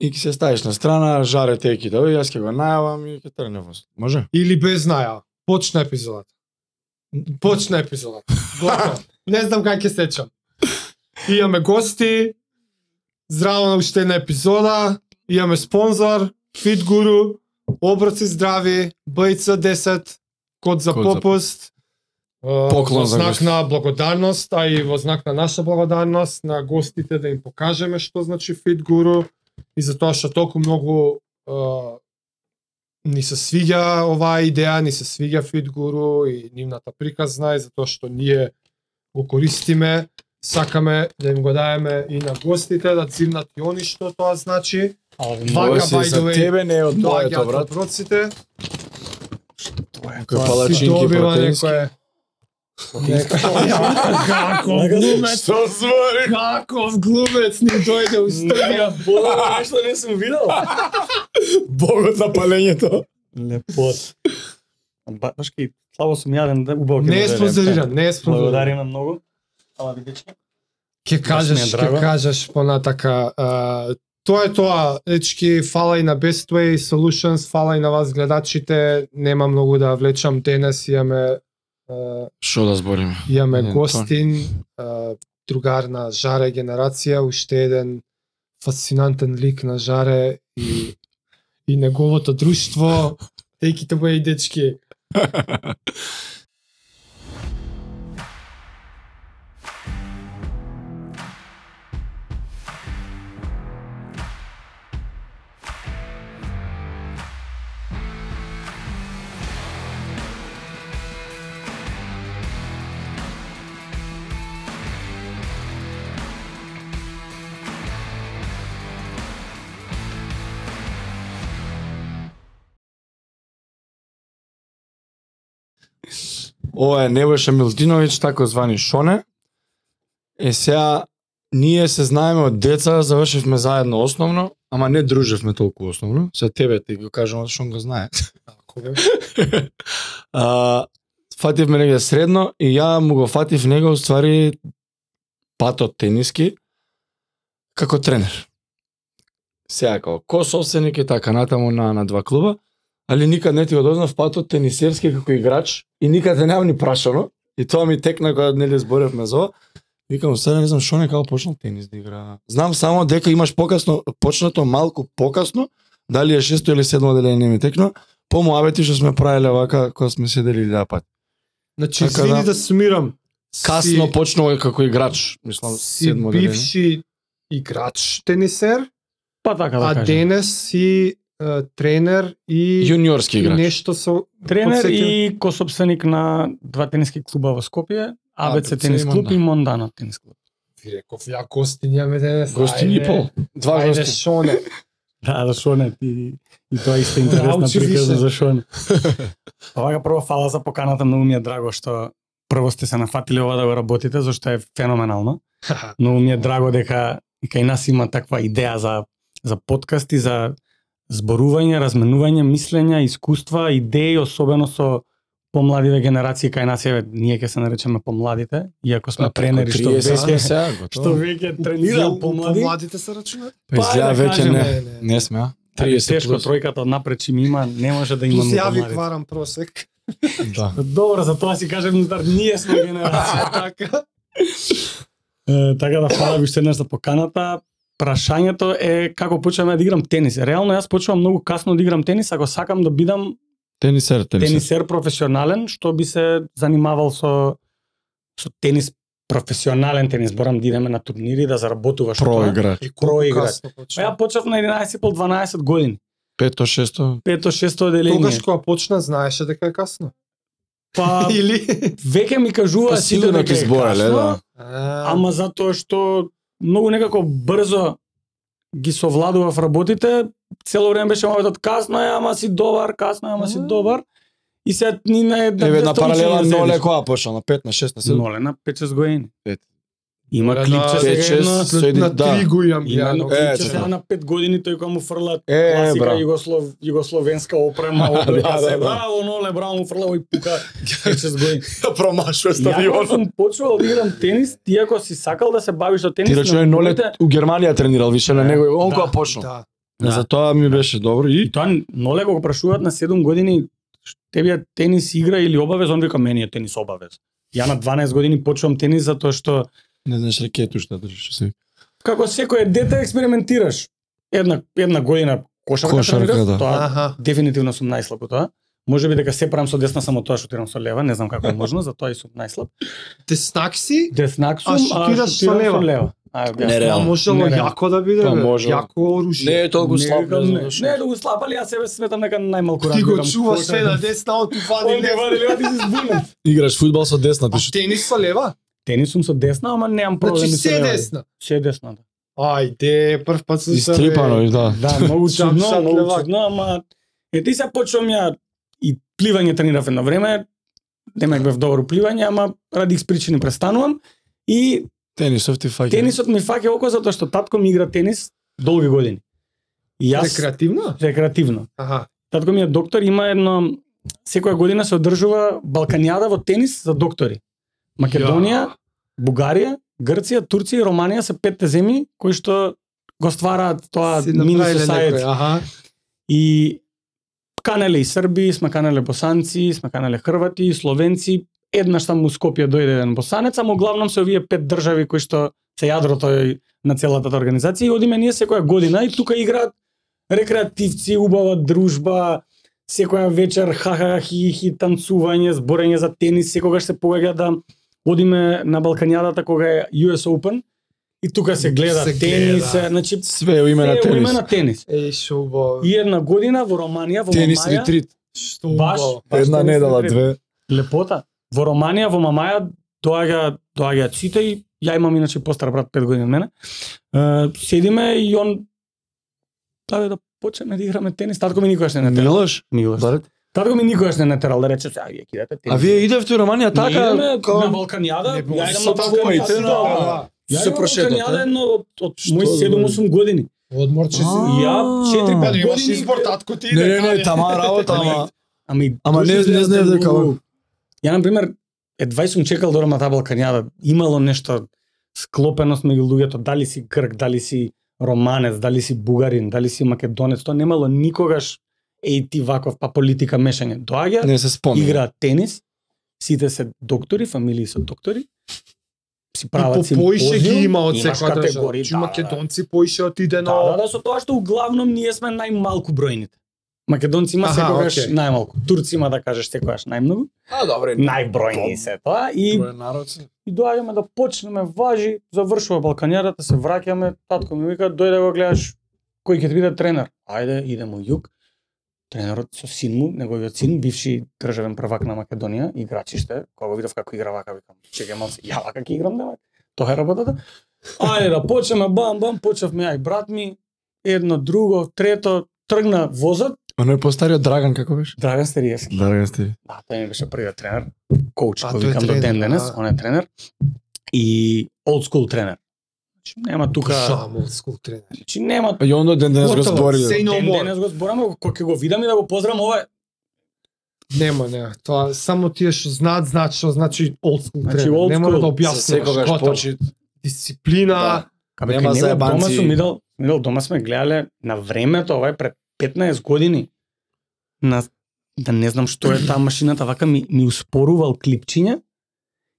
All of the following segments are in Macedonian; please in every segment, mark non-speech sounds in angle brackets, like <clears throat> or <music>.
и ќе се ставиш на страна, жарете екидава и јас ќе го најавам и ќе тргне во Може? Или без наја. Почна епизодата. Почна епизодата. <laughs> Готово. Не знам како ќе сечам. Имаме гости. Здраво на уште една епизода. Имаме спонзор, Fit Guru, оброци здрави, бајца 10, код за Код за попуст. а, Поклон во за знак гости. на благодарност, а и во знак на наша благодарност на гостите да им покажеме што значи Fit Guru и за тоа што толку многу а, ни се свиѓа оваа идеја, ни се свиѓа Fit Guru и нивната приказна и затоа што ние го користиме, сакаме да им го даеме и на гостите да цимнат и они што тоа значи. Ова Вака, си by the за way, тебе не е од Доаѓаат моето брат. оброците, Кој си палачинки добива протеински. некое Како глумец, Што звори? каков глумец ни дојде у Стрбија. Бола, нешто не сум видел. Богот на палењето. Лепот. Ба- Баш ки, слабо сум јаден, да убаво ќе Не ме е дојде. спонзориран, не е спонзориран. Благодарим на многу. Ала видечки. Ке кажеш, ми е ке драго. кажеш понатака. а, Тоа е тоа, дечки, фала и на Bestway Solutions, фала и на вас гледачите. Нема многу да влечам денес, имаме а, Што да збориме? имаме Не, гостин, а, другар на Жаре генерација, уште еден фасцинантен лик на Жаре и и неговото друштво. Теките мои дечки. Ова е Nebojša Милтиновиќ, тако звани Шоне. Е сега ние се знаеме од деца, завршивме заедно основно, ама не дружевме толку основно. Се тебе ти го кажам, што го знае. Ако бе. а, фативме негде средно и ја му го фатив него уствари патот тениски како тренер. Сега како кособственик и така натаму на на два клуба, али никад не ти го дознав патот тенисерски како играч и никад не ни прашано и тоа ми текна кога нели зборевме за ова. Викам, сега не знам што не како почнал тенис да игра. Знам само дека имаш покасно, почнато малку покасно, дали е шесто или седмо одделение не ми текна, по муабети што сме правеле вака кога сме седели илјада пат. Значи, Така извини да. да, сумирам. Касно Си- почнува е како играч, мислам, си седмо бивш... бивши играч тенисер, Па така да а кажем. денес си е, тренер и Јуниорски играч. нешто со Тренер подсетил. и кособственик на два тениски клуба во Скопје, АБЦ ABC тенис и клуб Мондана. и Мондана тенис клуб. Ви реков, ја гости имаме денес. Гостини ајде, и <laughs> пол. Два Ајде, гости. Шоне. Да, за Шоне ти и тоа Да, исто интересна Научи приказна више. за Шоне. <laughs> Овака прво фала за поканата, многу ми е драго што прво сте се нафатиле ова да го работите, зашто е феноменално. Многу ми е драго дека и кај нас има таква идеја за за подкасти, за зборување, разменување мислења, искуства, идеи, особено со помладиве генерации кај нас еве ние ќе се наречеме помладите, иако сме тренери што веќе сега, што готово. веќе тренира Ја- помлади. Помладите се рачунаат. Па Па, изгледа да веќе кажеме, не. Не, не. Не сме, а? Ајде, 30 така тешко плюс. тројката од напред чим има, не може да Плюс имаме ја ви помладите. кварам <laughs> просек. Да. Добро, за тоа си кажам, зар ние сме <laughs> генерација. така. Е, така да фала ви уште еднаш за поканата. Прашањето е како почнам ја да играм тенис. Реално јас почнувам многу касно да играм тенис, ако сакам да бидам Тенисер, тенисер. тенисер професионален, што би се занимавал со со тенис професионален тенис, борам да идеме на турнири, да заработуваш од Про тоа. играч. И Крој игра? касно Па почна. ја почнав на 11 пол 12 години. Пето, шесто. 5-6 оделение. Тогаш кога почна, знаеше дека е касно. Па <laughs> Или? веќе ми Па кажува сите сигурно дека ќе е збореле, касно, да. ама затоа што многу некако брзо ги совладував работите, цело време беше мојот касно е, ама си добар, касно е, ама си Мгм. добар. И сега ни да на една Еве на паралела ноле која почна, на 5 на 6 на 7. ноле на 5-6 години. Ет. Има Ноле на клипче пет, сега шест, едно, со едни- на да. три го имам. Имено ја, е, клипче така. сега на 5 години тој кој му фрла Е, Е, класика бра. југослов југословенска <laughs> опрема Да, облека да, да. се браво ноле браво му фрла овој пука 5-6 <laughs> години. Промашува Јако сум почнувал да играм тенис, ти ако си сакал да се бавиш со тенис, Ти рачунај ноле моменте- у Германија тренирал више на него. и Он Да, кога почнал. Да. Да. Затоа ми беше добро И и тоа ноле го прашуваат на 7 години тебе е тенис игра или обавез, он вика мене е тенис обавез. Ја на 12 години почнувам тенис затоа што не знаеш ракету што да држиш се. како секое дете експериментираш. Една една година кошарка, Кошарка, тренирав, да. тоа Аха. Дефинитивно сум најслаб во тоа. Може би дека се правам со десна само тоа што тирам со лева, не знам како е можно, затоа и сум најслаб. Теснак си, Деснак сум, А а шутираш со шутирам лева? Со лева. А, бе, Не, а Реално. можело Не, јако да биде, Па, бе, можело. јако оружје. Не е толку не, слаб, викам, не, не, знаеш. не, да го слаб, али јас себе сметам дека најмалку Ти го разбирам чуваш кој се да, <laughs> е. на десна, он ти вади Он не лева. вади лева, ти си збунет. Играш фудбал со десната. А тенис со лева? Тенис сум со десна, ама немам Значи проблеми со се лева. десна. Се десна, да. Ајде, прв пат сум се, бе. Истрипано и да. Да, многу Jump чудно, shot многу левак. чудно, ама е ти се почнувам ја и пливање тренирав едно време. Демек бев добро пливање, ама ради X причини престанувам и Тенисов ти фаќа. тенисот ми фаќа око затоа што татко ми игра тенис долги години. И јас Рекреативно? рекреативно. Аха. Татко ми е доктор, има едно секоја година се одржува Балканијада во тенис за доктори. Македонија, Ја. Бугарија, Грција, Турција и Романија се петте земји кои што го ствараат тоа Си мини направиле society. некој, Аха. И канеле и Срби, сме канеле босанци, сме канеле хрвати, словенци. Еднаш таму у Скопје дојде еден босанец, ама главном се овие пет држави кои што се јадрото е на целата таа организација и одиме ние секоја година и тука играат рекреативци, убава дружба, секоја вечер ха-ха-ха, хи-хи, танцување, зборење за тенис, секогаш се погаѓа да одиме на Балканијадата кога е US Open и тука се гледа Се тенис, гледа. значи Све у име на се тенис. уиме на тенис. Еј, шо убаво. И една година во Романија, во Тенис Мамаја, ретрит. Што баш, убаво. баш Една тенис недела, ретрит. две. Лепота. Во Романија, во Мамаја, доаѓа, доаѓа Ците и ја имам иначе постар брат 5 години од мене. Е, седиме и он даде да почнеме да играме тенис. Татко ми никогаш не натерал. Милош? Милош. Барат. Татко ми никогаш не натерал да рече се, ај вие кидате тенис. А вие идевте у Романија Ние така? идеме на као- Балканијада, Не ја било. идам Со на твоите, Балканијада. да. да. Ја Се идам на прошетате. Балканијада едно од, од Што мои да 7-8 години. Одморче си. А. Ја 4 Па Па, не имаш години. избор, татко ти Не, иде. не, не, тама работа, ама. Ами, Ама дури не- изгледа не знаев многу- дека- Ја, на пример, едвај сум чекал да до Ромата Балканијада. Имало нешто склопеност меѓу луѓето, дали си грк, дали си романец, дали си бугарин, дали си македонец, тоа немало никогаш еј ти ваков, па политика мешање. Доаѓа, Не се спомнам. играат тенис, сите се доктори, фамилии се доктори, си И прават по поише ги има од имаш секоја држава. категории, Чи да, да, македонци поише отиде Да, да, на... да, со тоа што углавном ние сме најмалку бројните. Македонци има Аха, секогаш окей. најмалку. Турци има да кажеш секогаш најмногу. А, добре. Најбројни се тоа и и доаѓаме да почнеме важи, завршува Балканијадата, се враќаме, татко ми вика, дојде да го гледаш кој ќе ти биде тренер. Ајде, идемо југ. Тренерот со син му, неговиот син, бивши државен првак на Македонија, играчиште, кога го видов како игра вака, викам, чекај малце, ја вака ќе играм дава. Тоа е работата. Ајде да почнеме, бам, бам, почевме ја и брат ми, едно, друго, трето, тргна возот, Оној постариот Драган како беше? Драган Стериевски. Драган сте. Да, тој ми беше првиот тренер, коуч, А, кој тој е викам до тренер, да. ден денес, а. он е тренер. И old school тренер. Значи нема тука, Шамул скул тренер. значи нема Па и он до ден денес го Готово, збори. се- ден no more. денес го збораме, кој ќе го видам и да го поздравам ова. Нема, не. Тоа само тие што знаат, знаат што значи old school Значи, тренер. old Не мора school. Да. да Се објаснуваш. секогаш Готово. почит. Дисциплина. Кабе, Нема кај него дома заебанци. сум идел, идел дома сме гледале на времето, ова е пред 15 години. На да не знам што е таа машината, вака ми ми успорувал клипчиња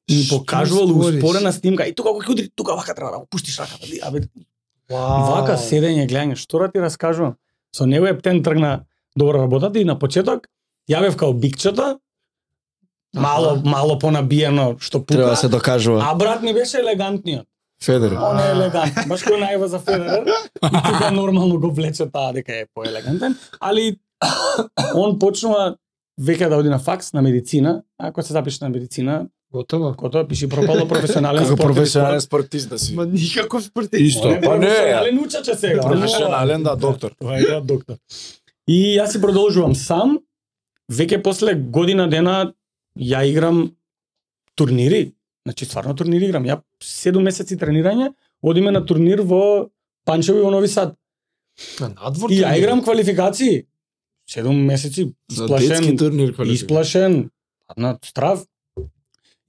и ми Што покажувал спориш? успорена снимка. И тука кога ќе удри, тука вака треба да го пуштиш раката. Ди, Абе, Вау. Вака седење, гледање, што да ти раскажувам? Со него ептен тргна добро работата и на почеток ја бев као бикчето, мало мало понабиено што пука, Треба да се докажува. а брат ми беше елегантниот. Федер. Он е елегант, баш кој најва за Федерер. И тука нормално го влече таа дека е поелегантен, али он почнува веќе да оди на факс на медицина, ако се запише на медицина, Готово. кото пиши пропало професионален Како спорт. професионален спортист да си. Ма никаков спортист. Исто. Па не. Професионален учаче сега. Професионален, да, доктор. Тоа е тоа доктор. И јас си продолжувам сам. Веќе после година дена ја играм турнири. Значи, стварно турнири играм. Ја 7 месеци тренирање, одиме на турнир во Панчево и во Нови Сад. На надвор. И ја тренер. играм квалификации. 7 месеци За детски сплашен, турнир квалификација. исплашен, на страв.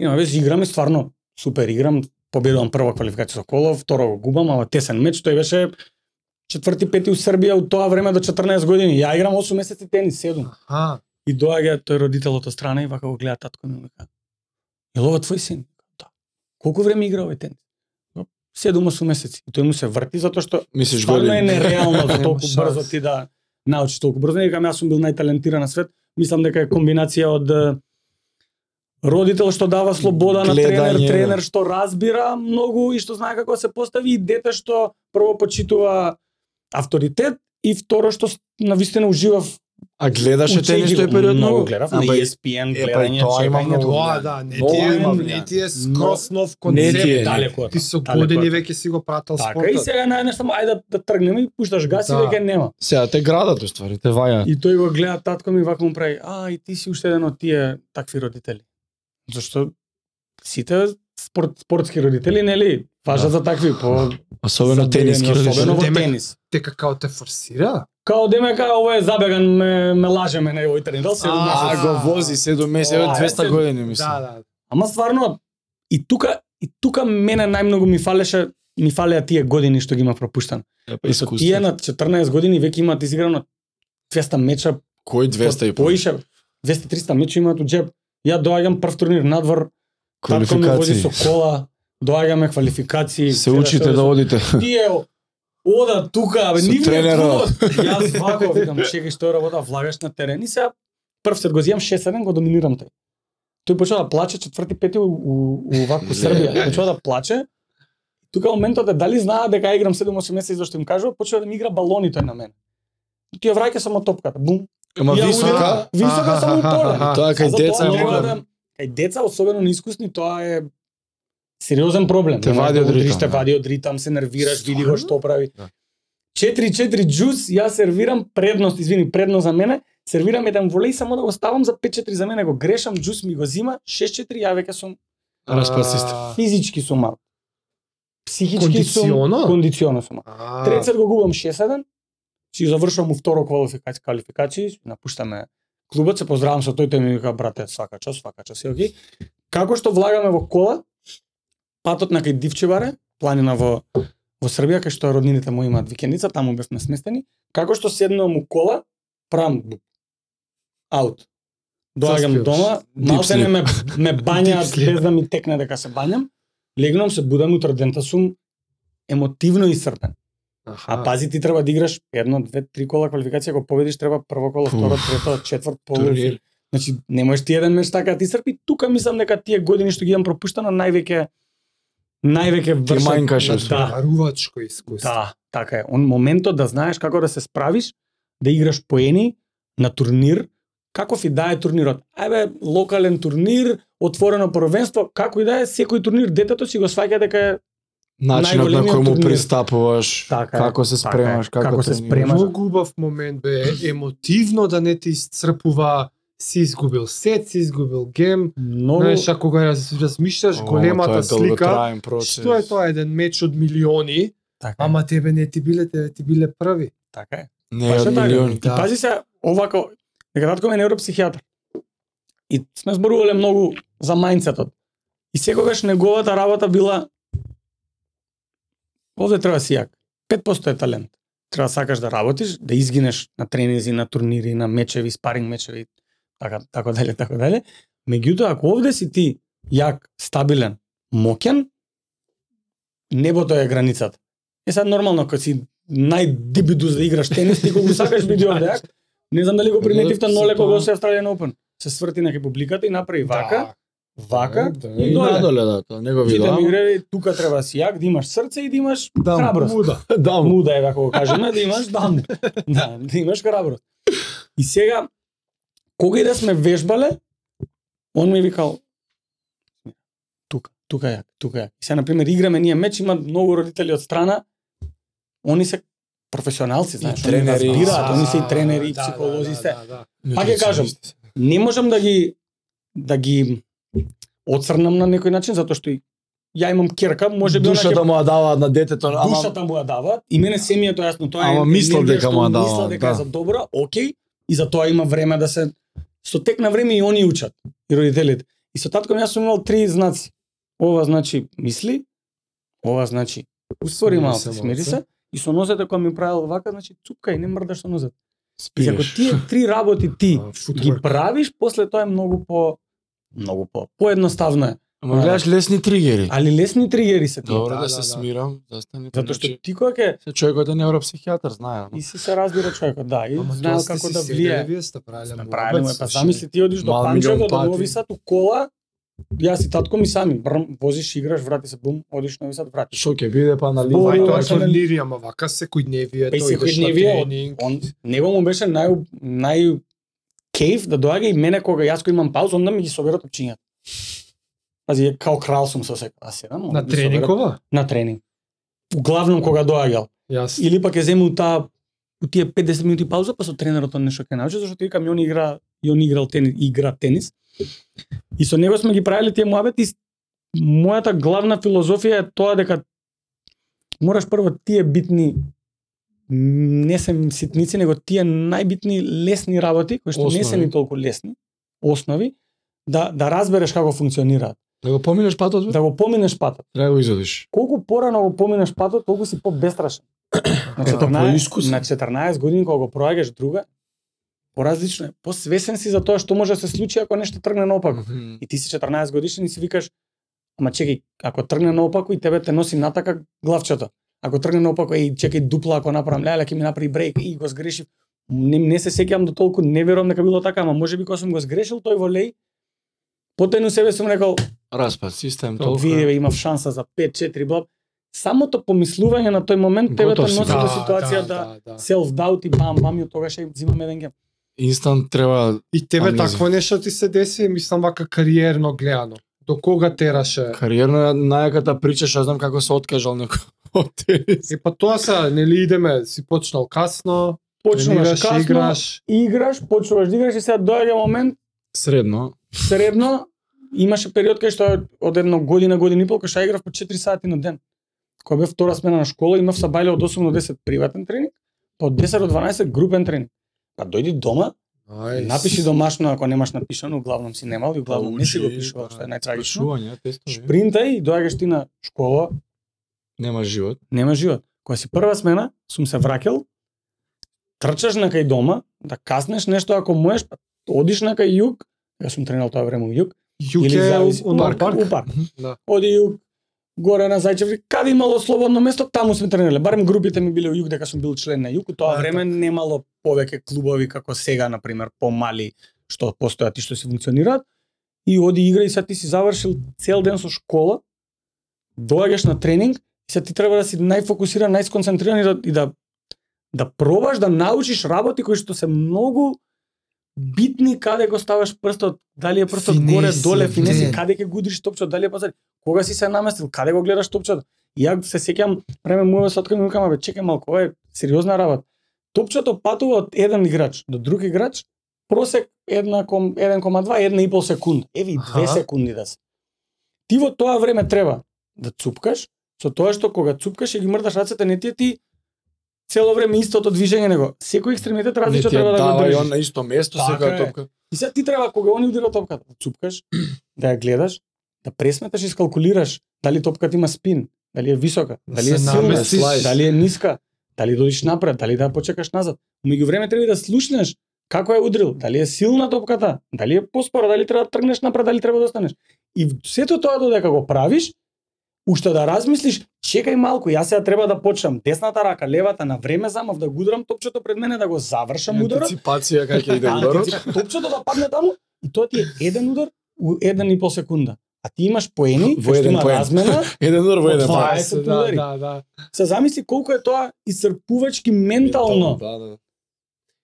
Има вез играм и стварно супер играм. Победувам прва квалификација со Колов, втора го губам, ама тесен меч, тој беше четврти, пети у Србија у тоа време до 14 години. Ја играм 8 месеци тенис, 7. Аха. И доаѓа тој родителот од страна и вака го гледа татко ми и му вика. Е ова твој син? Да. Колку време игра овој тенис? Па, 7-8 месеци. И тој му се врти затоа што Мислиш Стварно е години. нереално за толку шанс. брзо ти да научиш толку брзо. Не Викам, јас сум бил најталентиран на свет. Мислам дека е комбинација од е, родител што дава слобода на тренер, Гледање, да. тренер што разбира многу и што знае како се постави и дете што прво почитува авторитет и второ што с- навистина уживав А гледаше учејќи тенис го. тој период многу многу? гледав Ама на и- ESPN е, па и гледање тоа има чекање, многу Тоа влијание. да, не Многу ти е, има не влијание. ти е скрос нов Не ти е. концепт. далеко од Ти со Далеко е години тоа. веќе си го пратал Така и спортот. сега нај нешто ајде да, да тргнеме и пушташ гас Да. и веќе нема. Сега те градат, у ствари, те вајаат. И тој го гледа татко ми и вака му прави, а, и ти си уште еден од тие такви родители. Зашто сите спорт, спортски родители, нели, важат Да. за такви, по Особено забилени, тениски. особено во Демек- тенис. Тека као те форсира. Као демека, ова е забеган, ме, ме лаже мене овој тренидел, се А, А, а, го вози се до месец, Ова е 200 се- години, Да, мислам. да. Ама стварно, и тука, и тука мене најмногу ми фалеше, ми фалеа тие години што ги има пропуштан. Е, па да. И со тие искуство. на 14 години веќе имаат изиграно 200 меча Кој 200 и по? поише 200-300 мечи имаат у джеб. Ја доаѓам прв турнир надвор, татко ме вози со Квалификации. кола, доаѓаме квалификации. Се гледаш учите овде да со- одите. Тие ода тука, бе, Со ни тренера. тренерот. Јас вако викам, чекај што е работа, влагаш на терен. И сега прв сет го земам 6-7, го доминирам тој. Тој почва да плаче четврти пети у, у, у ваку Србија. Почва да плаче. Тука моментот е дали знае дека ја играм 7-8 месеци зашто им кажува, почва да ми игра балони тој на мене. И Ти ја враќа само топката. Бум. Ема Ја висока, удара. Висока само поле. Аха. тоа кај Затоа деца е мора многу. да- Кај деца, особено неискусни, тоа е сериозен проблем. Те Не можеш вади да од удриш, ритам, Те да. вади од ритам, се нервираш, види го Стварно? што прави. Да. 4-4 джуз, јас сервирам предност, извини, предност за мене, сервирам еден волей, само да го ставам за 5-4 за мене, го грешам, джуз ми го зима, 6-4, ја веќе сум Распад систем. А, физички сум мал. Психички сум, Кондиционо? кондиционо сум мал. а, Трецер го губам 6-1, си завршувам у второ квалификаци квалификации, напуштаме клубот, се поздравам со тој, тој ми вика, брате, свака час, свака час, е окей. Како што влагаме во кола, патот на кај Дивчеваре, планина во, во Србија, кај што роднините му имаат викендица, таму бевме сместени, како што седнувам у кола, правам буп, аут. Доаѓам Заспиваш. дома, Deep малце не ме, ме Deep бањаат sleep. без да ми текне дека се бањам, легнувам се, будам утре дента сум емотивно исцрпен. аха. А пази ти треба да играш едно, две, три кола квалификација, ако победиш треба прво коло, Пф. второ, трето, четврт, полуфинал. Турнир. Значи не можеш ти еден меч така да ти српи. Тука мислам дека тие години што ги имам пропуштено највеќе највеќе Ти вршат. мајнкаш. Да, да. Дарувачко искуство. Да, така е. Он моментот да знаеш како да се справиш, да играш поени на турнир, каков и да е турнирот. Ајбе, локален турнир, отворено првенство, како и да е, секој турнир детето си го сваќа дека е Начинот на Најголемиот кој му турнир. пристапуваш, Така е, како се така е. спремаш, како Како се тренираш. спремаш. Многу губав момент бе, емотивно да не ти исцрпува, си изгубил сет, си изгубил гем. многу Знаеш, ако го раз- размишляш О, големата тоа е слика, долготраен процес. што е тоа еден меч од милиони, така. е. ама тебе не ти биле, тебе ти биле први. така е. Не е Баш е од така. милиони. И пази се, овако, дека татко ми е невропсихијатар. И сме зборувале многу за мајнцетот. И секогаш неговата работа била овде треба си јак. 5% е талент. Треба сакаш да работиш, да изгинеш на тренинзи, на турнири, на мечеви, спаринг мечеви, така, така дале, така дале. Меѓутоа, ако овде си ти јак, стабилен, мокен, небото е границата. Е сад нормално, кога си најдебидус да играш тенис, ти кога го сакаш биди овде, јак, не знам дали го приметивте, но леко го се Australian Open. Се сврти на публиката и направи вака, Така? вака, Да, и и доле. надоле, да, тоа негови Сите да. ми играли, тука треба да си јак, да имаш срце и да имаш Да, храброст. муда. Да, му. Муда е, како го кажеме, да имаш даму. Да, да имаш храброст. И сега, кога и да сме вежбале, он ми викал, тука, тука ја, тука ја. И сега, например, играме ние меч, има многу родители од страна, они се професионалци, знаеш, они тренери. разбираат, они се и А, тренери, и да, да, психолози, и да, се. да, да. Пак ја кажам, не можам да ги да ги оцрнам на некој начин затоа што и ја имам керка, може би душата да му ја даваат на детето, ама душата му ја дава и мене се ми е тоа јасно, тоа е Ама мислам енергија дека што му ја мислам дава, дека е да. за добро, окей, и за тоа има време да се со тек на време и они учат, и родителите. И со татко ми јас сум имал три знаци. Ова значи мисли, ова значи уствори Смири малку, се, смири малце. се, И со нозете кога ми правел вака, значи цупка и не мрдаш со нозете. И ако Спиеш. тие три работи ти А, ги футворк. правиш, после тоа е многу по многу по поедноставно е. Ама гледаш лесни тригери. Али лесни тригери се тие. Добро да, да, се да. смирам, да стане Затоа што поначе. ти кога ќе се човекот е невропсихијатар, знае. и си се разбира човекот, да, и знаел како да влие. Вие сте правиле Сме му правиле му е, обед, па слушай. замисли ти одиш до Мал Панчево, милион до пати. Нови Сад, у кола, јас и татко ми сами, брм, возиш, играш, врати се, бум, одиш Нови Сад, вратиш. Што ќе биде па нали? Спорно. Ова е тоа Овој што е лирија, ама вака секојдневие, Па и тој идеш на секојдневие, тренинг. Он, него му беше нај, нај кейф да доаѓа и мене кога јас кој имам пауза, онда ми ги соберат опчињата. Пази, е, као крал сум со секој. А седам, онда На ги соберат тренингова? На тренинг. Углавном кога доаѓал. Јас. Или пак ќе земе у таа у тие 50 минути пауза, па со тренерот он нешто ќе научи, зашто ти викам, и он игра, и он играл тенис, игра тенис. И со него сме ги правиле тие муабети. и с- Мојата главна филозофија е тоа дека мораш прво тие битни м, не се ситници, него тие најбитни лесни работи, кои што не се Основи. ни толку лесни, основи, да, да разбереш како функционираат. Да го поминеш патот, бе? Да го поминеш патот треба да го изодиш. колку порано го поминеш патот, толку си побестрашен. На Е, Така. па 14, поискусен. на 14 години кога го проаѓаш друга, поразлично е. Посвесен си за тоа што може да се случи ако нешто тргне наопаку. Мгм. И ти си 14 годишен и си викаш, ама чеки, ако тргне наопаку и тебе те носи натака главчето. Ако тргне наопаку, еј, чекај дупла ако направам, леле, ќе ми направи брейк и го сгрешив. Не, не се сеќавам до толку, не верувам дека било така, ама можеби кога сум го сгрешил тој во леј, потајно себе сум рекол, Распад, систем, толку толку. видеве имав шанса за 5-4 бла. Самото помислување на тој момент тебе те Готов си, носи да, до ситуација да, да. self doubt и бам бам и од тогаш ја взимам еден гем. Инстант треба И тебе Амнезија. такво нешто ти се деси, мислам вака кариерно гледано. До кога тераше? кариерно е најаката прича, што ја знам како се откажал некој <laughs> од тенис. Е па тоа се, нели идеме, си почнал касно, Почнуваш тренираш, касно, играш, играш. играш, почнуваш да играш и сега доаѓа момент Средно. средно имаше период кај што од едно година година и пол кај што ја играв по 4 сати на ден. Кога бев втора смена на школа, имав сабајле од 8 до 10 приватен тренинг, па од 10 до 12 групен тренинг. Па дојди дома, Ај, напиши домашно ако немаш напишано, углавном си немал и углавном Па, не си го Учи, пишувал, да, па, што е најтрагично. Прашување, тестови. Шпринтај и доаѓаш ти на школа, Нема живот. нема живот. Кога си прва смена, сум се враќал, трчаш на кај дома, да каснеш нешто ако можеш, па одиш на кај југ, јас сум тренирал тоа време у југ, Јуке зависи- у- у парк, парк. у парк. Да. оди југ, горе на Зајчеври, каде имало слободно место, таму сме тренирале. Барем групите ми биле у југ, дека сум бил член на југ, у тоа А, така. време немало повеќе клубови како сега, например, помали, што постојат и што си функционираат. И оди игра и сега ти си завршил цел ден со школа, доаѓаш на тренинг, и сега ти треба да си најфокусиран, најсконцентриран и да, и да да пробаш да научиш работи кои што се многу битни каде го ставаш прстот, дали е прстот Финеси, горе, доле, финеси, не. каде ќе го удриш топчот, дали е пазар, кога си се наместил, каде го гледаш топчот. И Ја се сеќам време мојот сотка ми викам, абе, чекај малку, ова е сериозна работа. Топчето патува од еден играч до друг играч, просек една ком, 1,2, една и пол секунда. Еве и две Аха. секунди да се. Ти во тоа време треба да цупкаш, со тоа што кога цупкаш и ги мрдаш рацете, не ти е ти цело време истото движење него. Секој екстремитет Не различно ти ја треба да го дава и држиш. он на исто место Така сега е. топка. И сега ти треба кога они удира топката, да <clears throat> цупкаш, да ја гледаш, да пресметаш и скалкулираш дали топката има спин, дали е висока, Да дали е се силна, наместиш. дали е ниска, дали да одиш напред, дали да ја почекаш назад. Меѓу време треба и да слушнеш како е удрил, дали е силна топката, дали е поспора, дали треба да тргнеш напред, дали треба да останеш. И сето тоа додека го правиш, уште да размислиш, чекај малку, јас сега треба да почнам десната рака, левата на време замав да го удрам топчето пред мене да го завршам ударот Антиципација како <laughs> ќе иде а, ударот. антиципа- Топчето да падне таму и тоа ти е еден удар у еден и пол секунда. А ти имаш поени, Во во еден еден има поен. размена, Еден удар во еден Два пак. е 20, да, удари. да, да. се замисли колку е тоа исцрпувачки ментално Да, да.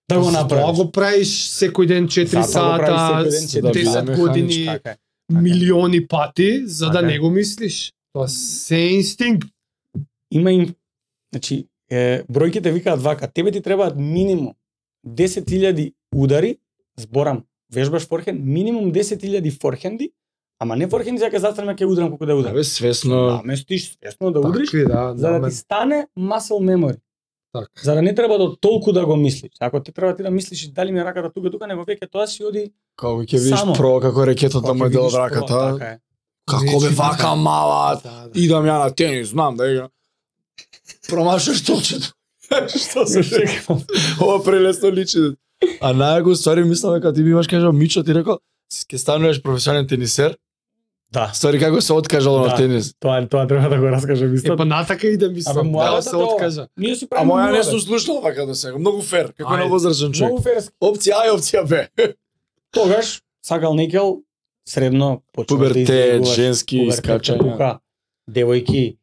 да го Тоа направиш. го правиш секој ден 4 Затоа го сата, правиш секој ден четири 10 сата. години, Така е. милиони пати, за да Така е. не го мислиш. Тоа се е инстинкт. Има им значи е, бројките викаат вака, тебе ти требаат минимум 10.000 удари, зборам, вежбаш форхенд, минимум 10.000 форхенди, ама не форхенди за да ќе застрема ќе удрам колку да Да, бе, удрам. свесно. Наместиш свесно да така. удриш, Такви, да, за да намен. ти стане muscle memory. Така. За да не треба до толку да го мислиш. Ако ти треба ти да мислиш и дали ми е раката тука тука, него веќе тоа си оди. Кога ќе видиш Само. прво како ракетата кога му ќе е Значи, дел од видиш тоа, раката. така е. Како бе Речи, вака да. мала. Да, да. Идам ја на тенис, знам да играм. Промашаш толчето. <laughs> Што се чекам? Ова прелесно личи. А најго ствари мисламе кога ти биваш кажа Мичо ти рекол си ќе стануваш професионален тенисер. Да, Ствари како се откажало Да. на тенис. тоа, тоа треба да го раскажам Е, исто. па натака и да мислам, Абе, да младата се тоа. откажа. ние си А правиме моја не муабет. сум слушнал вака до сега. Многу фер, како Ајде. на возрастен човек. Многу ферски. Опција А и опција Б. Тогаш, сакал некел, средно, почнуваш да Пубертет, излегуваш. женски Пубертет, искачања. чепука, девојки.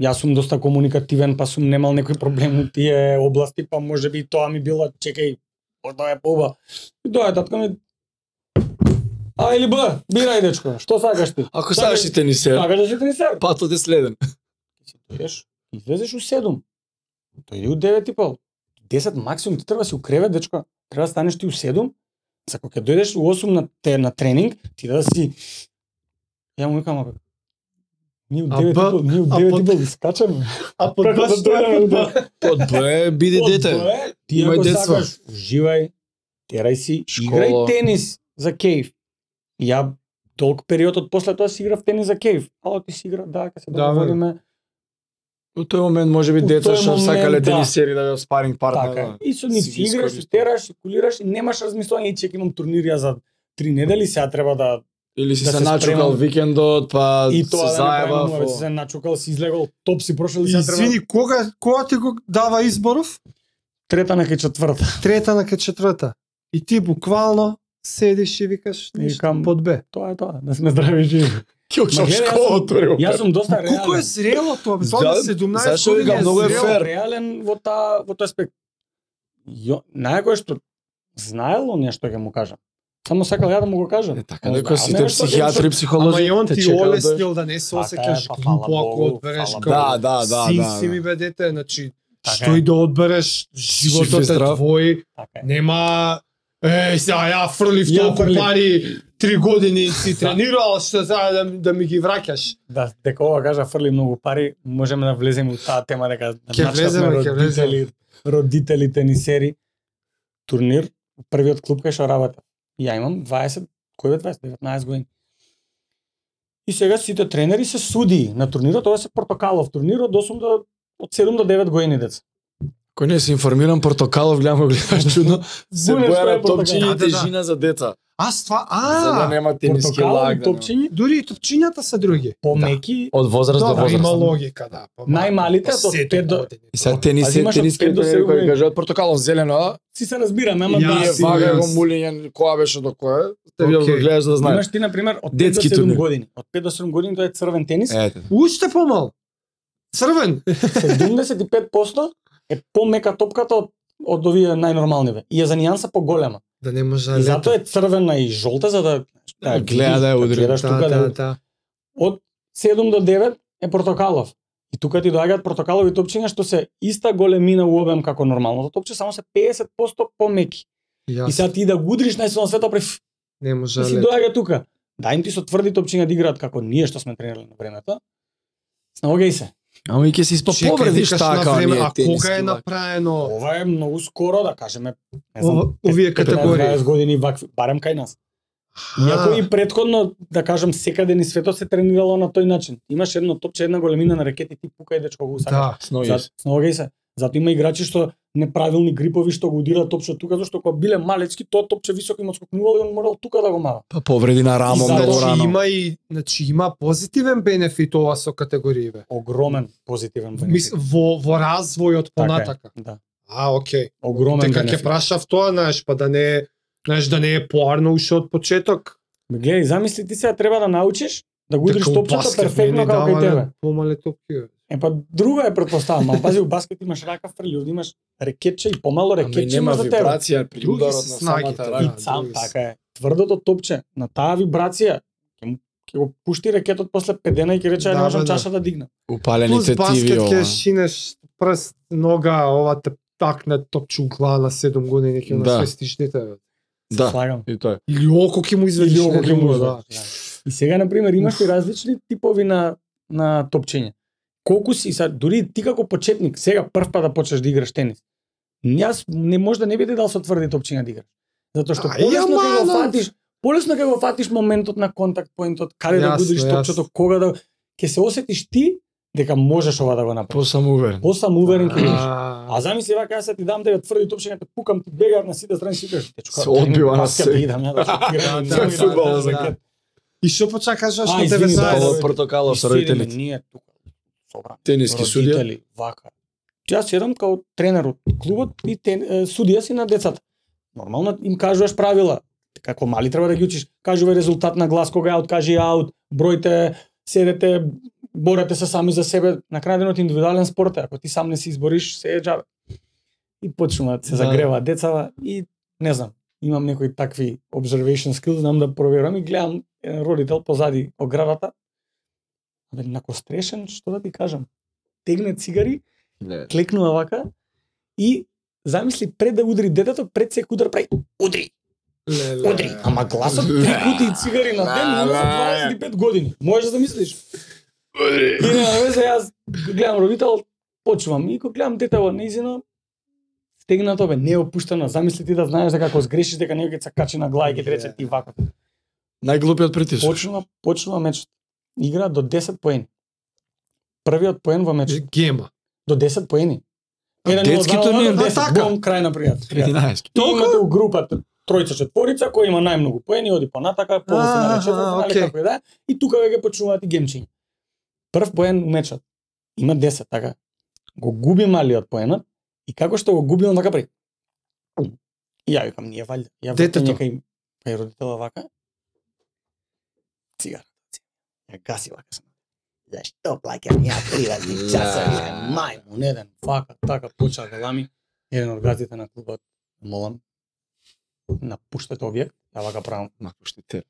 Јас сум доста комуникативен, па сум немал некој проблем у тие области, па може би тоа ми било, чекај, можда е поба. И доја татка ми, А или Б, бирај дечко, што сакаш ти? Ако сакаш и тенисер, Сакаш да си тренисер? патот е следен. Ти дојдеш, излезеш у 7. Дојди у 9 и пол. 10 максимум ти треба да си у кревет, дечко. Треба да станеш ти у 7. За кога ќе дојдеш у 8 на, те, на тренинг, ти да си... Ја му викам, абе, ние у А 9 и па- пол, ние у а 9 и под- пол да искачаме. А под Како да баш тоа дојдеме е у да. Под Б биди Од дете. тоа е, Ти Имај ако детство. сакаш, уживај, терај си, Школа. играј тенис за кејф. Ја долг период од после тоа си играв тенис за кејф. Ало ти си игра, да, ка се Да, бе. договориме. У тој момент може би У деца тој што момент, сакале да. тенисери да ја спаринг партнер. Така е. да. И со нив си ги си играш, си искористиш. тераш, си кулираш и немаш размислување и чек имам турнирија за три недели, сега треба да Или си Да се се начукал спремам. викендот, па и се тоа да не правиме заебав. муабет, си се начукал, си излегол, топ си прошел и сега треба Извини, кога, кога ти го дава изборов? трета на кај четврта. <laughs> Трета на кај четврта. И ти буквално седиш и викаш И ништо викам, под Б. Тоа е тоа, да сме здрави <laughs> и живи. Ќе учам Ма, гледај, јас школа сум- отворил. Јас сум доста реален. Колку е зрело тоа? бе? Да, Тоа на 17 зашо години викам, е многу е зрело. фер. реален во таа во тој аспект. Јо, најкое што знаело нешто ќе му кажам. Само сакал ја да му го кажам. Е, така, Он дека знае сите нешто, психијатри, психолози, Ама и он те ти чекаат да олеснил да не се Така е, осеќаш па, фала глупо ако Богу, одбереш фала кај Да, да, да, син да, си да. ми бе дете, значи Така што е. и да одбереш, Жив и животот е здрав. твој, Така е. нема Е, сега ја фрлив Ја толку фрлив. пари, три години си тренирал, што сега да, да ми ги враќаш. Да, дека ова кажа фрли многу пари, можеме да влеземе у таа тема дека Ќе начнавме влеземе, ќе родители, родители тенисери турнир, првиот клуб кај што работев. Ја имам 20, кој бе 20, 19 години. И сега сите тренери се суди на турнирот, ова се портокалов турнир од 8 до од 7 до 9 години деца. Кој не се информирам, Портокалов, гледам го гледаш чудно, се Буле, боја што е на топчиња Портокал? и Да, да, да. тежина за деца. Аз това, За да а, нема тениски Портокалови лаг. да нема. топчиња, дури и топчињата се други. помеки, Да. Од возраст да до Добро, има возраст. логика, да. па, Најмалите па, од седум пет до- години. И сега тенис, Пази, имаш од тениски пет до тренери кои седум. кажат Портокалов зелено, а? си се разбираме, ама Ја да, Ние си, вага јас. го мулињен, која беше до која? Те вие го Океј. гледаш за да знаеш. имаш ти на пример од 5 Детски до 7 турнир. години. Од 5 до 7 години тоа е црвен тенис, Ете. Уште помал. Црвен. 75% е помека топката од од овие најнормалниве. И е за нијанса поголема. Да не може да И затоа е црвена и жолта за да Да, гледа да ја удрим. гледаш тука да, да. од 7 до 9 е портокалов. И тука ти доаѓаат портокалови топчиња што се иста големина у обем како нормалното топче, само се 50% помеки. И Јас сега ти да гудриш најсилно на светот преф не може Ти да си лета. доаѓа тука. Да им ти со тврди топчиња да играат како ние што сме тренирали на времето. Снаогај се. Ама и ќе се испа Чекај, повредиш викаш таа на као време, ние А тениски кога е лаг. направено Ова е многу скоро, да кажеме, не знам, ова- овие категории? 15 години вакви, барем кај нас. Иако и предходно, да кажам, секаде ни светот се тренирало на тој начин. Имаш едно топче, една големина на ракети, ти пукај дечко го сакаш. Да. Сноги. За, сногеј се. Зато има играчи што неправилни грипови што го удира топче тука, зашто кога биле малечки, тоа топче високо им отскокнувало и он морал тука да го мава. Па повреди на рамо И за многу тоа Значи рано. има и значи има позитивен бенефит ова со категории бе. Огромен позитивен Мис, бенефит. во во развојот Така е. понатака. Да. А, окей. Огромен Дека Така ќе бенефит. прашав тоа, знаеш, па да не знаеш да не е поарно уште од почеток. Ме гледај, замисли ти сега треба да научиш да го удриш Дека Така, у топчето баскет перфектно мене како кај давале тебе. Помале топки. бе. Е па друга е претпоставам, ама пази у баскет имаш рака фрли, овде имаш ракетче и помало Ама и ракетче има нема за тебе. вибрација при Други ударот се на снагите, самата да. рака. И сам други се. така е. Тврдото топче на таа вибрација ќе му- ќе го пушти ракетот после педена и ќе рече Да, да, не бе, можам да. чаша да дигна. Плюс Упалените тиви баскет ова. ќе шинеш прст, нога, ова те такне топче у глава на 7 години ќе Да. насвестиш дете. бе. Се Да. Слагам. И тоа е. Или око ќе му изведиш. Или око не ќе му друго, да. И сега на пример имаш и различни типови на на топчење. Колку си са, дури ти како почетник, сега прв па да почнеш да играш тенис. Јас не може да не би ти дал со тврди топчиња да играш. Затоа што Ај, полесно ќе го ама, фатиш, полесно ќе го фатиш моментот на контакт поентот, каде да Јасно, гудриш јасно. топчето, кога да ќе се осетиш ти дека можеш ова да го направиш. Посам уверен. Посам да. уверен ќе бидеш. А, А замисли вака јас ти дам дека тврди топшење, те пукам ти бегар на сите страни си кажеш, дечко, Се одбива на баскет се. да идам, ја да шутирам, Да, да, да, фудбал да, за да. кет. И што почна кажаш А, на извини, 19? да, Павло Портокалов со И седиме родителите. Ние тука собрани. Тениски судија. родители, вака. Јас седам као тренер од клубот и тен, е, судија си на децата. Нормално им кажуваш правила. Како мали треба да ги учиш. Кажува резултат на глас кога е аут, кажи аут, бројте, седете, борете се сами за себе. На крај на денот индивидуален спорт е. Ако ти сам не се избориш, се е џабе. И почнуваат се Да. загрева децава и не знам. Имам некои такви observation skills, знам да проверам и гледам еден родител позади оградата. Абе, накострешен, што да ти кажам? Тегне цигари Не. клекнува вака и замисли пред да удри детето, пред секој удар прави удри, удри. Ама гласот три кути цигари на ден на за 25 години. Можеш да мислиш. И нема везе, јас гледам родител, почвам и кога гледам детето неизино, стегнато бе, не е опуштено. Замисли ти да знаеш дека ако сгрешиш дека некој ќе се качи на глава и ќе ти рече ти вака. Најглупиот притисок. Почнува, почнува мечот. Игра до 10 поени. Првиот поен во мечот. Значи, Гема. До 10 поени. Еден детски од два, турнир? еден од 10. А, така? Бум, крај на пријат. пријат. 11. Ти имате у групата тројца четворица кој има најмногу поени, оди понатака, полуфинале, А, а, четвртфинале, окей. како и да е, и тука веќе почнуваат и гемчиња. Прв поен у мечот. Има 10, така. Го губи малиот поенот и како што го губи он вака при. И ја викам, ние валја. Ја Детето. вртам некај кај родител па вака. Цигара. Ја гаси вака сам. Зашто плаќам ја приватни часови? Мајмун еден, вака, така почна да лами. Еден од газите на клубот, молам, напуштете објект, ја вака правам, Ма, пушти те.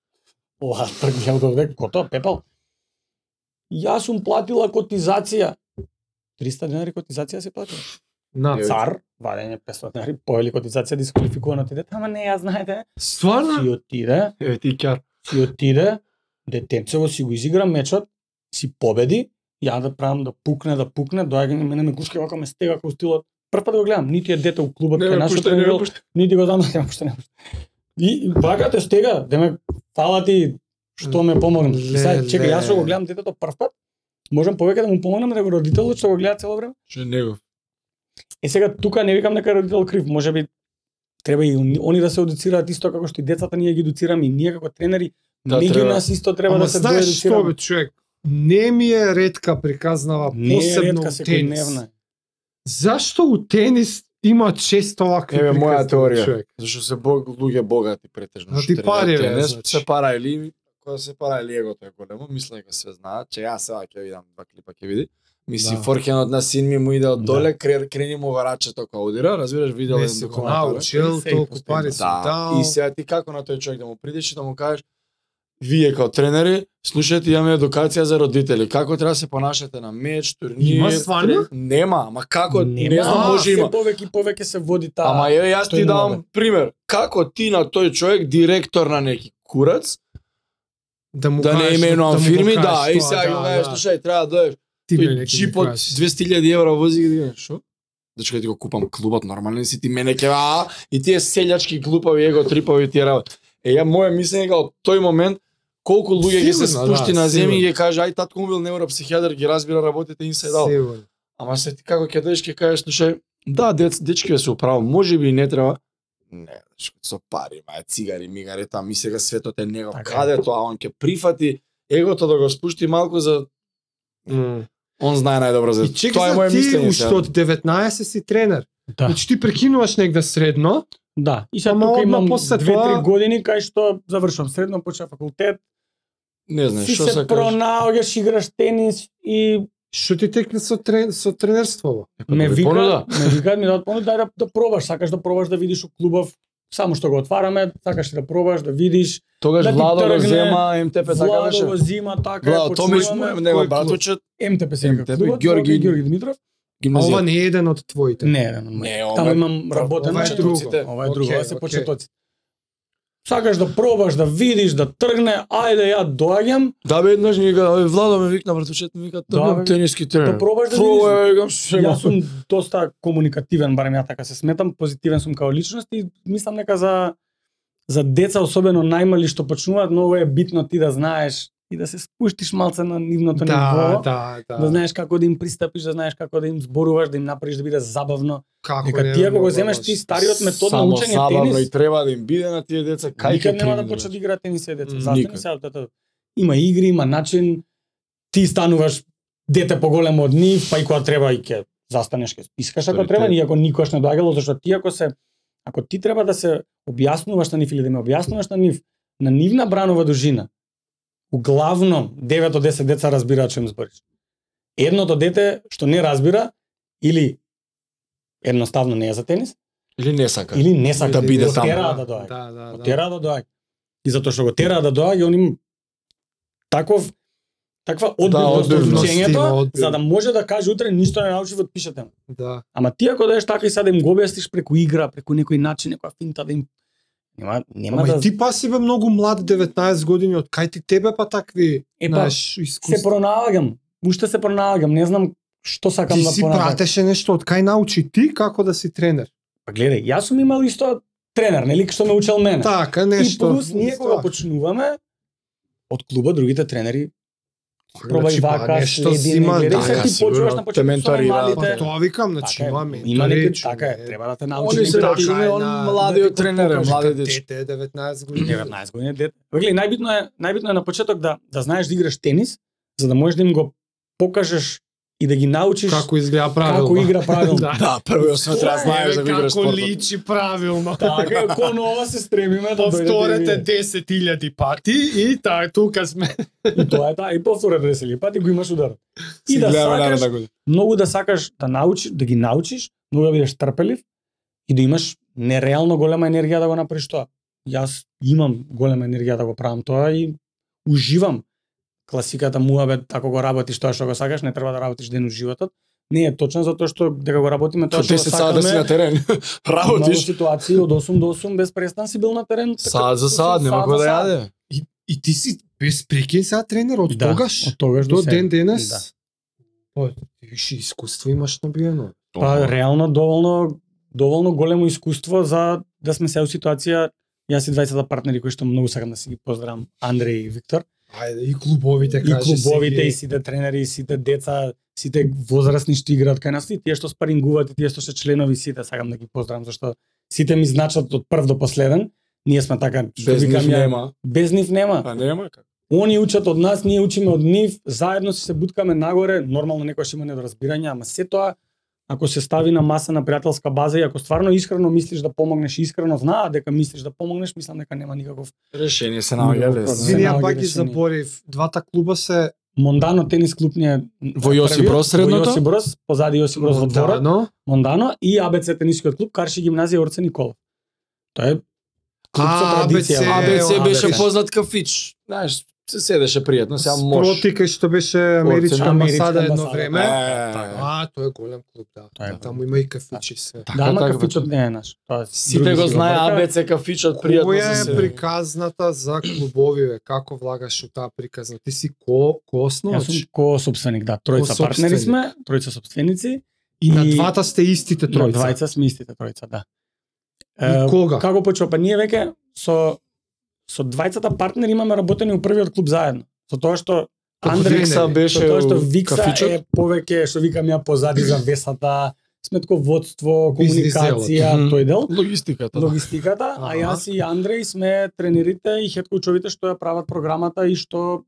<laughs> ла, тргнем од овде, готов, пепел. Јас сум платила котизација. 300 денари котизација се платила. На. Цар, вадење 500 денари, поели котизација, дисквалификувано ти дете, ама не, ја знаете. Стварно? Си отиде, Еве ти кјар. си отиде, детенцево си го изигра мечот, си победи, ја да правам да пукне, да пукне, доаѓа на мене ме гушка вака ме стега како стилот. Прв пат го гледам, нити е дете у клубот, Не кај ме нашиот пушта, не ме тренирал, пушта. нити го знам, <laughs> не пушта, не пушта. И и вака те стега, деме, фала ти што ме помогна. И Сега, Леле. чека, јас што го гледам детето прв пат, можам повеќе да му помогнам да го родителот што го гледа цело време. Што него. Е сега тука не викам дека е родител крив, можеби треба и он- они да се едуцираат исто како што и децата ние ги едуцираме и ние како тренери Да, да, меѓу треба. нас исто треба Ама да се знаеш што доедуцираме. бе човек? Не ми е ретка приказнава Не е посебно ретка у тенис. секојдневна. Зашто у тенис има често овакви Еве моја приказни, теорија. човек? Зашто се бог луѓе богати претежно. Заради што пари, тренираат бе, тенис, значи. се пара или кога се пара или егото е големо, мислам дека се знаат, че јас сега ќе видам два клипа ќе види. Мисли Да. форхенот на син ми му иде од Да. доле, кре- крени му варачето како удира, разбираш, видел Не еден си го документар. научил, Се и толку постигна. пари си Да, дал. и сега ти како на тој човек да му придеш и да му кажеш Вие као тренери, слушајте, имаме едукација за родители. Како треба да се понашате на меч, турнир? Има стварно? трен- Нема, ама како? Нема, Не знам, а, може се има. Повеќе и повеќе се води таа. Да. Ама ја, јас тој ти нема, давам пример. Како ти на тој човек, директор на неки курац, Да му да не кажеш, именувам му фирми, кажеш да, и тоа, сега ги гледаш, слушај, треба да дојдеш. Ти ме Тој неки джип ми од кажеш. 200.000 евра вози ги да што? Да чекај ти го купам клубот, нормален си ти мене ке а, и тие селјачки глупави его трипови тие работи. Е ја мое мислење дека од тој момент колку луѓе ги се Сигурно, да, спушти на земја и сигурно. ги каже ај татко му бил невропсихијатар ги разбира работите инсайд аут. Сигурно. Ама се ти како ќе дојдеш ќе кажеш слушај да дец дечки се управо може би и не треба не, што со пари, мај цигари, мигари, таа ми сега светот е него. Така е. Каде тоа он ќе прифати егото да го спушти малку за М. он знае најдобро за И чека тоа е за мое ти мислење. да. уште сега. од 19 си тренер. да. Значи ти прекинуваш негде средно, да. И сега Ама тука одма имам после 2-3 тоа- години кај што завршувам средно, почнав факултет, Не знаеш си што се се кажеш. пронаоѓаш, играш тенис и што ти текне со трен со тренерство. ме добри, вика, па да понуда. ме вика, ми дадат понуда, дај да, да пробаш, сакаш да пробаш да видиш у клубов, само што го отвараме, сакаш и да пробаш, да видиш, Тогаш да ти Владо го тргне, зема МТП па така Владо го беше. зима, така, Владо Томиш му е почнуваме, него кој клуб? братуче МТП се вика МТП, клубот, Георги- Георги, Георги Димитров, А ова гимназија. не е еден од твоите. не, не, не, Не, Па, Таму ова имам работен Ова е учен. друго. Ова е друго, Океј, ова се океј. почетоци. Сакаш да пробаш, да видиш, да тргне, ајде ја доаѓам, Да бе еднаш ни вика, "Ој, Владо ме викна братуче, ми вика Да, тоа бе. тениски тренер. да пробаш да Фу, видиш. е, викам, ше, ма. Јас сум доста комуникативен, барем ја така се сметам, позитивен сум као личност и мислам дека за за деца особено најмали што почнуваат, многу е битно ти да знаеш и да се спуштиш малце на Да, нивното ниво. да, да. Да знаеш како да им пристапиш, да знаеш како да им зборуваш, да им направиш да биде забавно. Како Дека не, да ти ако го много земеш лошо. ти стариот метод на Само учење забавно тенис, и треба да им биде на тие деца кај никад ќе нема да примине, почнат бе. да играат тенис тие деца. М, Застани никад. се тата. Има игри, има начин. Ти стануваш дете поголемо од нив, па и кога треба и ќе застанеш ќе спискаш ако Авторитет. треба, и ако никош не доаѓало, зашто ти ако се ако ти треба да се објаснуваш на нив или да ме објаснуваш на нив, на нивна бранова дужина, углавно 9 од 10 деца разбираат што им збориш. Едното дете што не разбира или едноставно не е за тенис, Или не сака. или не сака Да биде го таму. тера да доаѓа Да, да, го да. тера да доаѓа. И затоа што го тера да доаѓа, он им таков таква одбивност од одбивност, учењето, Да, има одбив. за да може да каже утре ништо не научив од пишете. му. Да. Ама ти ако дадеш така и сега да им го објасниш преку игра, преку некој начин, некоја финта да им нема нема Ама да и ти па си бе многу млад 19 години, од кај ти тебе па такви, Е, па, знаеш, се искуства. проналагам. Уште се проналагам, не знам што сакам Ти да си понатак. пратеше нешто од кај научи ти како да си тренер. Па гледај, јас сум имал исто тренер, нели што ме учел мене. Така, и нешто. плюс ние кога почнуваме од клуба другите тренери пробај Значи, па, вака, нешто следи, си не има, гледај, да, се да, ти сигурно. почуваш на Те почетокот со менторираат, малите. Па тоа викам, значи Така е, имаме. Има некој, речи, така е, не. треба да те Они научи. се некој да ти- така, е, он на- младиот да ти тренер е, покажа, младиот кај дечко. Дете, 19 така. години. 19 години е дете. Па Гледај, најбитно е, најбитно е на почеток да да знаеш да играш тенис, за да можеш да им го покажеш и да ги научиш Како изгледа правилно. како игра правилно. <laughs> Да. Да, прво освен треба да знаеш да го играш Како спортот. личи правилно. Така, кон ова се стремиме <laughs> да дојдете и Повторете вие. 10.000 пати и та, тука сме. И тоа е таа, и повторете десели пати го имаш удар. И Си да гледаме сакаш наредна година. многу да сакаш да научиш, да ги научиш, многу да бидеш трпелив и да имаш нереално голема енергија да го направиш тоа. Јас имам голема енергија да го правам тоа и уживам класиката муабет, ако го работиш тоа што го сакаш, не треба да работиш ден у животот. Не е точно затоа што дека го работиме Тоа тоа што 10 го сада да си на сакаме. терен. <laughs> Многу Работиш. ситуации од 8 до 8 без престан си бил на терен. така, Сад за сад, нема сад кој за да сад. јаде. И, и ти си без прекин сега тренер од Да, тогаш Од тогаш до сега. ден денес. Да. О, ти Па, више искуство имаш набиено. Па реално доволно доволно големо искуство за да сме сега у ситуација Јас и двајцата партнери кои што многу сакам да си ги поздравам, Андреј и Виктор, Ајде, и клубовите, така, и кажи клубовите, си, и сите тренери, и сите деца, сите возрастни што играат кај нас, и тие што спарингуваат, и тие што се членови, сите сакам да ги поздравам, зашто сите ми значат од прв до последен. Ние сме така, што Без викам нив ја, нема. без нив нема. Па нема како. Они учат од нас, ние учиме од нив, заедно се се буткаме нагоре, нормално некојаш има недоразбирање, ама се тоа ако се стави на маса на пријателска база и ако стварно искрено мислиш да помогнеш, и искрено знаат дека мислиш да помогнеш, мислам дека нема никаков Решение се наоѓа лесно. Вини- Извини, ја наоѓа пак ги решение. заборев. Двата клуба се Мондано тенис клуб ни е Во Јосип првиот, Броз средното? Во Јосип Брос, позади Јосип Брос во дворот, Модано. Мондано и АБЦ тенискиот клуб Карши гимназија Орце Николов. Тоа е клуб со А, традиција. ABC, ама. ABC. АБЦ беше Абе, познат кафич. Знаеш, се седеше пријатно, сега мош. Спроти кај што беше Америчка Америчка амбасада едно амбасада. да. Е, време. Така. А, тој е голем клуб, да. Тоа е. Таму има и кафичи се. Да, ама така, кафичот не е наш. Тоа е Сите други го си знаја бркаат. АБЦ кафичот пријатно Која за е се. приказната за клубови, бе? Како влагаш у таа приказна? Ти си ко, ко Јас сум основач? ко собственик, да, тројца Ко-собственик. партнери сме, тројца собственици. И на и- двата сте истите Тројца. тројца. Двајца сме истите тројца, да. И кога? Како почва? Па ние веќе со со двајцата партнери имаме работени у првиот клуб заедно. Со тоа што Како Андре, тренери. Викса со беше тоа што у Викса кафичот. е повеќе, што викам ја, позади за весата, сметководство, Бизнис делот. комуникација, Мгм. тој дел. Логистиката. да. логистиката, а Аха. јас и Андреј сме тренерите и хедкоучовите што ја прават програмата и што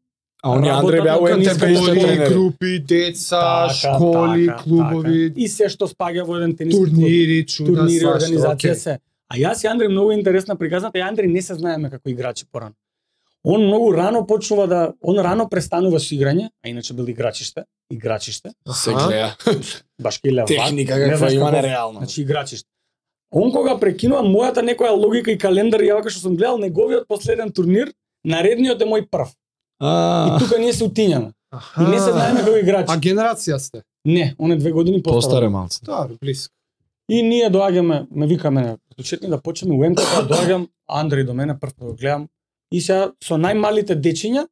А они Андреј Работата беа на УНСП категории, тренери. Категории, групи, деца, Така, школи, така, клубови, така. и се што спаѓа во еден тениски клуб. турнири, чуда, турнири, свашта, организација окей. се. А јас и Андреј многу е интересна приказната, и Андреј не се знаеме како играчи порано. Он многу рано почнува да, он рано престанува со играње, а иначе бил играчиште, играчиште, Се Аха. гледа. баш ке лева. Техника не каква знаеш има како- нереално. Значи играчиште. Он кога прекинува мојата некоја логика и календар, ја вака што сум гледал неговиот последен турнир, наредниот е мој прв. И А, тука ние се утињаме. И Аха. не се знаеме како А играчи. генерација сте? Не, он е две години постар. постаре малце. Да, близко. И ние доаѓаме, ме вика мене, почетни да почнеме у МКП, доаѓам, Андреј до мене, прв го гледам. И сега со најмалите дечиња,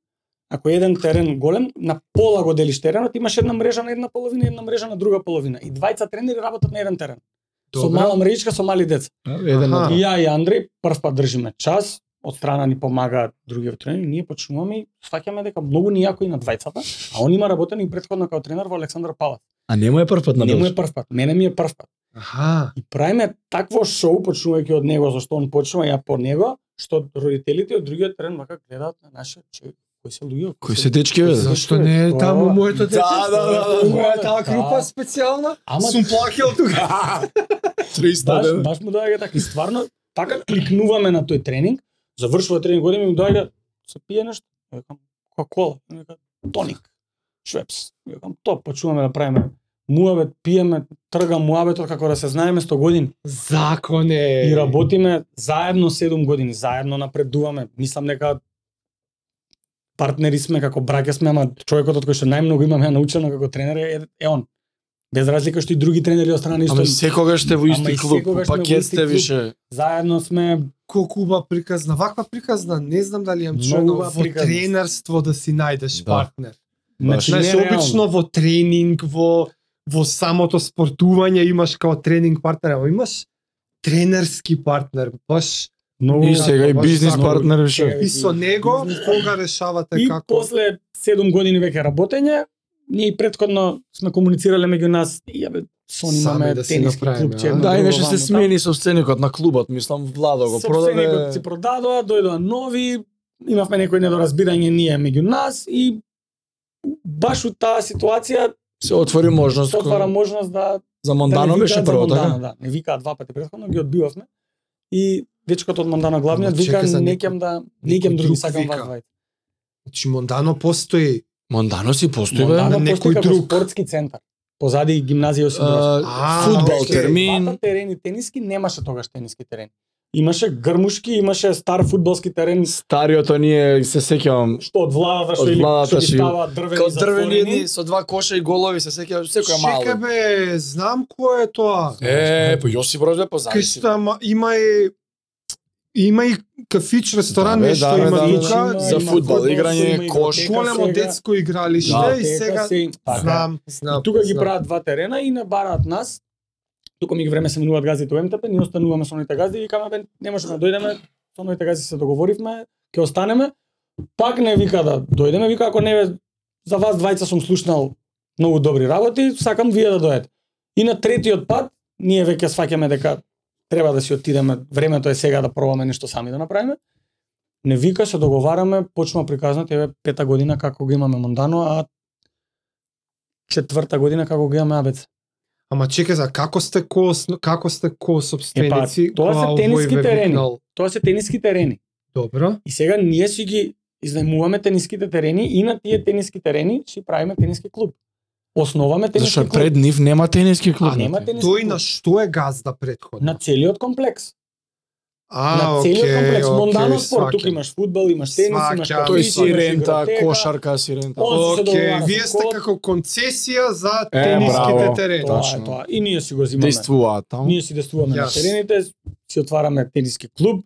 ако е еден терен голем, на пола го делиш теренот, имаш една мрежа на една половина и една мрежа на друга половина. И двајца тренери работат на еден терен. Со Добра. мала мрежичка, со мали деца. Еден Аха. од И ја и Андреј прв пат држиме час, од страна ни помагаат другиот тренер, ние почнуваме и сваќаме дека многу ни јако и на двајцата, а он има работен и предходно како тренер во Александар Палас. А нему е прв пат на Нему е Белчев. прв пат, мене ми е прв пат. Аха. И правиме такво шоу почнувајќи од него, зашто он почнува ја по него, што родителите од другиот трен вака гледаат на нашиот човек. Кои се луѓе? Кои се дечки, бе? Зашто не е Тоа- таму моето Да, дете? да, да, да, Тоа е да. таа група Да. специјална. Ама Сум плакел тука. <laughs> баш, 300 баш му доаѓа така и стварно така кликнуваме на тој тренинг, завршува тренинг, одиме и му доаѓа се пие нешто, Ја викам кока-кола, Ја вика тоник, швепс. Ја Викам топ, почнуваме да правиме муабет, пиеме, трга муабетот како да се знаеме 100 години. Законе. И работиме заедно 7 години, заедно напредуваме. Мислам дека партнери сме како браке сме, ама човекот од кој што најмногу имам ја научено како тренер е, е он. Без разлика што и други тренери од страна исто. Ама и секогаш сте во Ама исти и клуб, секогаш сме во пакет исти сте клуб. више. Заедно сме колку убава приказна, ваква приказна, не знам дали јам Многу чуено убава во приказна. тренерство да си Да. најдеш партнер. Баш. значи, Знаеш, нереално. обично во тренинг, во во самото спортување имаш као тренинг партнер, ама имаш тренерски партнер, баш многу И сега и баш бизнис така. партнер више. и со него бизнес кога решавате И така како после 7 години веќе работење, ние и предходно сме комуницирале меѓу нас, и абе, сон имаме Сами да си тениски направиме, клубче. а? едно, Да, друго, и нешто се вамо, смени собственикот на клубот, мислам Владо да го продаде. Собственикот си продадоа, дојдоа нови, имавме некои недоразбирање ние меѓу нас и баш у таа ситуација Се отвори можност се отвара кој- можност да, за да Мондано не беше викаат за прво, Мондано, така? да, не викаат два пати предходно, ги одбивавме. И дечкото од Мондано главниот Ама чека вика за не некој- ќем да не ќем некој други друг сакам вика. вас двајца. Значи Мондано постои. Мондано си постои, бе. Мондано на постои некој како друг. спортски центар. Позади да, А, гимназија Јосиф Брос. А, Футбол окей. термин. Двата терени тениски немаше тогаш тениски терен. Имаше грмушки, имаше стар фудбалски терен Стариот оние се сеќавам што од владата што Од или владата што ги си- става дрвени Као дрвени затворени. едни со два коша и голови се сеќавам секоја Чека мало. бе, знам кој е тоа. Е, да, по Јосип па Брос бе Кај позади. што ама има и има и кафич, ресторан, Да, бе, нешто да, бе, има да, тука, да, тука. да. За има фудбал, фудбал, играње, има кош. игротека Големо сега, детско игралиште Да. и игротека сега се- така. знам, знам. И тука ги знам. прават два терена и набараат нас. Тука ми ги време се минуваат газите во МТП, ние остануваме со оните гази и викаме бе, не можеме да дојдеме, со оните гази се договоривме, ќе останеме. Пак не вика да дојдеме, вика ако не бе, за вас двајца сум слушнал многу добри работи, сакам вие да дојдете. И на третиот пат ние веќе сваќаме дека треба да си отидеме, времето е сега да пробаме нешто сами да направиме. Не вика, се договараме, почнува приказнат, еве пета година како го имаме Мондано, а четврта година како го имаме АБЦ. Ама чека за како сте ко како сте ко па, собственици? Епа, тоа се која овој тениски ве терени. викнал? Тоа се тениски терени. Добро. И сега ние си ги изнајмуваме тениските терени и на тие тениски терени си правиме тениски клуб. Основаме тениски Зашто клуб. пред нив нема тениски клуб. А нема тениски Тој клуб. на што е газда предходно? на целиот комплекс. А, на целиот окей, комплекс окей, Мондано спорт, сваќам. тука имаш фудбал, имаш тенис, имаш Сваќам. Тој кафич, си имаш рента, игротека. кошарка си рента. О, Тоа се Океј, договара вие со сте клуб. како концесија за Е, тениските браво. терени. Тоа е Точно. тоа. И ние си го земаме. Действуваат таму. Ние си действуваме на Јас. терените, си отвараме тениски клуб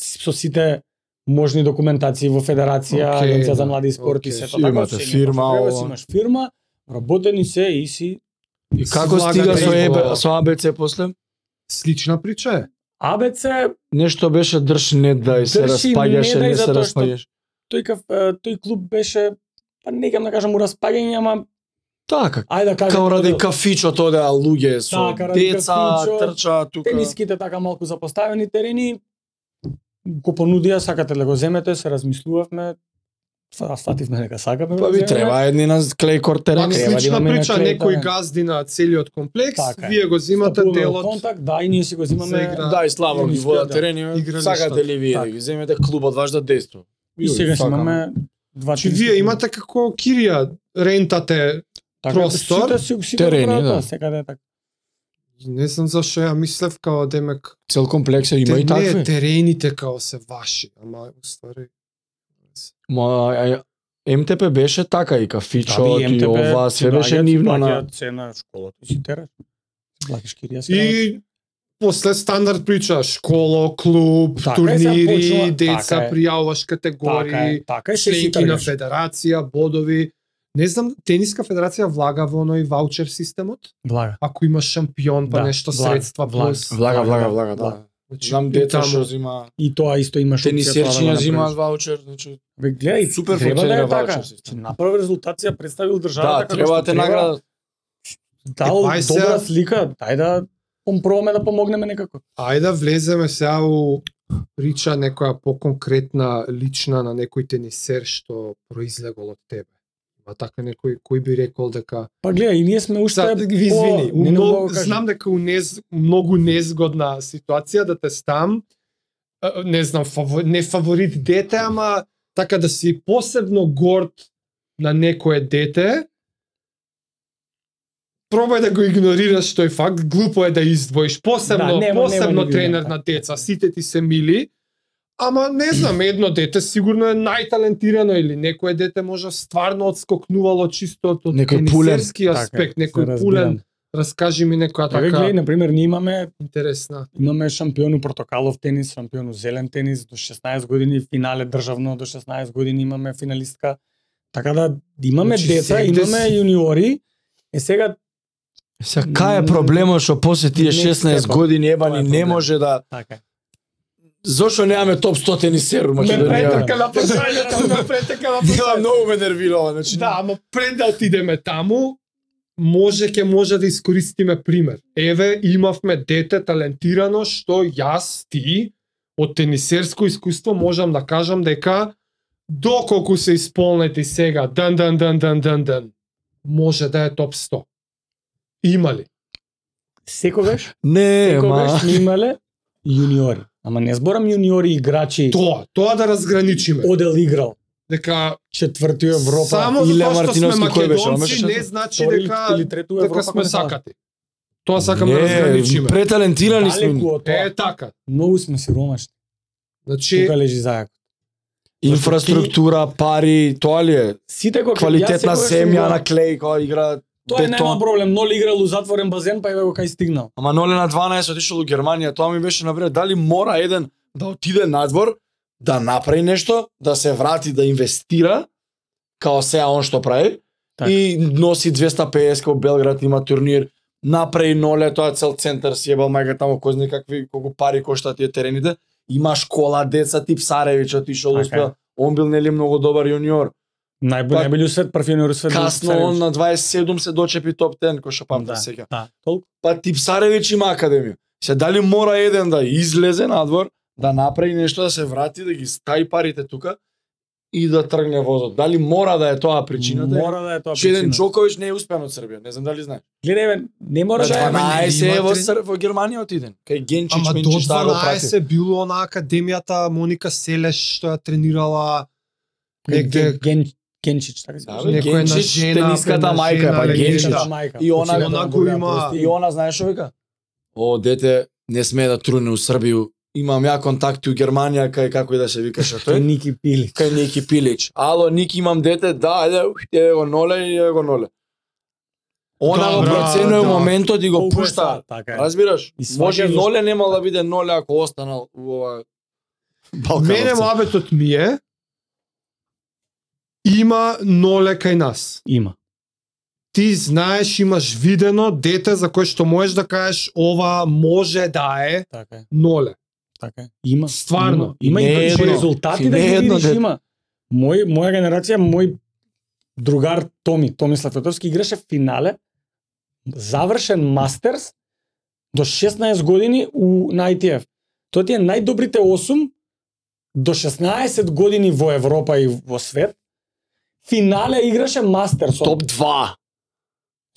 со сите можни документации во федерација, Океј, агенција за да. млади и спорт и така, Океј. се Си имате фирма, ова. ова. имаш фирма, работени се и си И како Влагате стига со и ЕБ, во- со АБЦ после? Слична прича е. АБЦ, Нешто беше држ не да и се Држи не распаѓаше, дај не се затоа што- распаѓаше. тој каф, е, тој клуб беше па не кам да кажам у распаѓање, ама Така, ајде да кажам Као ради да- кафичот одеа луѓе со Така, ради деца, кафичот, трча тука. тениските така малку запоставени терени го понудија сакате ли го земете, се размислувавме, фа- сфативме дека сакаме. да Па го ви земеме. треба едни на клей Пак кортерени. Така, треба да слична имаме прича, некој, некој да. газди на целиот комплекс, Така е. вие го земате Стапуваме во делот. контакт, да, и ние си го за земаме. игра. Да, и Славор ги Тениски, вода да. терени, бе. Игралиштата. сакате ли вие да Така. ги земете клубот ваш да действува. И сега си Сакаме. имаме два Значи тенски вие клуба. имате како кирија, рентате. Така, простор, сите си- сите терени, прават да. тоа, Секаде е така. Не знам зашо ја мислев као демек. Цел комплекс е, има Те, и такви. не, терените као се ваши, ама уствари. Ма, а, МТП беше така и кафичот Да, и, би, МТБ ова, си све беше доаѓаат, нивно на... плаќаат се на школата и си тераш. Плакиш кирија си. И после стандард прича, школо, клуб, Така е, сега турнири, почнува- деца, така е. пријавуваш така е, категории, така е, се си членки на тргаш. федерација, бодови. Не знам, тениска федерација влага во оној ваучер системот? Влага. Ако имаш шампион, па Да, нешто влага, средства влага. плюс. Влага, влага, влага, да. Да. Значи, Знам и деца таму- што зима И тоа исто имаш да тенисерчиња земаат ваучер, значи Бе, гледај, Супер треба да функционира е така. ваучер систем. Че направи резултација, представил државата да, треба да те наградат. Дал Е, па, е сега- добра слика, дај да пом- пробаме да помогнеме некако. Ајде да влеземе сега у прича некоја поконкретна лична на некој тенисер што произлегол од тебе. Има така некој кој би рекол дека Па гледај, и ние сме уште Са, ви извини, по... не, не мога много, да кажам. знам дека у нез, многу незгодна ситуација да те стам, е, не знам, фаво, не фаворит дете, ама така да си посебно горд на некое дете, пробај да го игнорираш тој факт, глупо е да издвоиш, посебно, Да, да, нема- посебно нема да нема ги тренер видам, на така, деца, така. сите ти се мили, Ама не знам, едно дете сигурно е најталентирано или некое дете може стvarно одскокнувало чисто од од Некој пулен. тенисерски аспект, Така е, некој се пулен. разбирам. Раскажи ми некоја Така, така гледај, на пример, ние имаме интересна. имаме шампион у портокалов тенис, шампион у зелен тенис до 16 години, финале државно до 16 години имаме финалистка. Така да имаме Значи, деца, сегде имаме си- јуниори. Е сега Сега кај е проблемот што после тие Не 16 треба. години ебани Тоа е не проблем. може да така. Зошто немаме топ 100 тенисер у Македонија? претека. на прашањето, ме претека на Дела многу ме нервира ова, значи. Да, ама пред да отидеме таму, може ќе може да искористиме пример. Еве, имавме дете талентирано што јас ти од тенисерско искуство можам да кажам дека доколку се исполнети сега, дан дан дан дан дан дан, може да е топ 100. Има ли? Секогаш, Не, ма. секогаш сме имале јуниори. Ама не зборам јуниори играчи Тоа, тоа да разграничиме. одел играл Дека четврти у Европа само Илија затоа што сме Мартиновски, кој беше? Ама македонци беше не шесто? значи втори дека така или трету у Европа. дека сме кој не знам. сакати. па Тоа сакам да Не, разграничиме. Преталентирани сме. Далеку од тоа. Е така. Многу сме сиромашни. Значи Тука лежи зајак. Инфраструктура, пари, тоа ли е? Сите го Квалитетна јас секогаш сум земја го- на клеј која игра Тоа е најмал бетон. проблем. Ноли играл у затворен базен, па еве го кај стигнал. Ама ноле на 12 отишол у Германија, тоа ми беше напред дали мора еден да отиде надвор, да направи нешто, да се врати да инвестира, као сега он што прави, Така. и носи 250 као Белград има турнир, направи ноле, тоа е цел центар, си ебал мајка таму, кој знае какви, колку пари коштаат тие терените, има школа, деца, тип Саревич отишол, Така е. успеа, он бил нели многу добар јуниор, Најбо, Па- најбилју свет, прв јуниор свет. касно он на 27 се дочепи топ 10, кој што памтам Да. сега. Да. па Типсаревич има академија. Се дали мора еден да излезе надвор, да направи нешто, да се врати, да ги стаи парите тука и да тргне возот. Дали мора да е тоа причината? Мора да е тоа Че еден причина. Джокович не е успеан од Србија, не знам дали знае. Гледај, бе, не мора На да е. ама 12 е во, имате- Ср... во Германија отиден. Кај Генчич, Ама до Менчич, таа да го 12 прати. е било она академијата Моника Селеш што ја тренирала Ген- негде Ген- Генчич, така се Да, кажа. бе, некоја на Генчич, жена, тениската на мајка, жена, па легенда. Генчич. Генчича мајка. И она Почина она да го броја има. прости. И она знаеш што вика? О, дете, не сме да труне у Србију. Имам ја контакти у Германија, кај како и да се <laughs> викаше Тој тој. Ники Пили. кај Ники Пилич. Ало, Ники, имам дете, да, ајде, ух, еве го ноле и еве го ноле. Она го Добра, проценува да. моментот и го Колку е пушта. сад, Така е. Разбираш? И сваќа Може и зашто- ноле немал да биде ноле ако останал у ова Мене Балкановца. муабетот ми е има ноле кај нас. Има. Ти знаеш, имаш видено дете за кое што можеш да кажеш ова може да е Така е. ноле. Така е. Има. Стварно. Има, Не има е и едно. по резултати да Не е ги едно видиш, дете. има. Мој, моја генерација, мој другар Томи, Томислав Федоровски, играше финале, завршен мастерс, до 16 години у, на ITF. Тоа ти е најдобрите 8 до 16 години во Европа и во свет. Финале играше мастерс. Топ 2.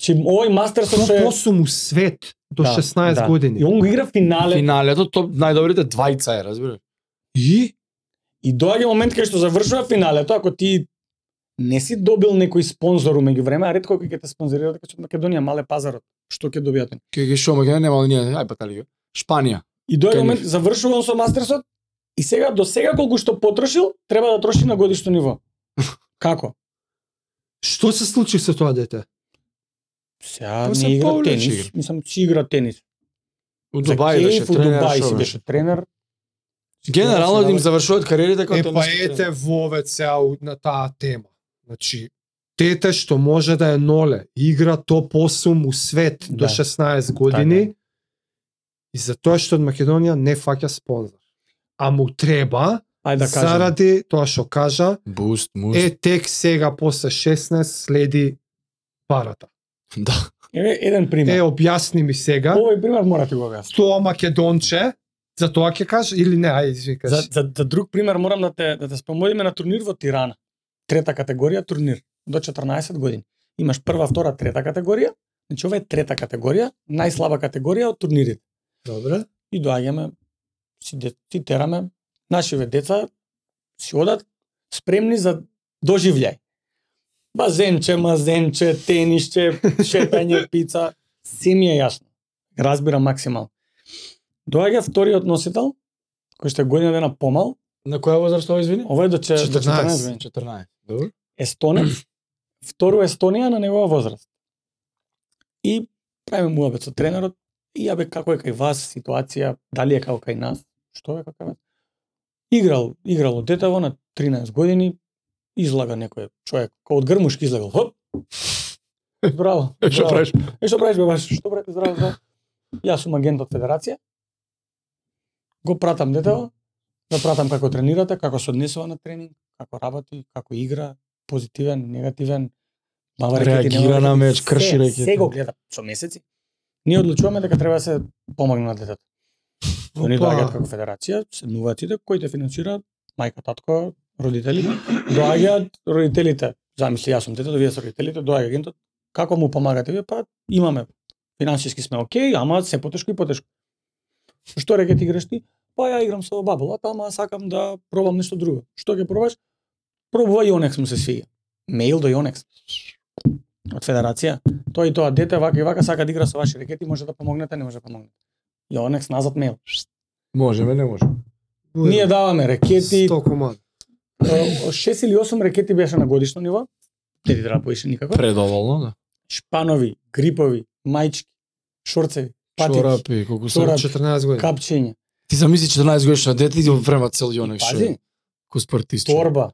Чи овој мастерс што е... Топ 8 у свет до Да, 16 да. И години. он го игра финале. Финалето топ најдобрите двајца е, разбираш? И И доаѓа момент кај што завршува финалето, ако ти не си добил некој спонзор у меѓувреме, а ретко кој ќе те спонзорира така што Македонија мале пазарот, што ќе добијат они. Кај ги шо, Македонија немал ние, ај батали. Шпанија. И доаѓа Кај момент нив. завршува он со мастерсот и сега до сега колку што потрошил, треба да троши на <laughs> годишно ниво. Како? што се случи со тоа дете? Сега Па се не игра повлече тенис, игра. мислам си игра тенис. У За Дубај беше кејф, у Дубај си тренер. беше тренер. Генерално да им завршуваат кариерите како Е, па тениски ете тренер. вове цел на таа тема. Значи, тете што може да е ноле, игра топ 8 у свет до Да. 16 години, и затоа што од Македонија не фаќа спонзор. А му треба Ајде да кажам. заради тоа што кажа, Буст, муст. е тек сега после 16 следи парата. Да. Еве еден пример. Е, објасни ми сега, Овој пример мора ти го објаснам. тоа македонче, за тоа ќе кажеш или не, ај, извини, За, кажеш. за, за друг пример морам да те да те спомориме на турнир во Тирана. Трета категорија турнир до 14 години. Имаш прва, втора, трета категорија. Значи ова е трета категорија, најслаба категорија од турнирите. Добре. И доаѓаме си де, си тераме нашиве деца си одат спремни за доживљај. Базенче, мазенче, тенишче, шетање, пица, се ми е јасно. Разбира максимално. Доаѓа вториот носител, кој што е година дена помал, На која возраст ова извини? Ова е до 14, до 14 години. 14. Добро. Естонец, <clears throat> второ Естонија на негова возраст. И правиме муабет со тренерот, и абе како е кај вас ситуација, дали е како кај нас, што е како кај вас. Играл, играло детево на 13 години, излага некој човек, кој од грмушки излагал, хоп, Браво. Што браво. правиш? Е, што правиш бе баш? Што правиш? Здраво, здраво. Јас сум агент од федерација. Го пратам детето, да пратам како тренирате, како се однесува на тренинг, како работи, како игра, позитивен, негативен, мава рекети, Реагира нема рекети, на меч, се- крши рекети. Се го гледа со месеци. Ние одлучуваме дека треба да се помогне на детето. Они Опа. доаѓаат како федерација, седнуваат сите, кој те финансира, мајка, татко, родители. Доаѓаат родителите, замисли, јас сум детето, вие сте родителите, доаѓа агентот, како му помагате вие, па имаме финансиски сме окей, ама се потешко и потешко. Што реке ти играш ти? Па ја играм со бабулата, ама сакам да пробам нешто друго. Што ќе пробаш? Пробува Јонекс му се свиѓа. Мејл до Јонекс. Од федерација. Тоа и тоа дете вака и вака сака да игра со ваши рекети, може да помогнете, не може да помогнете. Јонекс назад мејл. Може, бе, не може. Ние даваме рекети, 100 комад. е, шест или осум рекети беше на годишно ниво. Не ти треба поише никако. Предоволно, да. Шпанови, грипови, мајчки, шорцеви, патики, Шорапи, колку Шорапи. се... 14 години. капчења. Ти замисли да 14 годишно дете и ти го врема цел јонек шо. Пази, Ко спортист. торба,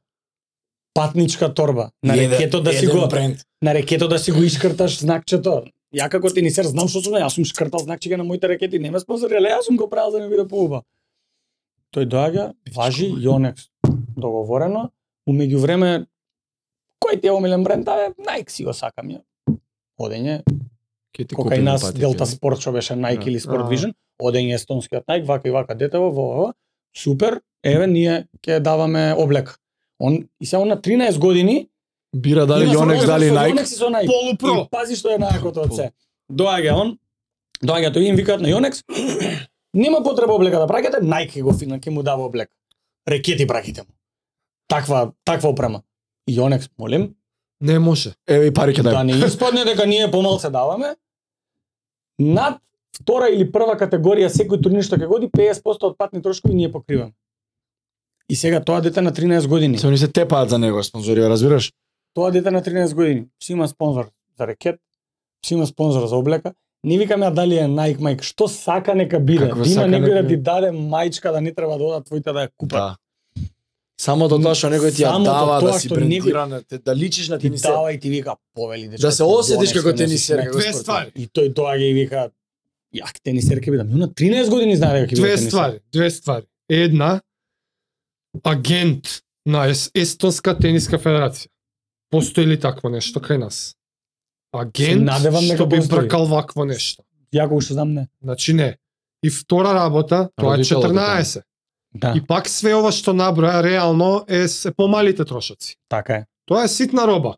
патничка торба. На рекето да си го бренд. на рекето да си го искрташ знакчето. Ја како тенисер знам што сум, јас сум шкртал знакчике на моите ракети, не ме спонзори, але јас сум го правил за да ми биде поуба. Тој доаѓа, важи Јонекс договорено, у меѓувреме кој ти е омилен бренд, а Nike си го сакам ја. Одење, Ке ти кај купи нас патике. Делта Спорт што беше Nike Да. или Sport А. Vision, одење естонскиот Nike, вака и вака детево, во ова, супер, еве ние ќе даваме облека. Он и само на 13 години Бира дали јонек, дали најк. Јонекс и со Nike. И Полупро. пази што е најакото од се. Доаѓа он, доаѓа тој им викаат на Јонекс, нема потреба облека да праќате, Nike го фина ќе му дава облек. Рекети браките му. Таква таква опрема. И Јонекс, молим, Не може. Еве и пари ке да дај. не испадне дека ние помал се даваме. Над втора или прва категорија секој турнир што ќе годи 50% од патни трошкови ние покриваме. И сега тоа дете на 13 години. Се они се тепаат за него, спонзорија, разбираш? Тоа дете на 13 години си има спонзор за рекет, си има спонзор за облека. Не викаме а дали е Nike Mike, што сака нека биде. Какво Дима сака некој нека да ти биде. даде мајчка да не треба да одат твоите да ја купат. Да. Само до тоа што некој ти ја Само до дава тоа да си што некој- брендиран, да те- да личиш на Ти тенисер. дава и ти вика повели дечко. Да се осетиш како тенисер, како Две спортист. ствари. И тој доаѓа и вика јак тенисер ќе бидам. И на 13 години знае дека ќе биде Две тенисер. ствари, две ствари. Една, агент на Ес- Естонска тениска федерација. Постои ли такво нешто кај нас? Се Агент надевам дека што би постои. бркал вакво нешто. Ја кога што знам не. Значи не. И втора работа, тоа е Родителот, 14. Да, И пак све ова што наброја реално е се помалите трошоци. така е. Тоа е ситна роба.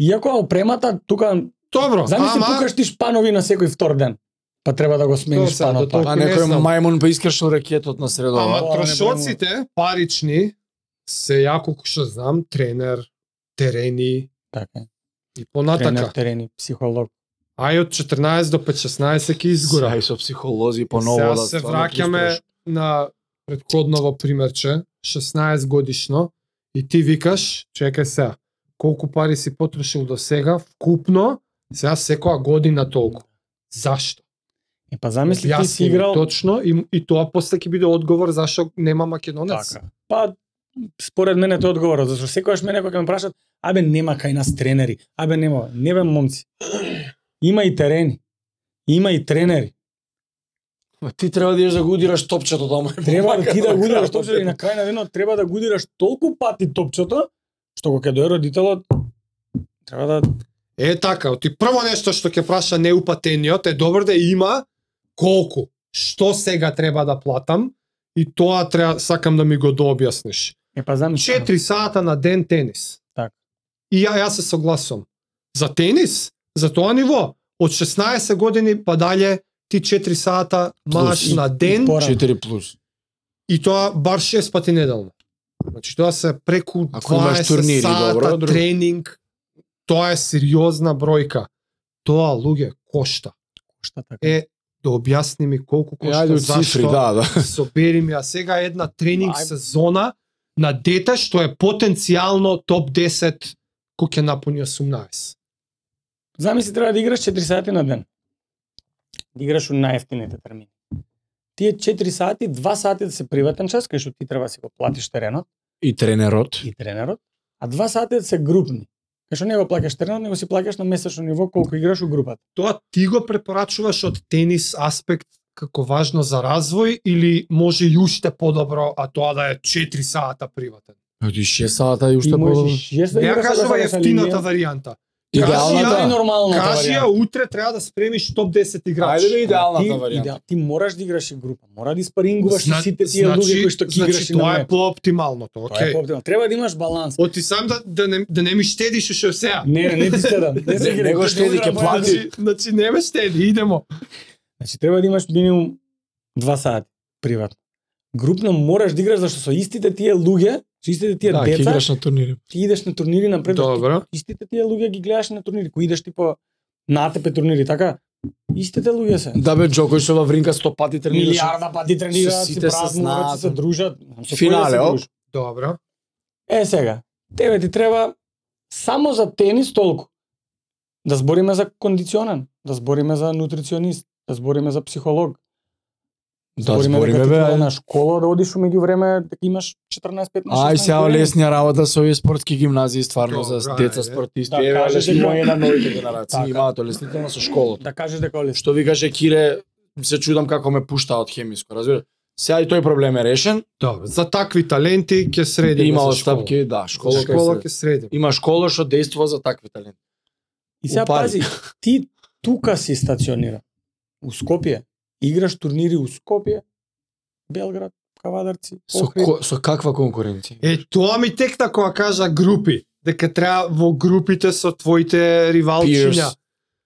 Иако опремата тука, Добро, замисли ама пукаш ти шпанови на секој втор ден. Па треба да го смениш Тоа сега, шпанот. до толку А Не Па некој знам. мајмун па искршил ракетот на средова. ама Тоа не трошоците парични се јако што знам, тренер, терени Така е. и Тренер, така. понатака. терени, психолог. Ај од 14 до 5-16 ќе изгора. Изгорај со психолози по Сега ново да се стварно враќаме пристраш. на предходново примерче, 16 годишно, и ти викаш, чекај сега, колку пари си потрошил до сега, вкупно, сега секоја година толку. Зашто? Е, па замисли ти си Јасни ми играл... Точно, и, и тоа после ќе биде одговор зашто нема македонец. Така. Па, според мене тоа е одговорот, зашто секогаш мене кога ќе ме прашат, абе нема кај нас тренери, абе нема, не бе момци. Има и терени, има и тренери. Ма ти треба да идеш да го удираш топчето дома. Треба да ти да го удираш удираш топчето и на крај на денот треба да го удираш толку пати топчето, што кога ќе дое родителот, треба да... Е така, ти прво нешто што ќе праша неупатениот е добро да има колку, што сега треба да платам и тоа треба сакам да ми го дообјасниш. Е, па знам, 4 сата на ден тенис. Така. И ја јас се согласувам. За тенис, за тоа ниво, од 16 години па дале ти 4 сата маш Плюс. на ден По- 4 плюс. и тоа бар 6 пати неделно. Значи тоа се преку Ако имаш 20 турнири, сата добро, друго. тренинг. Тоа е сериозна бројка. Тоа луѓе кошта. Шта така? Е, да објасни ми колку Е, кошта, ајде од зашто, цифри, <laughs> да, да. собери ми ја сега една тренинг Ај. сезона на дете што е потенцијално топ 10 кој ќе напуни 18. Замисли треба да играш 4 сати на ден. Да играш у најефтините термини. Тие 4 сати, 2 сати да се приватен час, кај што ти треба да си го платиш теренот И тренерот. и тренерот, а 2 сати да се групни. Кај што не го плаќаш теренот, него си плаќаш на месечно ниво колку играш у групата. Тоа ти го препорачуваш од тенис аспект како важно за развој или може и уште подобро, а тоа да е 4 сата приватен. Оди 6 сата и Ти уште по... можеш јас да Не ја играш кажува да ефтината варијанта. Идеалната. Идеалната е нормалната Кажи ја варијанта. утре треба да спремиш топ 10 играчи. Ајде бе Ти, идеалната варијанта. идеал- ти мораш да играш и група, мора да испарингуваш со Зна- сите тие луѓе кои што ги значи, играш и на тоа е мек. пооптималното, Тоа е окей. по Треба да имаш баланс. Оти сам да, да, не, да не ми штедиш уште сега. Не, не, не ти стедам. Не, се Не, грижи, него ти штеди, го ќе игра, плати. значи- Значи, значи не ме штеди, идемо. Значи треба да имаш минимум 2 сати приватно. Групно мораш да играш зашто со истите тие луѓе, со истите тие Да, ќе деца, играш на турнири. ти идеш на турнири напред. Добро. Ти, истите тие луѓе ги гледаш на турнири, кои идеш типа на АТП турнири, така? Истите луѓе се. Да бе Джокович во Вринка 100 пати тренираше. Милиарда пати тренираат, си сите се празнуваат, си се знаат. дружат. Знам со кои Финале, да се о. дружиш. Добро. Е сега, тебе ти треба само за тенис толку. Да збориме за кондиционен, да збориме за нутриционист, да збориме за психолог, Да, збориме дека бе. ти треба ај. на школа да одиш у меѓувреме дека имаш 14-15 Ај, сега години. лесна работа со овие спортски гимназии, стварно за Добра, деца ајде. спортисти. Да, Еве, кажеш лесно дека- има една новите генерации, Така. имаат олеснително со школата. да кажеш дека олес. Што ви каже Кире, се чудам како ме пушта од хемиско, разбираш? Сега и тој проблем е решен. Добро. За такви таленти ќе среди Има остапки, да, школа, Школа, школа школа ќе среди. има школа што дејствува за такви таленти. И сега упари. пази, ти тука си стационира. У Скопје играш турнири у Скопје, Белград, Кавадарци, Со, Охрид. ко, со каква конкуренција? Е, тоа ми текна кога кажа групи, дека треба во групите со твоите ривалчиња. Peers.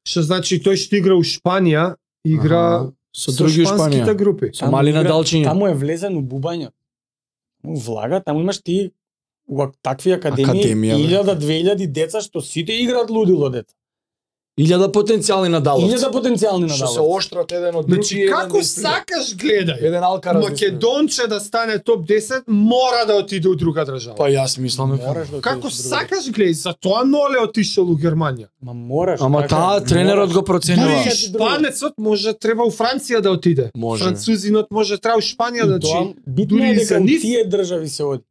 Што значи тој што игра у Шпанија, игра Аха. со други со Шпанија. шпанските групи. Со мали игра- надалчиња. Таму е влезен у бубања. У влага, таму имаш ти у ак- такви академии, Академија, бе. 1000-2000 деца што сите играат лудило дете. Илјада потенцијални надаловци. 1000 потенцијални Што се надаловци. оштрат еден од други. Значи, еден како да исприле. сакаш гледај. Еден алкарас. да исприле. Македонче да стане топ 10, мора да отиде у друга Па држава. Па, јас мислам. Мораш да отидеш Како у друга сакаш гледај, за тоа ноле отишел у Германија. Ма мораш. Ама така, таа мораш. тренерот го проценува. Дури и шпанецот може треба у Франција да отиде. Може. Французинот може треба у Шпанија да И значи. Тоа битно е дури и дека за у нив- тие држави се оди.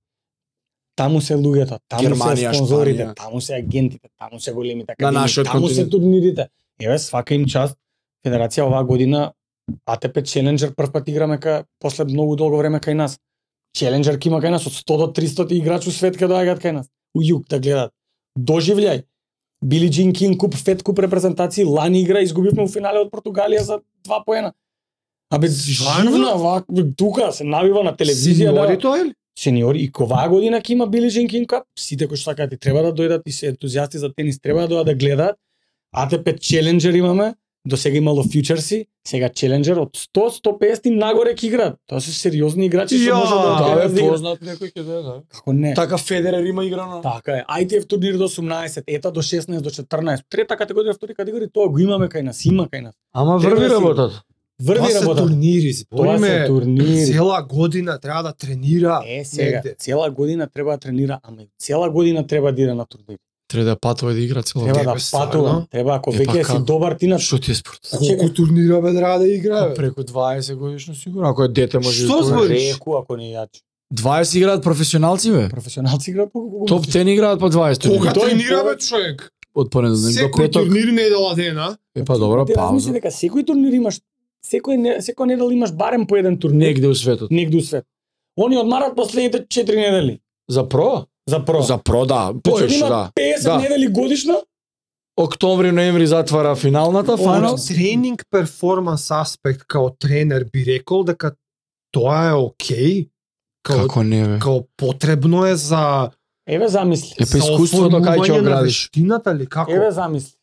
Таму се луѓето, таму Германија, се спонзорите, Шпанија. таму се агентите, таму се големите На академии, нашиот таму се континент. турнирите. Еве свака им част. Федерација оваа година АТП Челенџер прв пат играме ка после многу долго време кај нас. Челенџер има кај нас од 100 до 300 играч у свет ке доаѓаат кај нас. У југ да гледаат. Доживљај. Били Джин Кин куп, Фед куп репрезентации, лани игра изгубивме у финале од Португалија за два поена. Абе, живна, вак, тука се навива на телевизија, да, Синьори тоа е ли? сениори и оваа година ќе има Били Джин Кин Кап, сите кои што сакаат и треба да дојдат и се ентузијасти за тенис треба да дојдат да гледаат. АТП Челенџер имаме, до сега имало фьючерси, сега Челенџер од 100 150 и нагоре ќе играат. Тоа се сериозни играчи што Ја, може да Да, да бе, играат. познат некој ќе да, да. Како не? Така Федерер има играно. Така е. ITF турнир до 18, ета до 16, до 14. Трета категорија, втори категорија, тоа го имаме кај нас, има кај нас. Ама Треба врви да си- работата. Тоа Врви се работа. турнири, Тоа се збориме турнири. цела година треба да тренира. Е, сега, негде. цела година треба да тренира, ама и цела година треба да иде на турнир. Треба да патува да игра цело Треба Тебе, да стварно? патува, треба ако Е, па веќе си како? добар ти на Што ти е спорт? чека. Колку турнира бе треба да играе? бе? Преку 20 годишно сигурно, ако е дете може Што да збориш? реку ако не јач. 20 играат професионалци бе. Професионалци играат по Топ 10 играат по 20 Кога турнири. Тој тренира бе повеќе- човек? Од понеделник Да до Секој петок. турнир недела дена. Е па добра Ти размисли пауза. дека секој турнир имаш секој не, секој недел имаш барем по еден турнир Негде у светот. негде у свет. Они одмарат последните 4 недели За про? за про. За про, да. Значи, Поеш, има да. 50 Да. недели годишно. Октомври, ноември затвара финалната фанал. Од тренинг перформанс аспект као тренер би рекол дека тоа е окей, као, Како не, бе? као потребно е за Еве замисли. Е, па искуството кај ќе оформување на оградиш. вештината или како? Еве замисли.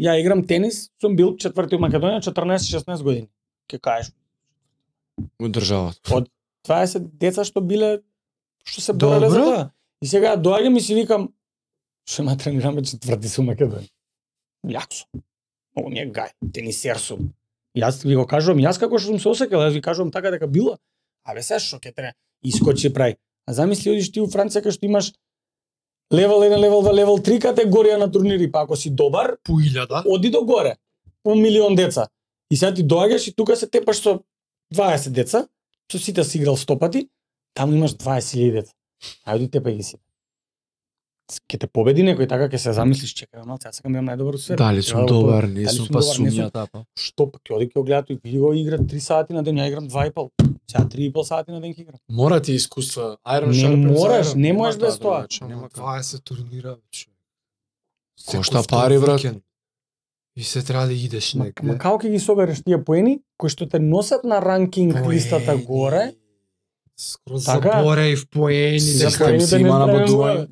Ја играм тенис, сум бил четврти у Македонија 14-16 години. Ке кажеш, У државата. 20 деца што биле што се бореле за Добро. тоа. И сега доаѓам и си викам што ма тренираме четврти сум Македонија. Јак сум. Многу ми е гај, тенисер сум. Јас ви го кажувам, јас како што сум се осекал, јас ви кажувам така дека било. Абе се што ќе трен искочи прај. А замисли одиш ти у Франција кај што имаш левел 1, левел 2, левел 3 категорија на турнири, па ако си добар, по илјада. оди до горе, по милион деца. И сега ти доаѓаш и тука се тепаш со 20 деца, со сите си играл 100 пати, таму имаш 20.000 деца. Ајде тепај ги си. Ке те победи некој така ке се замислиш, чекај бе, малце, јас сакам да бидам најдобар у свет. Дали сум Треба да го добар, Дали не сум, сум па добар, не сум. сумњата. па. Што па ќе оди ќе го гледа и види го игра 3 сати на ден, ја играм 2 и пол. Сега 3 и пол сати на ден ќе играм. Мора ти искуства. Iron Не Sharpen мораш, Iron. не Нема можеш како без тоа. другаче, нема како. 20 турнира вече. Кошта пари, брат. И се треба да идеш Ма, ма некаде. како ќе ги согареш тие поени кои што те носат на ранкинг Поени. листата горе? Скроз Така. заборе и в поени. Се дека- Секој поени си да не има на правиме бодување. горе.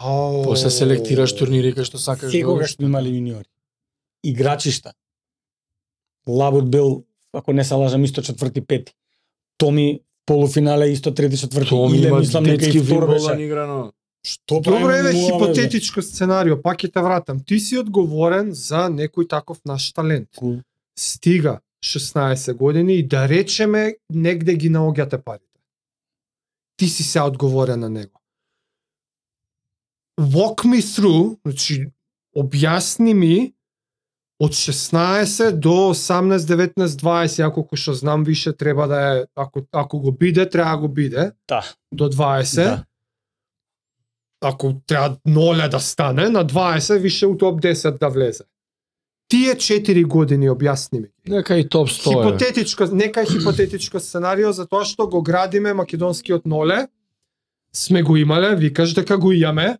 Ау. После селектираш турнири кај што Така сакаш да секогаш одиш. сме имале јуниори. Играчишта. Лабур бил, ако не се лажам, исто четврти, пети. Томи полуфинале исто трети, четврти. Тоа ми Иле, има мислам, дека детски и втор вимболан беше. играно. Што Добро правиме, еве муа, хипотетичко сценарио, пак ќе те вратам. Ти си одговорен за некој таков наш талент. Кул. Стига 16 години и да речеме негде ги наоѓате парите. Ти си се одговорен на него. Walk me through, значи објасни ми од 16 до 18, 19, 20, ако кој што знам више треба да е, ако, ако го биде, треба го биде, Да, до 20 да. ако треба ноле да стане, на 20 више у топ 10 да влезе. Тие 4 години, објасни ми. Нека и топ 100 е. Хипотетичко, нека е хипотетичко сценарио за тоа што го градиме македонскиот ноле, сме го имале, викаш дека го имаме,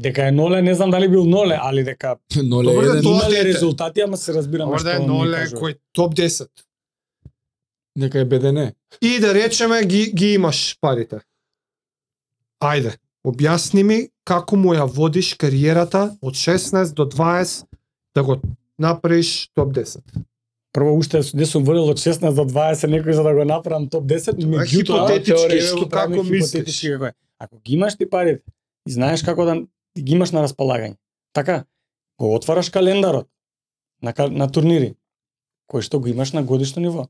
Дека е ноле, не знам дали бил ноле, али дека Ноле Добро, да, еден. тоа имале дете. резултати, ама се разбираме што можда да е ми ноле кажува. кој топ 10. Нека е БДН. И да речеме ги, ги имаш парите. Ајде, објасни ми како му ја водиш кариерата од 16 до 20 да го направиш топ 10. Прво уште не сум водел од 16 до 20 некој за да го направам топ 10, е меѓутоа хипотетички, теорија што го правиме како мислиш. хипотетички како е. Ако ги имаш ти парите и знаеш како да ги имаш на располагање. Така, го отвараш календарот на кал- на турнири кој што го имаш на годишно ниво.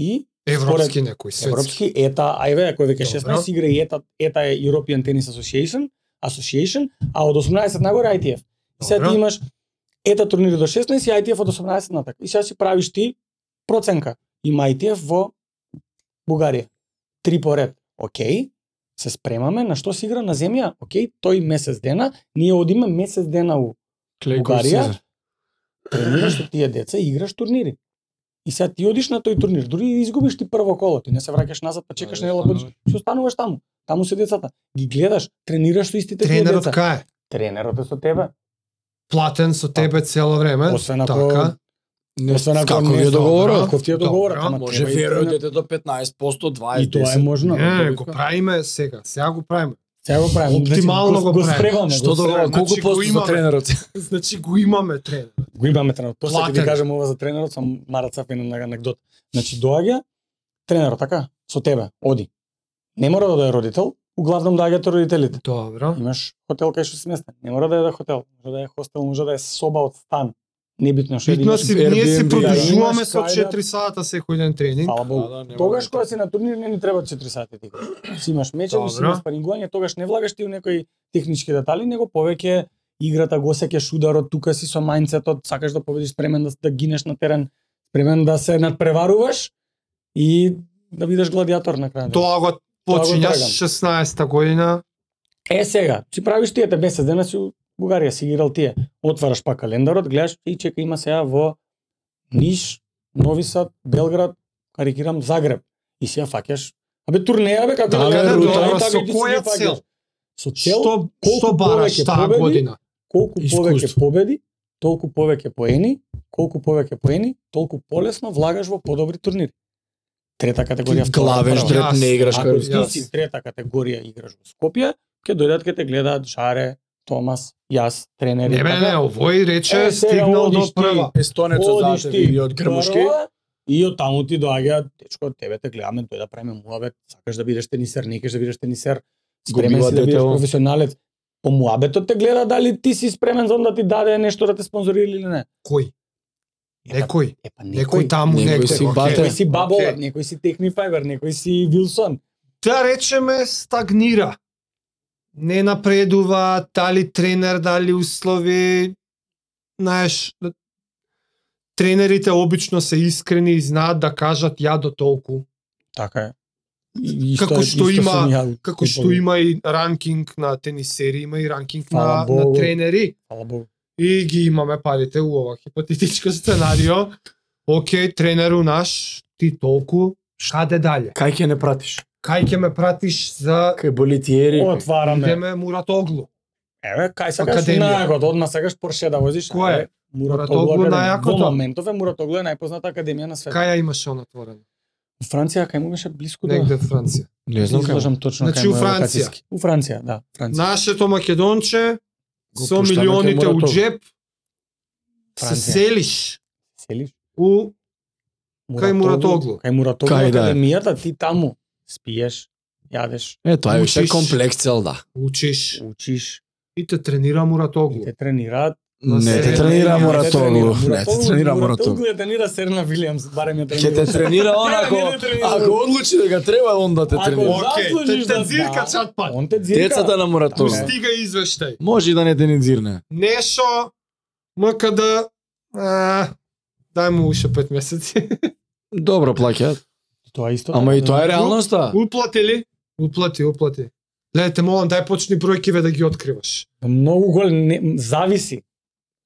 И Европски некој, светски. Европски ета, ајве, ако веќе Добро. 16 игра и ета, ета е European Tennis Association, Association, а од 18 нагоре ITF. И сега Добро. ти имаш ета турнири до 16 и ITF од 18 натак. И сега си правиш ти проценка. Има ITF во Бугарија. Три поред. Океј, се спремаме на што се игра на земја. Океј, тој месец дена, ние одиме месец дена у Клейков Бугарија? Сезар. тренираш со тие деца и играш турнири. И сега ти одиш на тој турнир, дури и изгубиш ти прво коло, ти не се враќаш назад, па чекаш Да, недела остануваш. годиш, си остануваш таму. Таму се децата, ги гледаш, тренираш со истите тие Тренерот деца. кај е? Тренерот е со тебе. платен со тебе цело време. Па, Освен ако така. Не, Освен ако како не ви е знам, договорот? Каков ти е Добро, договорот? ама Може да треба и веројат тренер. дете до 15%, 20%, И тоа е 10%. можно. Не, добро. го правиме сега, сега го правиме. <laughs> Сега го правиме. Значи, Оптимално го го правиме. спреваме. Што го да спреваме. го колку Значи, го посто за имаме. тренерот? Значи го имаме тренер. Го имаме тренерот. После ќе ти Платен. кажам ова за тренерот, сам Марат Саф на анекдот. Значи доаѓа тренерот така со тебе, оди. Не мора да е родител, углавном доаѓаат родителите. Добро. Имаш хотел кај што си местен. Не мора да е да хотел, може да е хостел, може да е соба од стан. Небитно што Битно имаш си, Airbnb, ние си да, продолжуваме имаш со кај да- 4 сата секој ден тренинг. Фала Богу. Да, да, нема Тогаш да кога си на турнир не ни треба 4 сати ти. Си имаш мечеви, си Добра. имаш парингување, тогаш не влагаш ти у некои технички детали, него повеќе играта го сеќеш ударот, тука си со мајндсетот, сакаш да победиш, спремен да, да гинеш на терен, спремен да се надпреваруваш и да бидеш гладиатор на крај. Тоа го да. го почињаш трагам. 16-та година. Е сега, си правиш тие те месец дена си у Бугарија си играл тие. Отвараш па календарот, гледаш и чека има сега во Ниш Нови Сад, Белград, карикирам Загреб. И си ја фаќаш. Абе турнеја бе како Да, ја бе, гледам, добро, тоа е со така, ти си која ја фаќаш. цел? Со цел Што, колку што бараш повеќе таа победи, година? колку повеќе Искуство. победи, толку повеќе поени, колку повеќе поени, толку полесно влагаш во подобри турнири. Трета категорија втора, Главеш прва. дред, дреп, не играш Ако кај ти јас. си трета категорија играш во Скопје, ќе дојдат ќе те гледаат Жаре, Томас, јас, тренери. Не, бе, така. не, овој рече Е, сега стигнал одиш до ти. прва. Естонец Одиш Зашев ти или од Грмушки. прва, И од таму ти доаѓа, дечко, тебе те гледаме, тој да правиме муабет, сакаш да бидеш тенисер, некеш да бидеш тенисер, Го спремен била си да бидеш детето. професионалец. По муабетот те гледа дали ти си спремен за он да ти даде нешто да те спонзорира или не. Кој? Е, па- Некој. Е, па Некој некој, таму, Некој некој. си окей. бате. некој си Баболат, Окей. некој си Техни Файбер, некој си Вилсон. да речеме стагнира. Не напредува, дали тренер, дали услови, знаеш, тренерите обично се искрени и знаат да кажат ја до толку. Така е. Како што има- Како што има и ранкинг на тенисери, има и ранкинг на, Фала на Богу. тренери. Фала Богу. И ги имаме парите у ова хипотетичко <laughs> сценарио. Океј, тренеру наш, ти толку, шаде дале. Кај ќе не пратиш? Кај ќе ме пратиш за Кај Болитиери. Отвараме. идеме Муратоглу? Еве, кај сакаш Академија. најакот, одма сакаш Порше да возиш. Кој е? Еве, Муратоглу Муратоглу академија. најакото? Во моментов е Муратоглу е најпозната академија на светот. Кај ја имаше он отворено? Во Франција, кај му беше блиску до... Негде Франција. Не знам Не како. знам точно Значи, кај му у е Франција. локацијски. У Франција, да, Франција. Нашето Македонче Го со пуштаме кај милионите у Муратоглу. джеб Значи, се Франција. селиш Селиш? у Кај Муратоглу. Кај Муратоглу Кај, да. академијата ти таму спиеш, јадеш, Е, тоа е више Учиш. комплекс цел, да. учиш учиш, и те тренира и Муратоглу. те тренираат. На Не север те тренира не Муратоглу. Не те тренира Муратоглу. ја тренира Серна Вилијамс, барем ја Ќе тренира. те тренира он ако, Не, не те тренира. ако одлучи дека треба, он да те Ако тренира. Океј, те- заслужиш те да дзирка да, чат пат. Он те дзирка. Децата на Тоа е. Муратоглу. Пусти га извештај. Може и да не те ни дзирне. Нешо МКД а, дај му уште пет месеци. Добро плаќаат. Тоа е исто. Ама така, и тоа е да. реалноста. Уплати ли? Уплати, уплати. Ле, те молам, дај почни бројки ве да ги откриваш. Па Многу голем, не, зависи.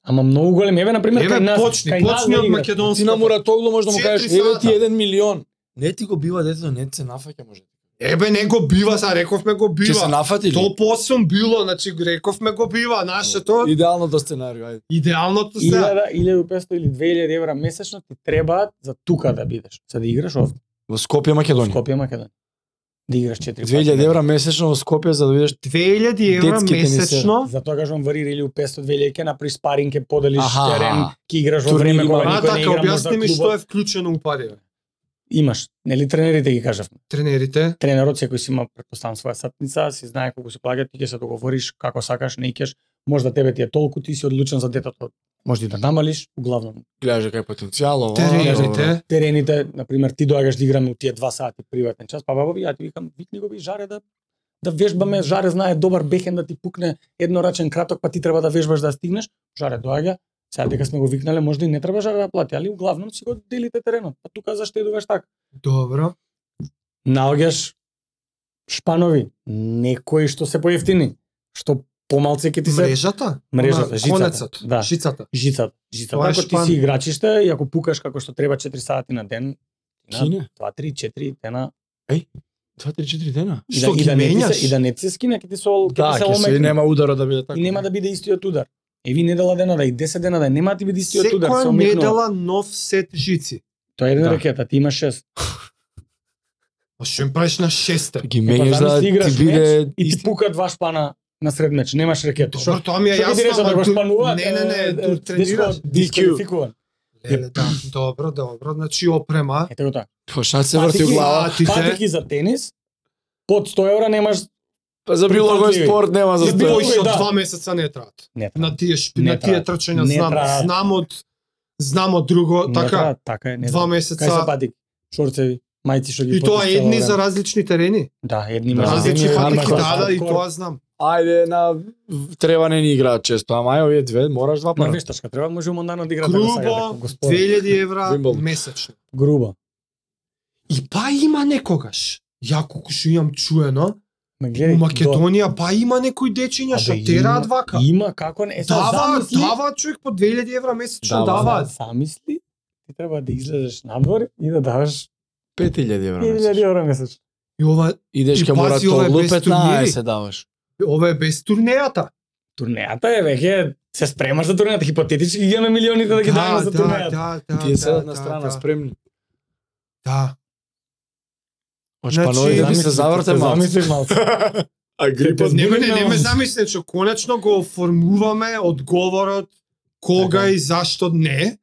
Ама многу голем. Еве, например, Еве, кај нас. почни, кај почни нас од не игра. Ти македонски. на Муратоглу може да му Четири кажеш, еве сата. ти еден милион. Не ти го бива детето, не се нафаќа може. Ебе, не го бива, са рековме го Ќе се бива. нафати ли? Топ 8 било, значи рековме го бива, нашето Идеалното сценарио, ајде. идеалното се. 1000, 1500 или 2000 евра месечно ти требаат за тука да бидеш. За да играш овде. Во Скопје, Во Македонија. Скопје, Македонија. Да играш 4 пати. 2000 евра месечно во Скопје за да бидеш 2000 евра Детски тенисер. месечно. Затоа кажам варира или у 500 2000 ќе направиш спаринг, ќе поделиш Аха. терен, ќе играш во Турнир време има. кога А, Па, никој не така, игра можда објасни ми што клубот. е вклучено у пари. Имаш, нели тренерите ги кажавме. Тренерите, тренерот секој си има предпоставам своја сатница, си знае колку се плаќа, ти ќе се договориш како сакаш, не икеш, може да тебе ти е толку, ти си одлучен за детето. Може и да намалиш, углавно. гледаш дека е потенцијал, ова, ова. тренерите. Терените, на пример, ти доаѓаш да играме у тие два сати приватен час, па баба, ја ти викам, викни го би жаре да да вежбаме, жаре знае добар бехен да ти пукне еднорачен краток, па ти треба да вежбаш да стигнеш. Жаре доаѓа, сега дека сме го викнале, можда и не треба жаре да плати, али углавном си го делите теренот. Па тука заштедуваш така Добро. наоѓаш шпанови, некои што се поевтини, што помалце ќе ти се Мрежата? мрежата, Она, жицата, Конецот, да. жицата. жицата. Жицата, Тоа е ако ти шпан. си играчиште и ако пукаш како што треба 4 сати на ден, на Кине? 2, 3, 4 дена, Два, три, четири дена. и да, Што и ги да не ти менјаш? се, и да не ти се скине, ќе ти се, ол- ќе Да, ти се ќе се и омекне. нема удара да биде така. и нема да биде истиот удар. Еви недела дена да и 10 дена да и нема да ти биде истиот удар, се Секоја омекнува. недела нов сет жици. Тоа е една Да. ракета, ти имаш 6. А што им правиш на шесте? ги Е, па меѓаш да замисли играш ти меч биде и ти пука два шпана на сред меч, немаш ракета. Добро, тоа ми е Што ти јасно, рече да го ту- шпанува? Не, не, Е, е, не, е, ту тренираш. дечко, дисквалификуван. Леле, да, добро, добро, значи опрема. Ете го така. Па шат се врти у Патики- глава. Патиките. Патики за тенис, под 100 евра немаш... Па за било кој Прифатливи. спорт нема за За било спорт. Повеќе од да. два месеца не траат. Не, тра- На тие шпи, Не на тие траат. трчања Не знам, траат. знам од знам од друго, не така тра- така е, не два тра- Кај се месеца. патики? Шорцеви, мајци што ги И тоа потискала едни време. за различни терени. Да, едни Да, има за Различни земја, земја, патики, има за да, да, и хардкор. тоа знам. Ајде на треба не ни играат често, ама ај овие две мораш два На пати. вештачка, треба може умондан да игра така сега, Грубо така, господи. 2000 евра Вимбл. месечно. Грубо. И па има некогаш. Ја колку што имам чуено, Ме у гледај, Македонија па има некој до- дечиња Абе, што има- тераат вака. Има, како не? Е, сега Дава, замисли- дава човек по 2000 евра месечно Дава, да. дава. Замисли, ти треба да излезеш надвор и да даваш 5000 евра. 1000 месечно. евра месечно. И ова, Идеш И ке пази, ова е Муратоглу, без турнири. 15 даваш. ова е без турнејата. Турнејата е веќе се спремаш за турнејата, хипотетички ги имаме милионите да ги даваме за турнејата. да, да, Тие седат да, на да, страна, да, спремни. Да. Од Значи, Шпанови да ми се Замисли, заврте се малце. Замисли малце. А грипот Не, па, не, Зборуваме. не ме замисле, што конечно го оформуваме одговорот кога Така е. и зашто не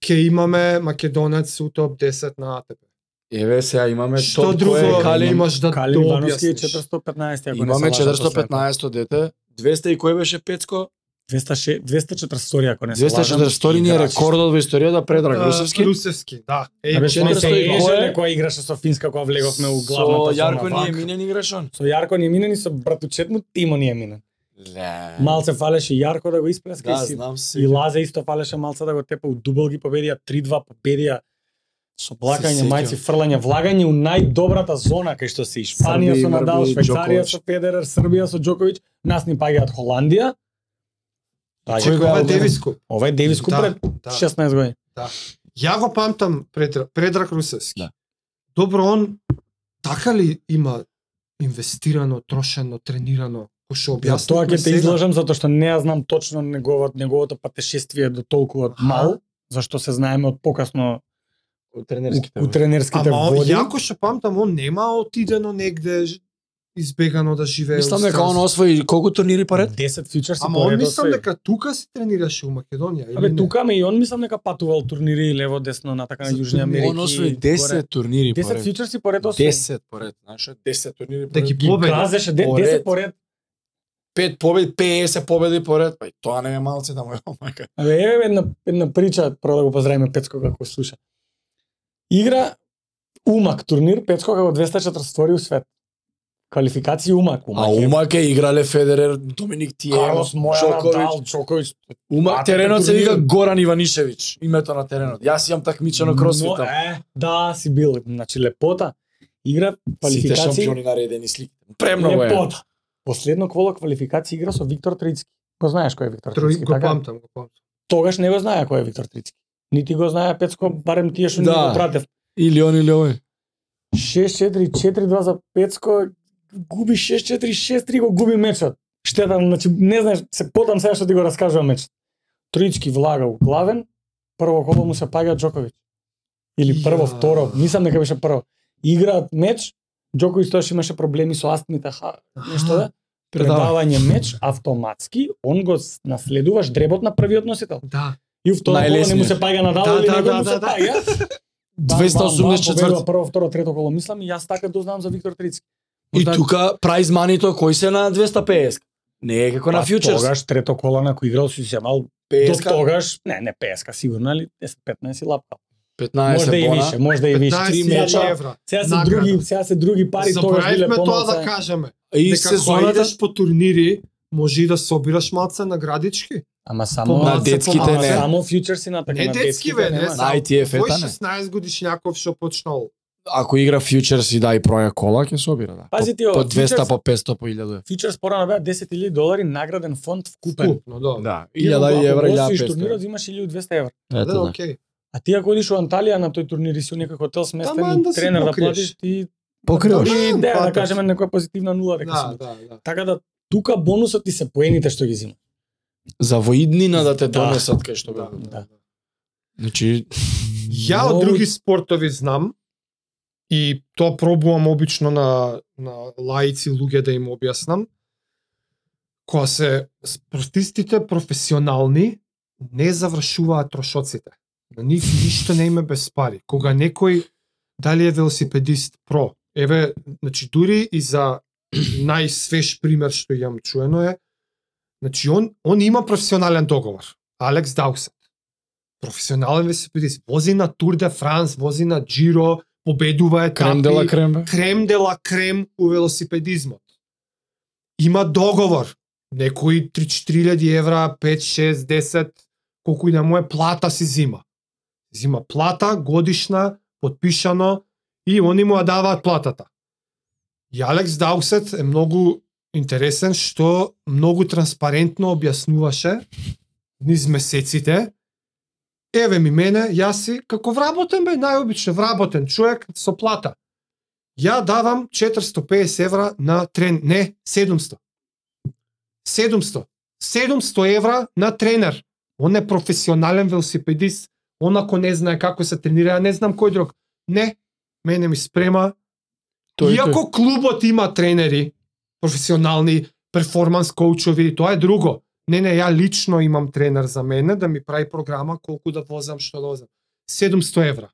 ќе имаме Македонец у топ 10 на АТП. Еве сега имаме Што топ друго кој е Кали Калин. имаш да Кали да Ивановски е објасниш? 415, ако Имаме не се лажам, 415 дете. 200 и кој беше Пецко? 206 240, ако не се лажам. 240 ни е играчи. рекордот во историјата Предраг А, Русевски. Русевски, да. Е, Ја беше 400 и кое? Ежеле која играше со Финска која влеговме у главната Со Јарко зона, ни е вака. минен играшон. Со Јарко ни е минен и со братучет му Тимо ни е минен. Малце фалеше Јарко да го исплеска Да, и, си, знам се. и Лазе исто фалеше малце да го тепа у дубл ги победија 3-2 победија Се со блакање, сеќам. мајци, фрлање, влагање у најдобрата зона кај што се и Шпанија Срби, со Надал, Мрбли, Швейцарија Џокович. со Федерер, Србија со Џокович, нас ни паѓаат Холандија. Да, Кој го Ова е е албумот? Девис Куп. Ова е Девис Куп Да, пред да. 16 години. Ја го памтам Предраг, Предраг Русевски. Да. Добро, он така ли има инвестирано, трошено, тренирано, кој што Ја објаснивме Да, тоа ќе те сега? излажам затоа што не ја знам точно неговото неговото патешествие до толку од Аха. мал, зашто се знаеме од покасно Тренерските. у, у тренерските Ама он, води. јако што памтам, он нема отидено негде ж- избегано да живее. Мислам у дека он странство. освои колку турнири поред? 10 фичерси Ама он мислам дека тука се тренираше у Македонија. или Абе не? тука ме и он мислам дека патувал турнири лево десно натака на За турнири. Јужна Америка. Он освои 10 турнири 10 поред. фичерси поред освои. 10 поред, знаеш, 10 турнири Да поред. ги Ги победи. празеше де- Поред. 10 поред. 5 победи, 50 победи поред, па и тоа не е малце да му е омака. Абе еве една една прича, прво да го поздравиме Пецко како го слуша. Игра Умак турнир, Пецко како 242 у свет. Квалификации Умак, А Умак. е Умак е играле Федерер, Доминик Тием, Карлос Моја, Джокович. Надал, Джокович. Умак Ате, теренот се турнири. вика Горан Иванишевич, името на теренот. Јас имам такмичено Но, кросфитам. Е, да, си бил, значи лепота. Игра Сите квалификации. шампиони наредени слики. Премногу е. лепота. Последно коло квалификации игра со Виктор Трицки. Го знаеш кој е Виктор Трој Трицки? така? го памтам, го памтам. Тогаш не го знае кој е Виктор Трицки. Нити го знае Пецко, барем тие што да. Да. не го пратев. Или он или овој. 6-4-4-2 за Пецко, губи 6-4-6-3 го губи мечот. Штетам, значи не знаеш, се потам сега што ти го раскажувам мечот. Трицки влага у главен, прво коло му се паѓа Джокович. Или прво, Ја. второ, мислам дека беше прво. Играат меч, Джокович тоаш имаше проблеми со астмите, ха, нешто да. Предавање меч, автоматски, он го с- наследуваш дребот на првиот носител. Да. И у второ коло не му се Најлесниот. паѓа надал Да, или да, него да, му се да, да. паѓа. Бам, бам, 284. бам, победува Прво, второ, трето коло, мислам, и јас така дознавам за Виктор Трицки. И Можда- тука прайз манито кој се на 250. Не е како на Па, фьючерс. Тогаш трето коло на кој играл си се мал, до 50, тогаш, не, не 50 сигурно, али 10 15 и лапка. 15 Можда и бона. више, можда и више. 15 Три 000 меча. евра. Сега се награда. други, сега се други пари тогаш биле Заборавивме тоа да помалце. кажеме. И Дека кога сезоната идеш по турнири, може и да собираш малце наградички. Ама само На ама детските само- не. Само фьючерси на така Не на детски, бе, не, нема. само- на ITF Кој ета не. 16 годишњаков што почнал? Ако игра фьючерс и да и проја кола ќе собира да. Пази ти По- ова, по 200 фьючерс- по 500 по 1000. Фьючерс порано беа 10.000 долари награден фонд вкупен. Купно, да. Да, Ти ако 1000 евра, го освоиш турнирот 1500. имаш 1200 евра. Да, Ето да, да. окей. А ти ако одиш у Анталија на тој турнир и си у некој хотел Таман сместен да и си тренер да покриеш. платиш ти Покриваш. и Да, да, да платиш. кажеме некоја позитивна нула дека си. Да, бил. да, да. Така да тука бонусот ти се поените што ги зима. За воиднина да те Да. донесат кај што Да, да. да. Значи Ја од Многу- други спортови знам и тоа пробувам обично на на лаици луѓе да им објаснам. Кога се спортистите професионални не завршуваат трошоците. На нив ништо не име без пари. Кога некој дали е велосипедист про, еве, значи дури и за <clears throat> најсвеж пример што имам чуено е, значи он он има професионален договор. Алекс Даусет професионален велосипедист, вози на Тур де Франс, вози на Джиро, победува етапи, крем дела крем. бе. крем де ла крем у велосипедизмот. Има договор, некои 3-4 евра, 5-6, 10, колку и да му е плата си зима. Зима плата, годишна, подпишано, и они му ја даваат платата. И Алекс Даусет е многу интересен што многу транспарентно објаснуваше низ месеците еве ми мене, јас си, како вработен бе, најобичен вработен човек со плата. Ја давам 450 евра на трен, не, 700. 700. 700 евра на тренер. Он е професионален велосипедист. Он ако не знае како се тренира, ја не знам кој друг. Не, мене ми спрема. Тој, Иако клубот има тренери, професионални, перформанс коучови, тоа е друго. Не, не, ја лично имам тренер за мене да ми прави програма колку да возам, што да возам. 700 евра.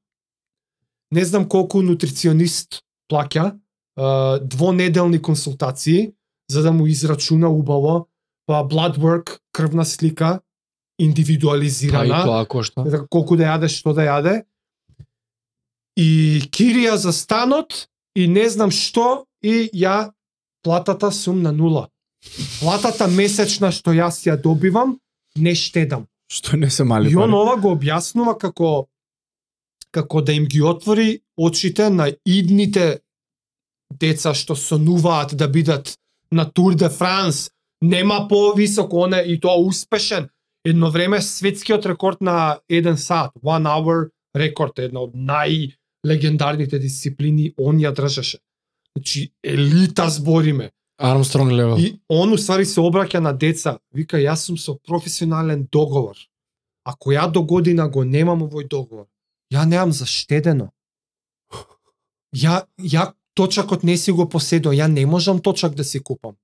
Не знам колку нутриционист плаќа, а, двонеделни консултации, за да му израчуна убаво, па blood work, крвна слика, Па и индивидуализирана тоа кошта. за колку да јаде, што да јаде. И кирија за станот и не знам што и ја платата сум на нула. Платата месечна што јас ја добивам, не штедам. Што не се мали И он пари. ова го објаснува како како да им ги отвори очите на идните деца што сонуваат да бидат на Тур де Франс. Нема повисоко оне и тоа успешен. Едно време светскиот рекорд на еден сат, one hour рекорд, една од најлегендарните дисциплини, он ја држеше. Значи, елита збориме. Армстронг левел. И он уствари се обраќа на деца, вика јас сум со професионален договор. Ако ја до година го немам овој договор, ја немам заштедено. Ја ја точакот не си го поседо, ја не можам точак да си купам.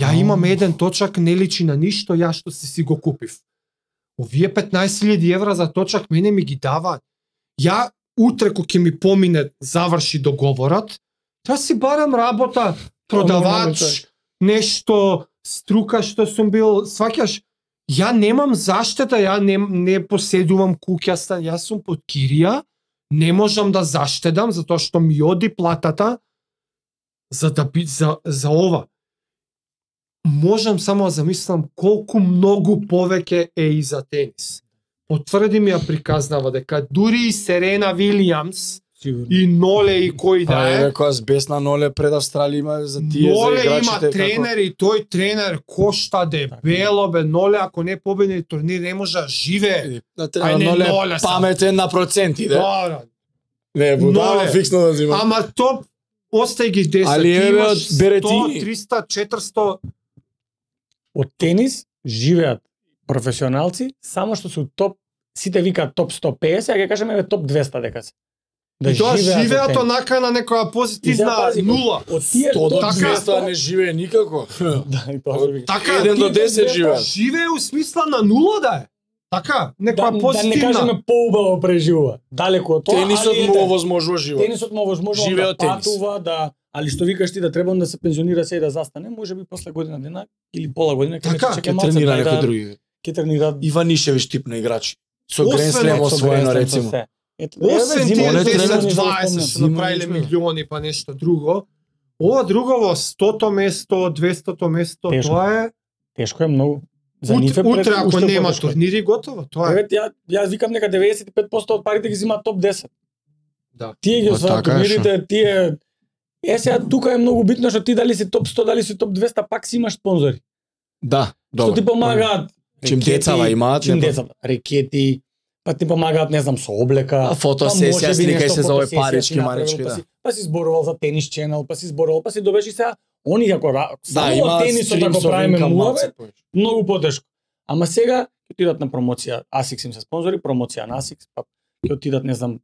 Ја имам еден точак, не личи на ништо, ја што си си го купив. Овие 15.000 евра за точак мене ми ги дава. Ја утре кој ќе ми помине, заврши договорот, та си барам работа, продавач, нешто, струка што сум бил, сваќаш, ја немам заштета, ја не, не поседувам куќа, стан, јас сум под кирија, не можам да заштедам затоа што ми оди платата за да би, за, за ова. Можам само да замислам колку многу повеќе е и за тенис. Потврди ми ја приказнава дека дури и Серена Вилијамс Сигурно. и Ноле и кој Па да е, е, рекоа аз без на ноле пред Австралија има за тие за Ноле играчите. има како- тренер и тој тренер кошта дебело бе Ноле ако не победи турнир не може да живее. Е, На Ај, тренер не, ноле ноле сам. паметен на проценти, да. Добро. Не, будава Ноле. фиксно да зима. Ама топ остај ги 10. Али Ти еве имаш од Беретини. 100, 300, 400 Од тенис живеат професионалци само што се топ сите викаат топ 150, а ќе кажеме еве топ 200 дека се. да тоа од живеат тенис. онака на некоја И да, позитивна пази, нула. од тие 100 до топ 200 не живее никако. <laughs> Да, и тоа што викам. Така Еден до ти 10 живеат. живее у смисла на нула да е. Така, Да, некоја да не позитивна. кажеме поубаво преживува. Далеко од тоа, Тенисот али му ете, овозможува живот. Тенисот му овозможува Живее да од тенис. патува, да, али што викаш ти да треба да се пензионира се и да застане, може би после година дена или пола година ќе Така, чека Ќе малце тренира тај некој да- други. Ќе тренира Иванишевич тип на играчи. Со Освен Грен Слем Емо со освоено Гренстен, со рецимо. се. Ето, еве, Освен тие зима, Оне зима, тренер 10 зима, зима. 20 што направиле Зима, зима. милиони па нешто друго, ова другово 100-то место, 200-то место, Тешко. тоа е Тешко е многу. За нив е утре, пред- утре ако уште нема потешко е. турнири готово, тоа е. Еве ја јас викам дека 95% од парите ги зема топ 10. Да. Тие ги Па, освојат така е, турнирите, тие Е сега тука е многу битно што ти дали си топ 100, дали си топ 200, пак си имаш спонзори. Да, Што добро. ти помагаат. Чим рекети, децава имаат, чим не па- децава, рекети, па ти помагаат, не знам, со облека. А Па фотосесија може би сликај нешто се за овој фотосесија си парички направил, марички, па да. си- Па си зборувал за тенис ченел, па си зборувал, па си добеш и сега они како ра- Да, само има тенисот стрим ако со правиме винка муаве, малце повеќе. многу потешко. Ама сега ќе отидат на промоција, Asics им се спонзори, промоција на Asics, па ќе отидат не знам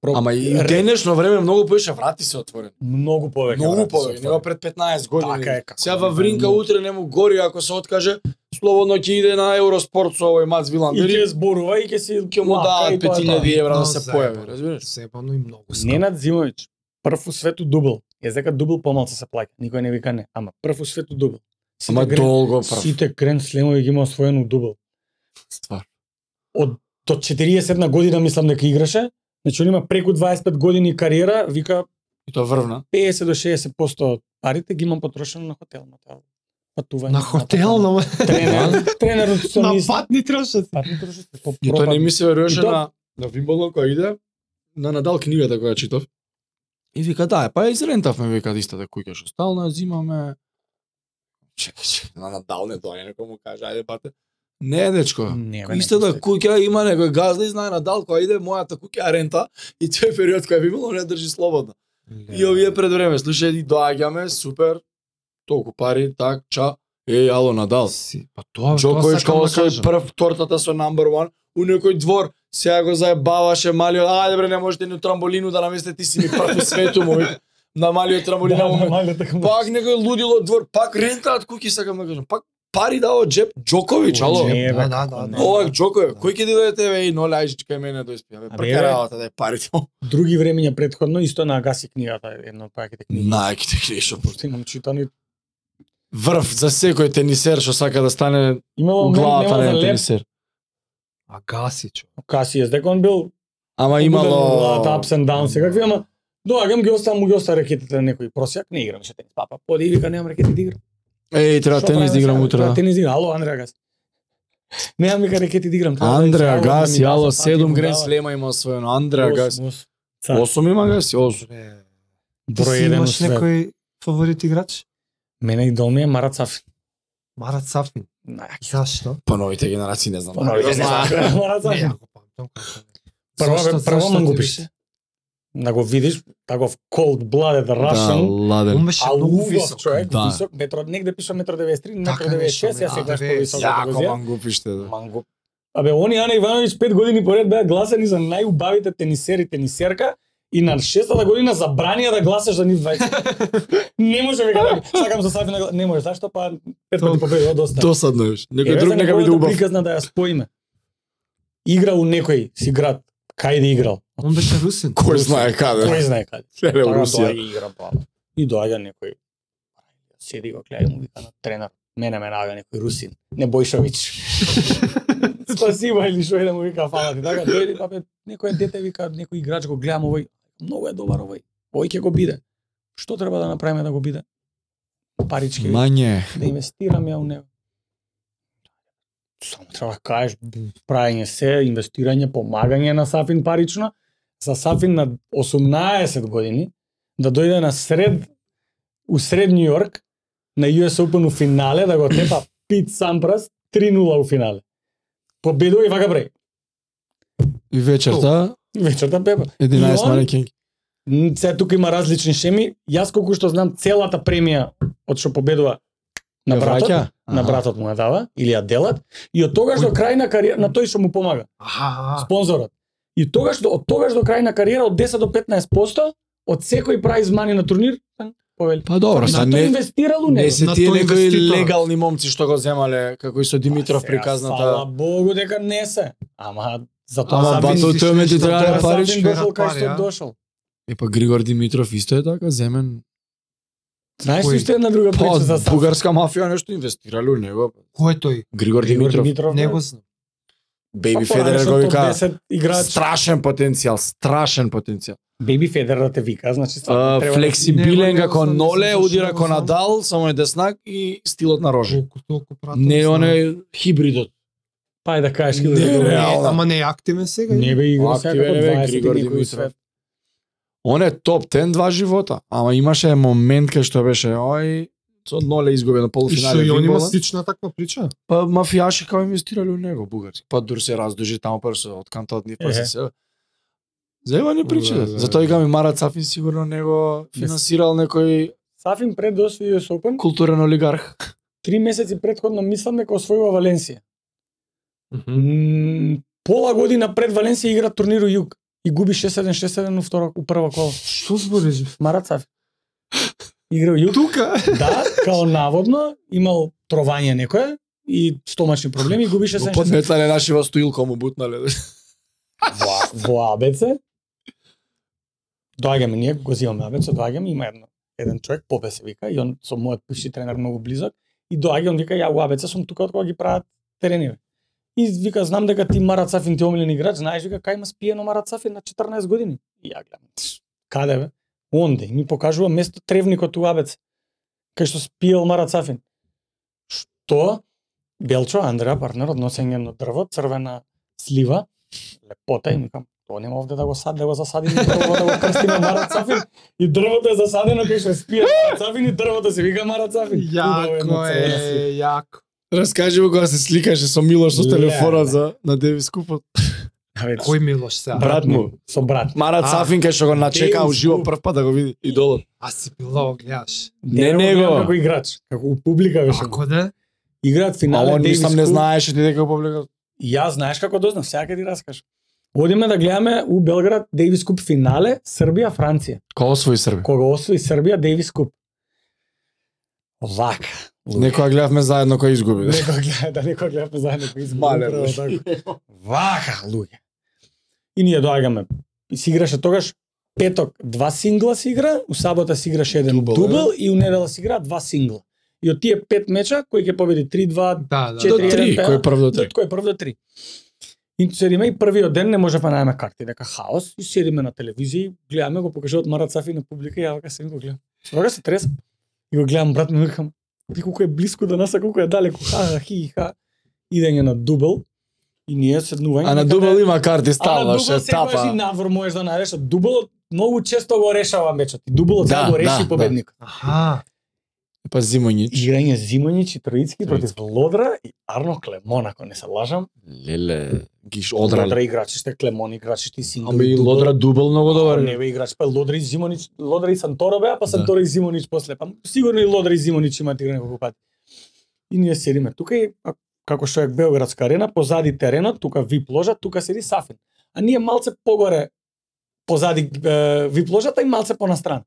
про... Ама и у ре- денешно време многу повеќе врати се отворен. многу повеќе. Многу Така, врати се повеќе, нема отвори. пред 15 години. Така е, како Сега не, во да, Вринка многу. утре не му гори ако се откаже, слободно ќе иде на Евроспорт со овој Мац И Виландери, ќе зборува и ќе си ќе му лака и даваат тоа е 5000 евра да Но се заебано, појави, разбираш? Заебано и многу тоа. скапо. Ненад Зимовиќ, прв у свету дубл. Јас дека дубл помалку се плаќа, никој не вика не, ама прв у свету дубл. Сите Ама грен- долго прав. Сите крен слемови ги има освоено у дубл. Ствар. од до 41 година мислам дека играше. Значи он има преку 25 години кариера, вика И тоа врвна. 50 до 60% од парите ги имам потрошено на хотел, на тоа патување. На хотел, на на, тренер, тренер на нутриционист. патни траше. Патни трошите, по И тоа не пропад. ми се веруваше И тоа- на на Вимболдон која иде, на Надал книгата која читав. И вика, да, е, па ја изрентавме, вика, истата куќа што стална, зимаме. Чекай, чекай, на Надал не дојде, некој му каже, ајде, бате. Не, дечко. Не, бе, не Истата да постои. куќа има некој газда и знае на дал која иде мојата куќа рента и тој период кој би било не држи слободно. <laughs> И Да. овие пред време, слушај, и доаѓаме, супер, толку пари, так, ча, е, ало, надал. Си, па тоа, тоа Джокович сакам као да свој кажам. прв тортата со number one у некој двор, сега го заебаваше малиот, ајде бре, не можете ни трамболину да наместите, ти си ми прв у свету, му вика. на малиот Да, трамболина, му вика. така пак некој лудило двор, пак рентаат куќи, сакам да кажам, пак пари дава джеп Джокович, ало. Не, бе, Да, да, да, не. да. Овак Джокове, кој ќе дојдете ве и ноле ајде кај мене да испијаме. Абе, Прка бе. работа да е парите. Други времења предходно исто на Агаси книгата, едно од паќите книги. Најки те крешо. Пошто имам читани. Врв за секој тенисер што сака да стане у Имало главата главата на на да леп. тенисер. А гаси, чо. Касијас, дека он бил Да Ама имало Главата ups and downs, секакви, ама доаѓам ги оставам му ги остава ракетите на некој просјак, не играм шетен. Папа, поди и вика немам ракети да играм. Еј, треба Што тенис да правиме играм сега? утре. Треба Тенис да играм. Ало, Андреа Гас. Немам вика ракети да играм. треба да Андре играм. Агаси, да ми ало, дава сапати, седум му грен дава слема има освоено. Андре Агаси. осум, да. осум. Ца, Осум има Агаси, осум. Ти Број си еден у имаш свет. некој фаворит играч? Мене и долме е Марат Сафин. Марат Сафин. Зашто? Па новите генерации не знам. Да, Па, новите Го знам. не знам. Марат Не, Сафин. ако памтам како не. Прво, Зашто- бе, прво зашто му ти го беше? пише. Да го видиш, таков cold blooded Да, Russian. ладен. Умеше А многу увисок висок. човек, Да. висок, метро, негде пиша метро 93, метро Така нешто, 96, јас да, сега што 90. висок. Јако мангупиште. да. Манго. Абе, они Ана Ивановиќ пет години поред беа гласани за најубавите тенисери и тенисерка и на шестата година забранија да гласаш за нив <laughs> двајца. не може веќе да сакам за Сафина гла- не може, зашто па пет пати Тоа- победува доста. Досадно е. да. Еве Некој за друг нека биде неговата убав. Приказна да ја споиме. Игра у некој си град, кај да играл. Он беше русен. Кој знае Кој каде? знае Така, каде. Леле, Тога Русија. доаѓа и игра па. баба. И доаѓа некој седи го гледа и му вика на тренер. Мене ме наја некој русин, не Бојшович. Спасиба или што е да му вика фала ти. Така дојде па бе, некој дете вика некој играч го гледам овој, многу е добар овој. Овој ќе го биде. Што треба да направиме да го биде? Парички вика, Мање. да инвестирам ја у него. Само треба да кажеш правење се, инвестирање, помагање на Сафин парично, за Сафин на 18 години да дојде на сред у сред Нью Йорк на US Open у финале да го тепа Пит Сампрас 3:0 у финале. Победува и вака бре. И вечерта Вечерта пепа. 11 И он- манекенки. М, Сега тука има различни шеми. Јас колку што знам целата премија од што победува на Ја братот, враќа? на Аха. братот му ја дава или ја делат и од тогаш до крај на кариера на тој што му помага, Аха, спонзорот. И тогаш до од тогаш до крај на кариера од 10 до 15% од секој прайз мани на турнир повели. Па добро, На са тој не инвестирал у не него. се На тие тој некои инвеститор. легални момци што го земале, како и со Димитров Па, сега, Фала приказната. Богу дека не се. Ама за тоа Ама Сафин бато си у тој момент шишна, треба тоа да е париш. Сафин. дошол кај Пари, што а? дошол. Е па Григор Димитров исто е така земен. Знаеш Кој? ли уште една друга Па прича за Сафин? бугарска мафија нешто инвестирале у него. кој е тој? Григор Григор Димитров, Димитров. Не бе. го знам. Беби Па, Федерер поранешно го топ вика. 10 играч. Страшен потенцијал, страшен потенцијал. Беби Федерер да те вика, значи А, треба да- Него не Флексибилен го како знам, ноле, не знам удира што ко го знам. Надал, само е деснак и стилот на рожа. Колку толку пратам. Не знам. он е хибридот. Па ај да кажеш кај Не, да Не, игра. реално. Ама не е активен сега. Не бе игра Активен секако е, бе, 20 Григор и некој Димитров. свет. Он е топ 10 два живота, ама имаше момент кај што беше ој со ноле изгубено И што полуфинале и он има Вимболдон. слична таква прича. Па мафијаши као инвестирале у него бугарски. Па дур се раздужи таму пар се од канта од нив па се Ехе. се. Заебани причи. Да, Да, да, Затоа и да. ми Марат Сафин сигурно него финансирал некој Сафин пред да освои US Open, културен олигарх. три месеци предходно мислам дека освојува Валенсија. М, Пола година пред Валенсија игра турнир у Југ и губи 6-1 6-1 у втора у прва кола. Што збориш? бе? Марат Сафин. Игра у <laughs> Југ. Тука. Да, као наводно имал тровање некое и стомачни проблеми и губи 6-1 Го 6-1. подметале наши во стоилко му бутнале. <laughs> во, во АБЦ. Доаѓаме ние, го земаме АБЦ, доаѓаме, има едно, еден човек, Попе се вика, и он со мојот бивши тренер многу близок, и доаѓа, он вика, ја у АБЦ сум тука од кога ги прават терениве. И вика, знам дека ти Марат Сафин ти е омилен играч, знаеш, вика, кај има спиено Марат Сафин на 14 години. И ја гледам, «Тш, каде бе? Онде, и ми покажува место тревникот у АБЦ, кај што спиел Марат Сафин. Што? Белчо, Андреа, партнерот, носење на дрво, црвена слива, лепота и ми кам, тоа нема овде да го сад, да го засадим и дрво да го крстиме Марат Сафин. И дрвото е засадено кај што спија Марат Сафин и дрвото се вика Марат Сафин. Јако Убаво едно црвено е, јако. Раскажи го кога се сликаше со Милош со Леле. телефона за на Девис купот. Абе, Кој Милош сега? Брат. му. Со брат. Марат А, Сафинка што го начека Девис уживо Куп. прв пат да го види идолот. А си била го гледаш. Не Ја го него. гледам Како играч. Како у публика беше. Како да? Играат А финале он Девис мислам не Куп. знаеше ни дека го повлекал. И Јас знаеш како дознав, сега ќе ти раскажам. Одиме да гледаме у Белград Дейвис Куп финале Србија Франција. Кој освои Срби? Кога освои Србија Дейвис Куп. Вака. Некоја гледавме заедно кој изгуби. Некој гледа, да некој гледа заедно кој Мале, измале. Така. Вака, луѓе. И ние доаѓаме. И си играше тогаш петок два сингла се игра, у сабота се играше еден Дубл, дубл, е. и у недела се игра два сингла. И од тие пет меча кој ќе победи 3-2, Да, <laughs> да. До Четири, три, еден, кој пе- е прв до три. од кој прв до три. И седиме и првиот ден не можевме да најме карти, дека хаос, и седиме на телевизија и гледаме го покажуваат Марат Сафи на публика и ја вака седим го гледам. Вака се тресам. И го гледам брат ми викам, ти колку е блиску до нас, а колку е далеку. Ха ха хи ха. Идење на дубл. И ние седнување. А на некаде- дубел има карти А на стала, дубл ше секогаш и тапа. навор можеш да најдеш, а дублот многу често го решава мечот. И дублот Да, да, го реши да, да. победникот. Аха. Па Зимоњич. Играње Зимониќ и Троицки против Лодра и Арно Клемон, ако не се лажам. Леле, гиш Лодра, одрале. играчиште, Клемон играчиште, Сингл. Ама и Лодра дубел многу добар. Не бе играч, па Лодра и Зимонич, Лодра и Санторо беа, па Санторо и Зимонич после. Па сигурно и Лодра и Зимонич имаат игра неколку пати. И ние седиме тука и а, како што е Белградска арена, позади теренот, тука вип ложа, тука седи Сафин. А ние малце погоре позади е, вип ложата и малце понастран.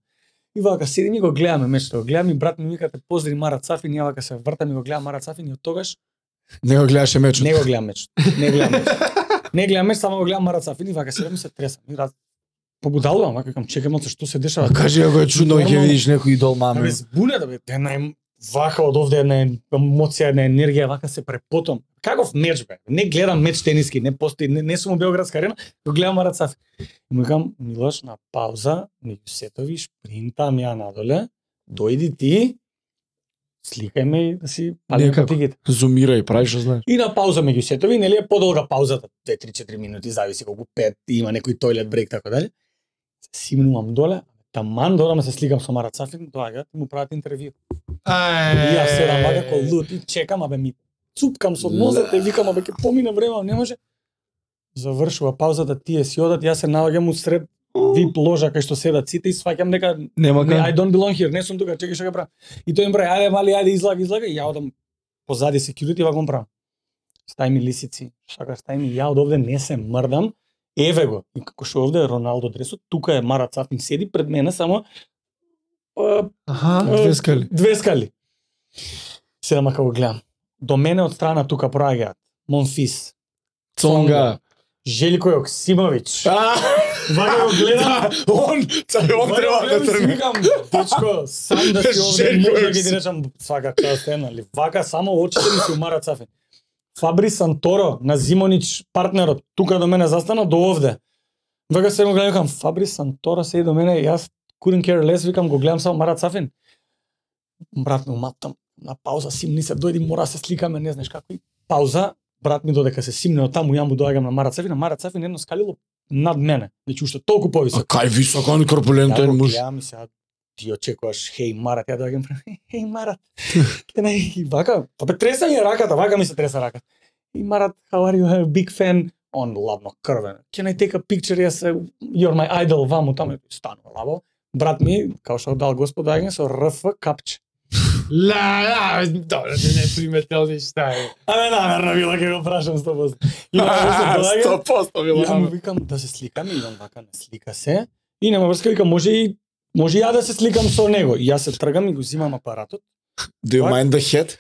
И вака седиме и го гледаме мечто. Го гледам и брат ми викате поздри Марат Сафин, и ја вака се вртам и го гледам Марат Сафин и од тогаш Не го гледаше мечот. Не го гледам мечот. Не гледам мечот. Не гледам меч, само го гледам Марат Сафин и вака седам и се тресам. И раз побудалувам, вака кам чекам малце што се дешава. А Па, кажи ако е чудно ќе Нормално. видиш некој идол Абе маме. збуне да бе, една ем- вака од овде една ем- емоција, една енергија, вака се препотам. Каков меч бе? Не гледам меч тениски, не постои, не, не сум у Белградска арена, го гледам Марат Сафин. И му кажам, Милош, на пауза, ми сетови, шпринтам ја надоле, дојди ти, сликај ме и да си палим Некако. кутигите. Зумирај, прави што знаеш. И на пауза меѓу сетови, нели е подолга паузата, 2-3-4 минути, зависи колку 5, има некој тојлет брейк така дале. Симнувам доле, таман дорам се сликам со Марат Сафин, доаѓаат и му прават интервју. И Ај. јас седам вака како лут и чекам, абе ми цупкам со нозете, викам абе ќе помине време, а не може. Завршува паузата, тие си одат, јас се наоѓам усред вип ложа кај што седат сите и сваќам дека Нема не, I кај. don't belong here, не сум тука, чекај што ќе правам. И тој им прави, ајде мали, ајде излага, излага, и ја одам позади security и вака му правам. Стај ми лисици, шака стај ми, ја од овде не се мрдам, еве го. И како што овде е Роналдо дресот, тука е Марат Сафин седи пред мене, само а, Аха. Две скали. две скали. Седам ако го гледам. До мене од страна тука проаѓаат Монфис, Цонга. Желико Јоксимовиќ. А, Вака го гледам, Он, цај, он треба да тргне. Викам, дечко, сам да си овде, Жеко може да е ги ти речам свака част е, нали? Вака само очите ми се умарат сафе. Фабри Санторо на Зимонич партнерот тука до мене застана до овде. Вака се го гледам, викам, Фабри Санторо се до мене, јас couldn't care less, викам, го гледам само Марат Сафин. Брат ми уматам, на пауза симни се, дојди, мора да се сликаме, не знаеш како. И пауза, брат ми додека се симне од таму, ја му доаѓам на Марат Сафин, а Марат Сафин едно скалило над мене, значи уште толку повисоко. А кај висок, он Ја корпулентен го <laughs> муж. гледам и сега ти очекуваш, хеј Марат, ја доаѓам пред мене, хеј Марат. Ке не, и вака, па бе треса ми е раката, вака ми се треса раката. И Марат, how are you, I'm a big fan, он ладно крвен. Can I take a picture, јас, е, you're my idol, ваму, таму, станува лабо. Брат ми, као што дал господ, доаѓам со РФ капче. Ла, ла, добро, не, не приметел ништа. е. Абе, намерно било ќе го прашам 100%. И <laughs> <laughs> Марат се доаѓа, 100% било Ја му намер. викам да се сликам и он вака не слика се. И нема врска, викам може и може и ја да се сликам со него. И јас се тргам и го зимам апаратот. Do you Fuck. mind the head?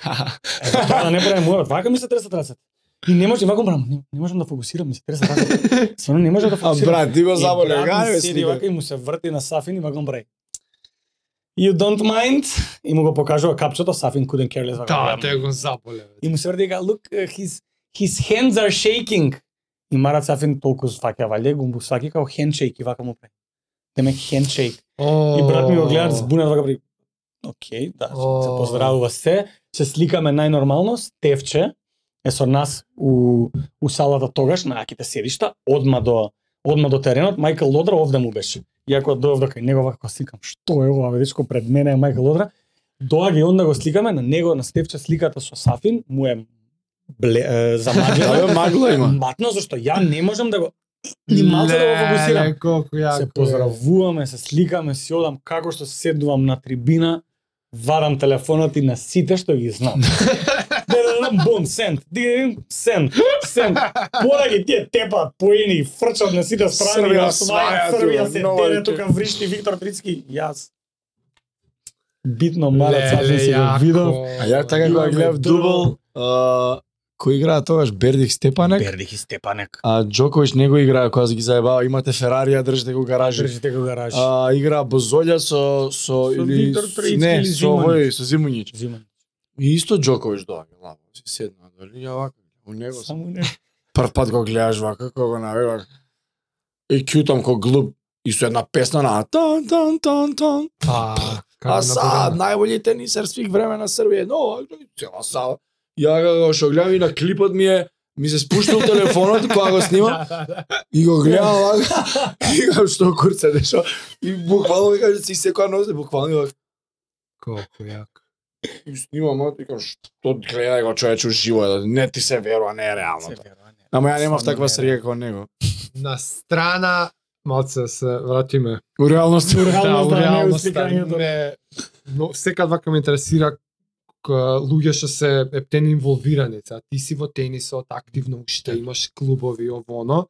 Е, за тоа да не правим морот. Вака ми се тресат рацете. И не можам, вака брам, не, не можам да фокусирам, ми се тресат рацете. Стварно не можам да А фокусирам. брат, ти го И заболе, брат ми гај ме седи слика. вака и му се врти на Сафин и вака му брај. You don't mind? И му го покажува капчето, Сафин couldn't care less. вака Да, гледам. те го заболе. бе. И му се врти и га, look, uh, his, his hands are shaking. И Марат Сафин толку сваќа, валје, го му сваќа као handshake и вака му прави. Деме handshake. О. И брат ми го гледа збунат вака при... Океј, да, се О. поздравува се, се сликаме најнормално, Стевче е со нас у, у салата тогаш, на аките седишта, одма до, одма до теренот, Мајкл Лодра овде му беше. Иако дојдов до кај него, вака го сликам, што е ова, бе, дечко, пред мене е Мајкл Лодра, доаѓа и онда го сликаме, на него на Стефче сликата со Сафин му е бле, е, замаглена. Абе, Да, магла има. Матно зашто ја не можам да го <clears throat> ни малку да го фокусирам. Леле, колку јако. Така е. се поздравуваме, се сликаме, си одам како што седнувам на трибина, варам телефонот и на сите што <laughs> ги знам. Дерерам, бум, сент, дигерим, сент, сент. Пора ги тие тепат, поени, и фрчат на сите страни, Срвија ја осваја, сваја, Србија тука, се нова дере ќе. тука, вришти Виктор Трицки, јас. Битно малец, аз Леле, се го видов. јако. А ја така кога Имаме гледав друго. дубл, а, кој играа тогаш Бердих Степанек, Бердих и Степанек. а Джокович не го играа кога се ги заебава, имате Ферарија, држите го гаражи. Држите го гараж. А, игра Бозолја со, со, или, Виктор Троицки не, или со овој, со Зимуњич. Зима. И исто Джокович доаѓа, лаво, си седна, дали ја вака, у него сам. Само не. Прв пат го гледаш вака, кога го навиваш. И кјутам ко глуп, и со една песна на тан тан тан тан. Па, како А сад, направена. најболји тенисер свих време на Србија, но, цела сад. Ја га го шо гледам и на клипот ми е, ми се спуштил телефонот кога го <laughs> снимам Да. и го гледам вака, <laughs> и го што курце дешо, и буквално ми кажа си секоја нозе, буквално ја Колку јако. и снимам, а ти кажам, што гледај го човече уживо, е, не ти се верува, не е реално. тоа. Ама ја немав таква среќа како него. На страна, малце да се вратиме. У реалност, Реалност, да, да, у не реалност, усликањето. не, но секад вака ме интересира к- луѓе што се ептени инволвирани, са, ти си во тенисот, активно уште имаш клубови, ово, оно.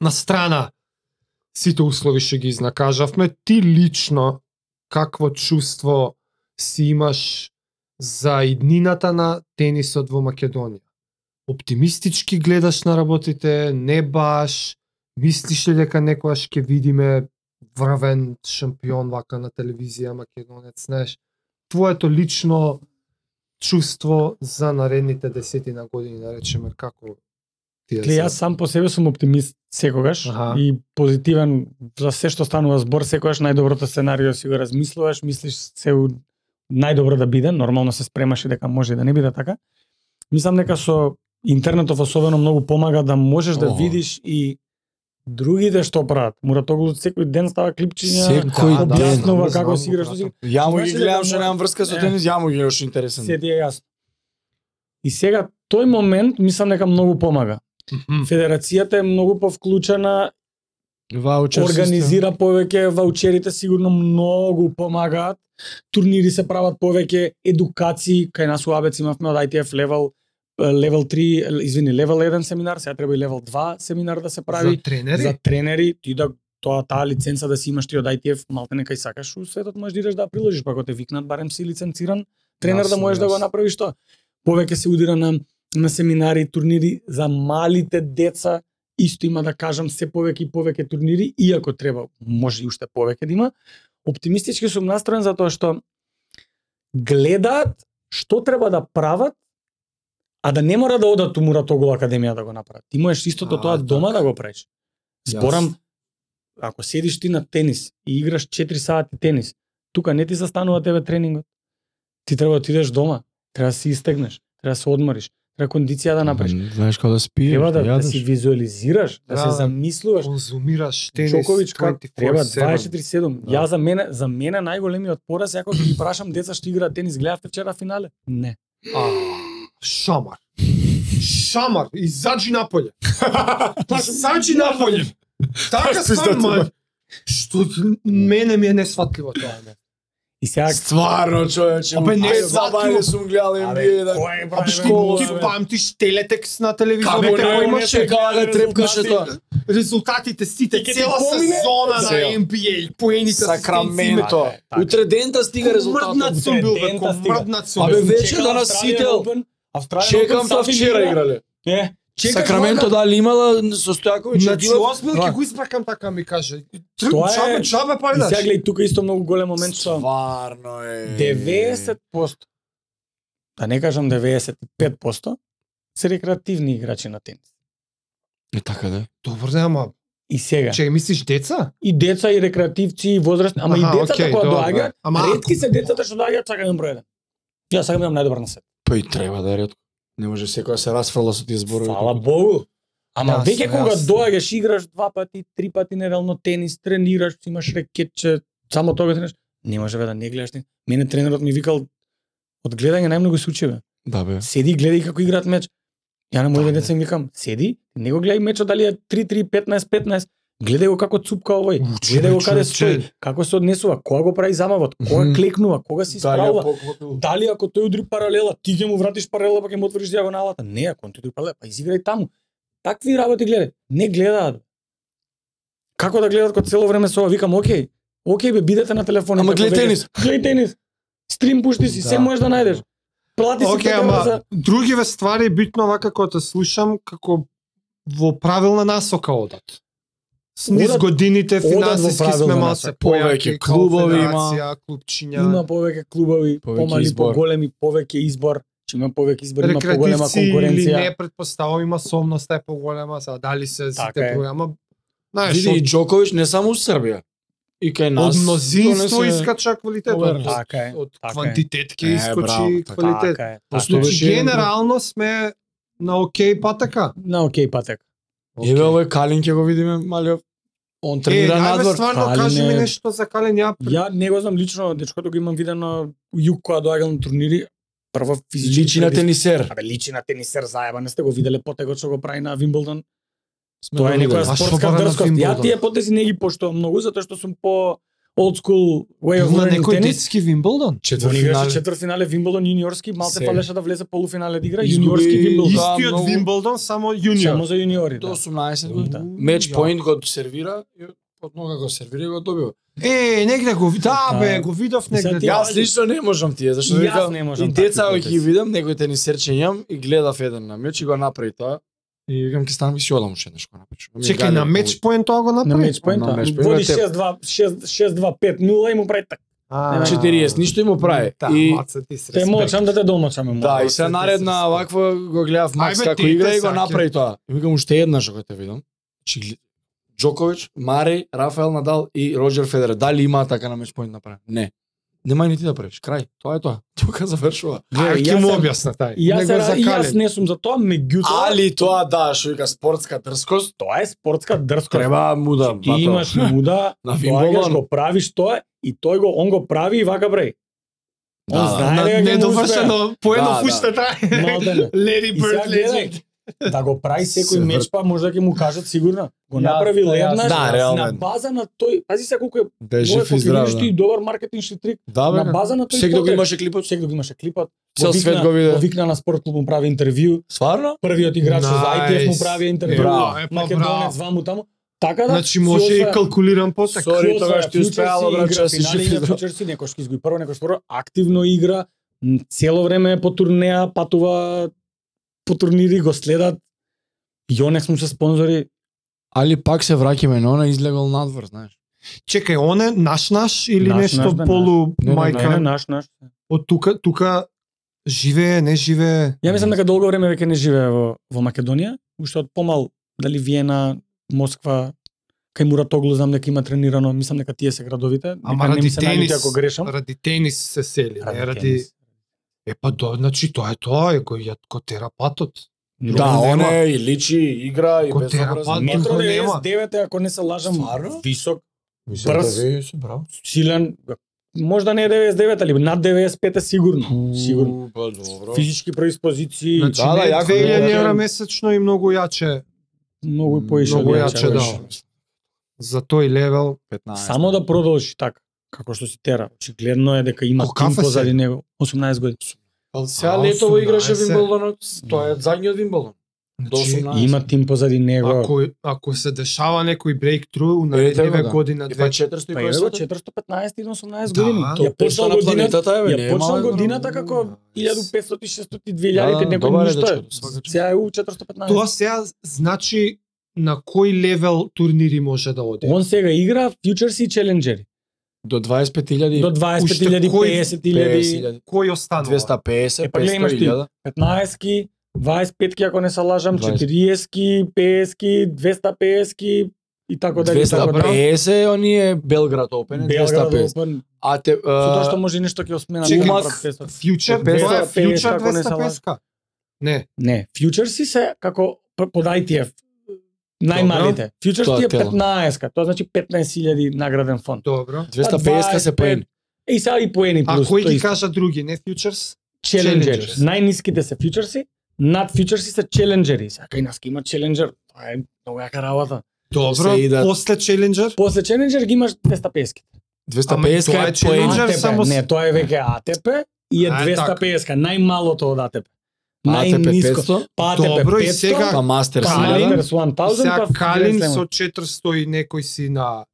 На страна, сите услови што ги изнакажавме, ти лично какво чувство си имаш за иднината на тенисот во Македонија? Оптимистички гледаш на работите, не баш, мислиш ли дека некојаш ќе видиме врвен шампион вака на телевизија Македонец, знаеш, твоето лично чувство за наредните десетина години, да речеме, како ти е Ли, јас сам по себе сум оптимист секогаш Аха. и позитивен за се што станува збор, секогаш најдоброто сценарио си го размислуваш, мислиш се у најдобро да биде, нормално се спремаш и дека може и да не биде така. Мислам дека со интернетов особено многу помага да можеш да Ого. видиш и другите што прават. Муратоглу секој ден става клипчиња, Секој ден. објаснува да, како си играш, што си ја му ги Знаеш ли гледам дека што мора- немам врска со Не. тенис, ја му ги гледам што е интересен. се ти е јасно. И сега тој момент мислам дека многу помага. Федерацијата е многу повклучена Ваучер организира повеќе, ваучерите сигурно многу помагаат, турнири се прават повеќе, едукации, кај нас у Абец имавме од ITF левел левел 3, извини, левел 1 семинар, сега треба и левел 2 семинар да се прави. за тренери? За тренери, ти да тоа таа лиценца да си имаш ти од ITF, малте нека и сакаш у светот можеш да идеш да ја приложиш, па ако те викнат барем си лиценциран тренер да Јасно, можеш да го јасно. направиш тоа. Повеќе се удира на на семинари, турнири за малите деца, исто има да кажам се повеќе и повеќе турнири, иако треба може и уште повеќе да има. Оптимистички сум настроен затоа што гледаат што треба да прават, а да не мора да одат у Муратоглу академија да го направат. Ти можеш истото А, тоа така. дома да го правиш. Јас- Зборам, ако седиш ти на тенис и играш 4 сати тенис, тука не ти застанува тебе тренингот. Ти треба да отидеш дома, треба да се истегнеш, треба да се одмориш, треба кондиција да направиш. Знаеш кога да спиеш, Треба да, да си визуализираш, да, Да, да. се замислуваш. конзумираш тенис Джокович как 24/7. треба 24/7. Да. Ја за мене за мене најголемиот пораз е ако ги прашам деца што играат тенис, гледавте вчера финале? Не. А, Шамар. Шамар, изаджи <laughs> наполје. Изаджи наполје. Така Паш си сам, стотина. ма, Што мене ми е несватливо тоа. ме. И сега Стварно, човече. Абе, не, Ајде, сватило. забаве сум гледал NBA, да. кој е А брат, што школа, ти бе. памтиш телетекс на телевизор, Кабе, дека не, имаше имаше кога да трепкаше тоа. резултатите сите, Ти ке ти цела помине? сезона на Цел. NBA, поени се Сакраменто. Така е, така е. Утре дента стига резултатот. Мрднат сум бил, бе, Трендента стига. мрднат сум. Абе, бил. вече данас сидел. Чекам та вчера играле. Не, чекам Сакраменто дали имала со Стојаковиќ Значи, осмил ќе Да. го испракам така ми каже. Тоа е- Чабе, чабе, да па да И идаш. сега гледај тука исто многу голем момент што Стварно е. 90%, да не кажам 95%, се рекреативни играчи на тенис. Е така да. Добро да, ама, И сега, чеј, мислиш деца? и деца, и рекреативци, и возрастни, ама Аха, и децата окей, која добро. доаѓаат, Ама ретки се децата што доаѓаат сакам да им број еден. Ја сакам да имам најдобар на сет. Па и треба да е ретко. Не може секоја се расфрла со тие зборови. Фала Богу. Ама Јасно, веќе кога јасно. доаѓаш, играш два пати, три пати нереално тенис, тренираш, имаш рекетче, само тоа го тренираш. Не можеве да не гледаш. ни- Мене тренерот ми викал од гледање најмногу се учи бе. Да, бе. Седи и гледај како играат меч. Ја на Да, мојот бе. децен викам, седи, не го гледај мечот дали е 3-3, 15-15, гледај го како цупка овој, Учи, гледај го бе, каде човече. стои, како се однесува, која го прави замавот, која Мгм. клекнува, кога се Дали исправува. ја поклопил. Дали ако тој удри паралела, ти ќе му вратиш паралела, па ќе му отвориш дијагоналата. Не, ако он ти удри паралела, па изиграј таму. Такви работи гледај. Не гледаат. Како да гледаат кога цело време се ова викам, окей, окей бе, бидете на телефоните. Ама ако гледај веќе- тенис. Гледај тенис. Стрим пушти си, Да. се можеш да најдеш. Плати си Океј, пет евра за- ама другиве ствари битно вака како да те слушам како во правилна насока одат. С низ Одат- годините одат во финансиски сме правилна малце насока. Повеќе појаки, клубови има. федерација, клубчиња, Има повеќе клубови, Повеќе помали, избор. поголеми, повеќе избор. Че има повеќе избор, има поголема рекреативци или конкуренција. не, предпоставам има сомноста е поголема, сега дали се Така сите е. броја, ама знаеш, Види, и од, Джокович не само у Србија. И кај нас. од мнозинство тоа не се- искача квалитет, од, Поверно. од, Така е. од така е. квантитет Е, ќе браво, искочи така е. квалитет. Така е. Просто така е. беше- Значи, генерално сме на окей патека. На окей патек. Еве овој Калин ќе го видиме, мале он тренира е, надвор. надвор. Стварно, Калин кажи ми е- нешто за Калин, ја Ја не го знам лично, дечкото го имам видено у југ кога доаѓал на турнири, прво физички Личи на предис- тенисер. Абе, личи на тенисер заеба, не сте го виделе потегот што го прави на Вимблдон. Сме Тоа е го виделе. некоја А што спортска бара на дрскост. Ја Вимблдон? тие потези не ги поштувам многу затоа што сум по old school way of Има learning некој тенис. детски Вимблдон? Они играше Четвртфинале. четвртфинале Вимблдон јуниорски, малце Сега. фалеше да влезе полуфинале да игра Изгуби јуниорски Да, Вимблдон. Истиот многу. Вимблдон, само Само јуниор. за јуниори. До Да. 18 Да. години. Меч поинт го сервира и од нога го сервира и го добива. Е, негде го видов. Да, бе, го видов И сега негде. Така ти Да. Јас лично не можам тие, зашто И јас викам, не можам и деца такви ги потези. видам, некој тенисерче имам и гледав еден на меч и го направи тоа. И викам ќе станам и си одам уште нешто напечу. Чекај, на меч поен тоа го На направи? меч поент. На меч поент, Води те- 6-2 6 6-2 5-0 и му прави така. А, 40, ништо им го прави. Да, И маца, ти се Те мочам да те домочам. Да, и се се наредна се- ваква го гледав Макс Ајбе, како ти игра те и го саќа. направи тоа. И викам уште еднаш ако те видам. Чи гли- Джокович, Мари, Рафаел Надал и Роджер Федерер. Дали има така на меч поинт направен? Не. Нема и ни ти да правиш. Крај. Тоа е тоа. <laughs> Тука завршува. Ај, ќе му објасна тај. И Него јас, се, ра- и за јас Калин. не сум за тоа, меѓутоа Али тоа да, што вика спортска дрскост, тоа е спортска дрскост. треба му да Значи, Ти <laughs> имаш муда, На доаѓаш Вимблдон. го правиш тоа и тој го он го прави и вака бре. Он Да, да. знае На дека ќе му успее. недовршено Да, поено да. фушта трај. Малдене. <laughs> Леди И сега Бёрд гледај, ледженд. да го прави Се секој врт- меч, па може да ќе му кажат сигурно. Го Јасно, направи јасно. леднаш, Да, реално на е. база на тој, пази се колку е да Може жив и да здрав. ти и добар маркетиншки трик. Да, бе. На како- база на тој Секој го потек. имаше клипот. Секој го имаше клипот. Цел Повикна- свет го виде. Повикна на спорт клуб му прави интервју. Стварно? Првиот играч со ITF му Nice. прави интервју. Браво. Е, па, Македонец браво. ваму таму. Така да. Значи може и калкулиран потек. Со- Сори, тогаш ти успеало, брат, брача че си си финали жив и на здрав. Фьючерси, некој што изгуби прво, некој што второ, активно игра, м, цело време е по турнеја, патува по турнири, го следат. Јонекс му се спонзори. Али пак се враќаме на она излегол надвор, знаеш. Чекај, он е наш наш или Наш, нешто наш, бе, наш. полу Не, не, Не, не, мајка? наш, наш. Од тука, тука живее, не живее. Ја мислам дека долго време веќе не живее во во Македонија, уште од помал, дали Виена, Москва, кај Муратоглу знам дека има тренирано, мислам дека тие се градовите. Ама нека не ми ради се најдете тенис, ако грешам. ради тенис се сели, не ради... тенис. Е, па, до, значи, тоа е тоа, е кој ја ко терапатот. Да, Друго он нема. е и личи, и игра, и Ко безобразен. терапат, Метро друго нема. 99 ако не се лажам, Стварно? висок, Мислам Брз. да ви се браво. силен, можда не е 99, али над 95 е сигурно, сигурно. Уу, Па добро. Физички прedispозиции, Значи, Да, да, не јако 2000 е. евра месечно и многу јаче многу и поише. значи, Многу од јаче, Јача, да. беше. за тој левел. 15. Само да продолжи така, како што си тера. Очигледно е дека има Колку тим кафе се? позади него. 18 години. Ал сега А, лето го 18. играше Вимблдонот, тоа е заедниот Вимблдон. До Значи, 18. И има тим позади него. ако, ако се дешава некој брейктру у треба наредниве да. година, И па две, 400 Па и еве го 500. 415 и 18 Да, години. Тоа Ја е пешто почнал на годината, планетата, еве, ја нема почнал едно- годината како 1500, 600, 2000, Да, да, некој добар е ништо е. дечкото, свака чест. Сега е у тоа 415. сега значи на кој левел турнири може да оде. Он сега игра фьючерси и челенџери. До 25.000 До до 20.000, кој- 50.000, 50.000, Кој останува? 250, Е, па гледај, имаш ти. 500.000. 15-ки, 25-ки ако не се лажам, 20. 40-ки, 50-ки, 250-ки и тако дали и тако дали. 250 оние Белград Open, е Белград 250. Open. А те да. Со тоа што а, може и нешто ќе осмена. Чекај, Умак. мак. Фьючер, Петста, тоа е петста, фьючер ако не се 250. Не, Не, фьючерси се како п- под ITF најмалите. Фьючерс Тоа ти е тело. 15 тоа значи 15.000 награден фонд. добро. Па 250 се поени. И сега и по Ени А плюс. кои тој ги кажа други, не Futures? челенджери. Challengers. Најниските се фьючерси, над фьючерси се челенджери. Сега кај нас ги има челенџер, тоа е многу јака работа. Добро, Се и да- после Challenger? После челенџер ги имаш 250. Ама 250 тоа е е Challenger. поен. ATP, само с- не, тоа е веќе АТП и е А, е така. 250, најмалото од АТП. АТП Најниско. 500, Па АТП Добро, и 500, сега па Мастер па Калин- 1000, Masters 1000, па И сега Калин Grand Slam. со 400 и некој си на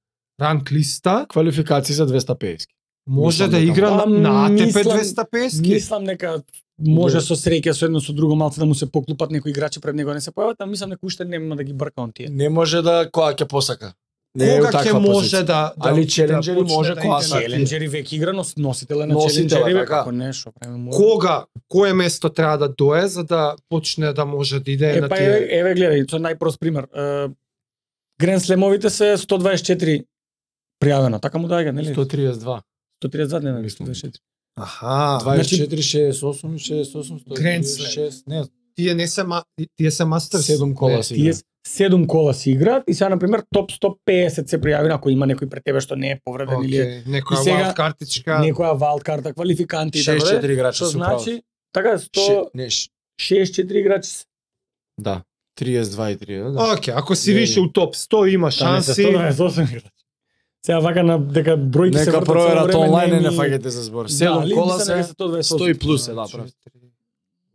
ранг листа, квалификации за 250. може Мислам да дека игра на, може. на Па, АТП мислам- 250. Мислам дека може со среќа со едно со друго малце да му се поклупат некои играчи пред него не се појават, а мислам дека уште нема да ги брка он тие. Не може да која ќе посака. Не е у Кога ќе таква може позиција. да, да Али да Challenger почне може да класа. иде на тие? Челенџери веќе игра, но носителе на Носителе, челенџери веќе така. како нешто време мора. Кога, кое место треба да дое за да почне да може да иде Е, на па тие? еве, еве гледај, со најпрост пример. Е, Грен Слемовите се 124 пријавено, така му даја, нели? Значи, 132. 132 дена, Мислам. 124. Аха, 24, 68, 68, Grand 136, не, тие не се ма- тие се мастер 7 кола си. Тие игра. с- седум кола си играат и сега на пример топ 150 се пријави ако има некој пред тебе што не е повреден или е Океј, некоја И сега- wild картичка. некоја wild карта квалификанти и така да. 64 играча Што се управат. значи Ше- така 164 Не, ш- играчи се. да. 32 и 3, да. Океј, ако си Е, више у топ 100 има Та Да, не се шанси. 128 играчи. Сега вака на дека бројки се Нека вртат цело проверат време, онлайн и ми- не фаќате за збор. Да, 7 линките кола на се 128. 100 и плюс е Значи, да, прав.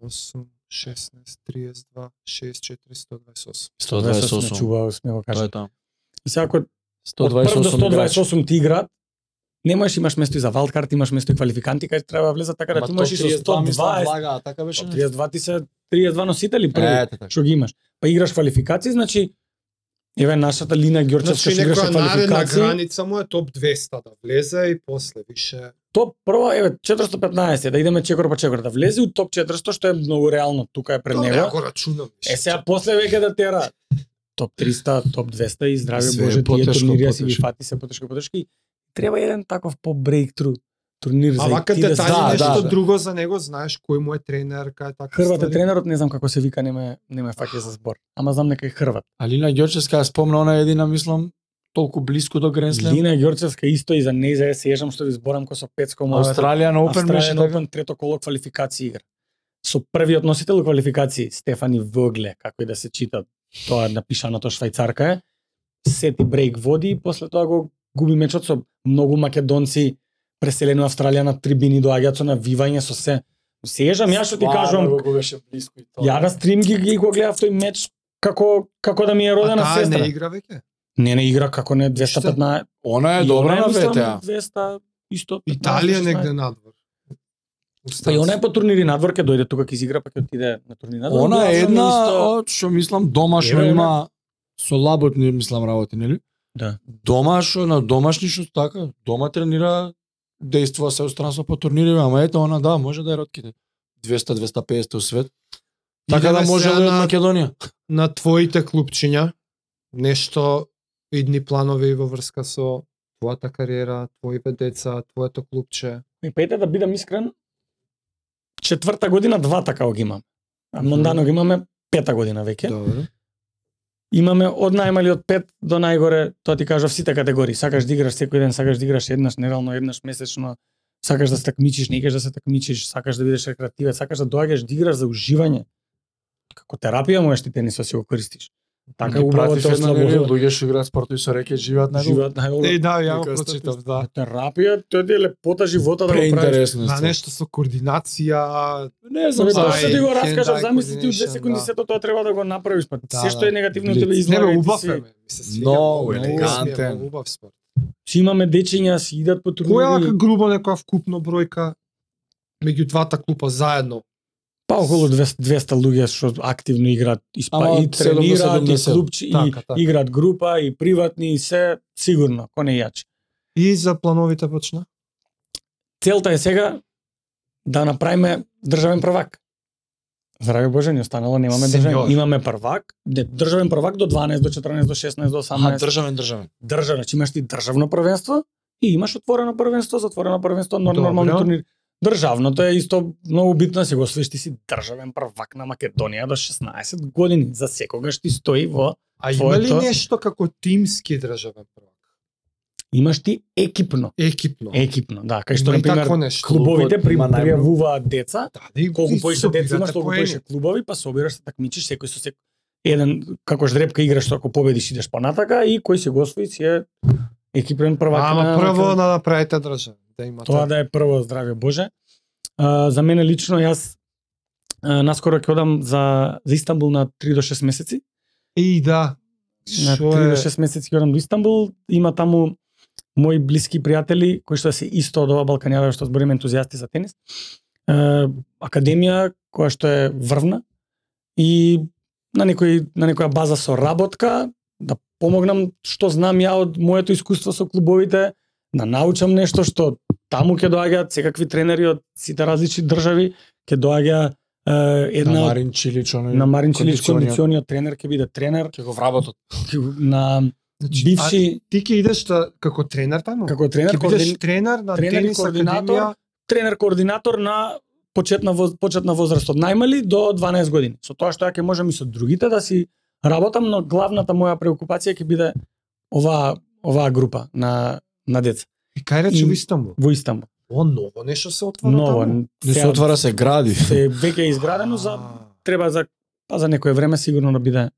8, 16, 32, 6, 428. Да, 128. Чува, сме го кажа. е таму. И сега ако од прв до 128 играчи. 128 ти играат, немаш имаш место и за валкарт, имаш место и квалификанти, кај треба да влезат така да ти имаш и со 120. влага, а така беше. 32 ти се 32 носители први, Ете така. што ги имаш. Па играш квалификации, значи Еве нашата Лина Ѓорчевска Значи што играше некоја наредна квалификации. граница му е топ 200 да влезе и после више Топ прво еве 415 да идеме чекор по чекор да влезе у топ 400 што е многу реално тука е пред Добре, него. ако рачунам. Е сега после веќе да тера топ 300, топ 200 и здраве Све е Боже, тие потешко, турнири си ги потешко. фати се потешко потешко и треба еден таков по брейктру турнир А за вака и ти да детали да, знаеш. нешто да. друго за него, знаеш кој му е тренер, кај е така. Хрват е ствари. тренерот, не знам како се вика, не ме не ме фаќа за збор. Ама знам дека е Хрват. Алина Ѓорчевска ја спомна она едина, мислам, толку близко до Grand Slam. Лина Ѓорчевска исто и за неј за сежам што ви зборам ко со Пецко му Австралија на Open беше Australian така. Open трето коло квалификации игра. Со првиот носител у квалификации Стефани Вогле, како и да се чита, тоа напишаното швајцарка е. Сети брейк води и после тоа го губи мечот со многу македонци преселени во Австралија на трибини доаѓаат со навивање со се. Сежам ја што ти кажам, Стварно го беше близко и тоа. ја на стрим ги, ги го гледав тој меч како како да ми е родена а, сестра. не Не, игра веќе. не, не игра како не 215. Она е И добра она на мислам, ВТА. 200 исто. 15, Италија 16. негде надвор. Да, Па и она е по турнири надвор, ке дојде тука ќе изигра, па ќе отиде на турнир надвор. Она е Главно една исто- од што мислам дома што Еве, има со лаботни мислам работи, нели? Да. Дома што на домашни што така, дома тренира действува се странство по турнири, ама ето она да, може да е ротките. 200 250 у свет. Така да Идеме може сега да е од на- Македонија. на твоите клубчиња нешто идни планови во врска со твојата кариера, твоите деца, твоето клубче. Ми пејте да бидам искрен. Четврта година два така го имам. А Мондано го имаме пета година веќе. Да. Добро. Имаме од најмали од пет до најгоре, тоа ти кажа сите категории. Сакаш да играш секој ден, сакаш да играш еднаш неделно, еднаш месечно, сакаш да се такмичиш, не искаш да се такмичиш, сакаш да бидеш рекреативен, сакаш да доаѓаш да играш за уживање. Како терапија можеш ти тенисот си го користиш. Така Ги убаво пратив те една нели, ослободува. луѓе што играат спорт и со реке живеат најдолго. Живеат најдолго. Е, да, ја го Нека прочитав, статистика. да. Терапија, тоа ти е лепота живота да го правиш. Преинтересно е. На стварно. нешто со координација, Не знам Тоа Па, што ти е, го hand-eye раскажав, замисли ти од 10 coordination, секунди да. сето тоа треба да го направиш, па Да, се што е негативно Блиц. тебе не бе, излага. и ти убав си- е, ме. ми се свиѓа. Многу ми е елегантен. многу Убав спорт. Си имаме дечиња, си идат по Која е турнири. грубо некоја вкупно бројка меѓу двата клупа заедно? Па околу 200 200 луѓе што активно играат и спа- Ама и од седум до тренираат и 70. клубчи и Така, така. играат група и приватни и се сигурно, коне јачи. И за плановите почна? Целта е сега да направиме државен првак. Здраве Боже, ни останало, немаме Сеньор. државен, имаме првак, де- државен првак до 12, до 14, до 16, до 18. Ама државен државен. државно, значи имаш ти државно првенство и имаш отворено првенство, затворено првенство, но Добро. нормални турнир. Државното е исто многу битно да си го освоиш, ти си државен првак на Македонија до 16 години. За секогаш ти стои во А има ли Твоето? нешто како тимски државен првак? имаш ти екипно. екипно. Екипно, да. Кај што, Има и например, такво нешто. клубовите Клубот при, има најмногу. пријавуваат деца, Да, да, и- колку и поише се деца имаш, обидата толку поени. поише клубови, па собираш се такмичиш, секој со секој. Еден, како ждрепка играш, ако победиш идеш понатака и кој си го освои си е екипен првак. Ама на- прво да направите држава. Да имате. Тоа да е прво здравје Боже. А, за мене лично јас а, наскоро ќе одам за за Истанбул на 3 до 6 месеци. И да. На Шо 3 е? до 6 месеци ќе одам до Истанбул, има таму мои блиски пријатели кои што се исто од ова балкањара што збориме ентузијасти за тенис. Е, академија која што е врвна и на некој на некоја база со работка да помогнам што знам ја од моето искуство со клубовите, да научам нешто што таму ќе доаѓаат секакви тренери од сите различни држави, ќе доаѓа е, на една Марин Чилич, оној на Марин Чилич кондиционер. кондициониот тренер ќе биде тренер Ќе го вработат. на Значи, бивши а Ти ќе идеш та, како тренер таму? како тренер Ќе бидеш координ... тренер на тренер и тенис координатор. академија. тренер координатор на почетна воз... почетна возраст од најмали до 12 години. Со тоа што ја ќе можам и со другите да си работам, но главната моја преокупација ќе биде оваа оваа група на на деца И кај рече И- во Истанбул? во Истанбул. О, ново нешто се отвара Ново таму. Не се сега отвара се гради. се веќе е изградено за треба за па за некое време сигурно да биде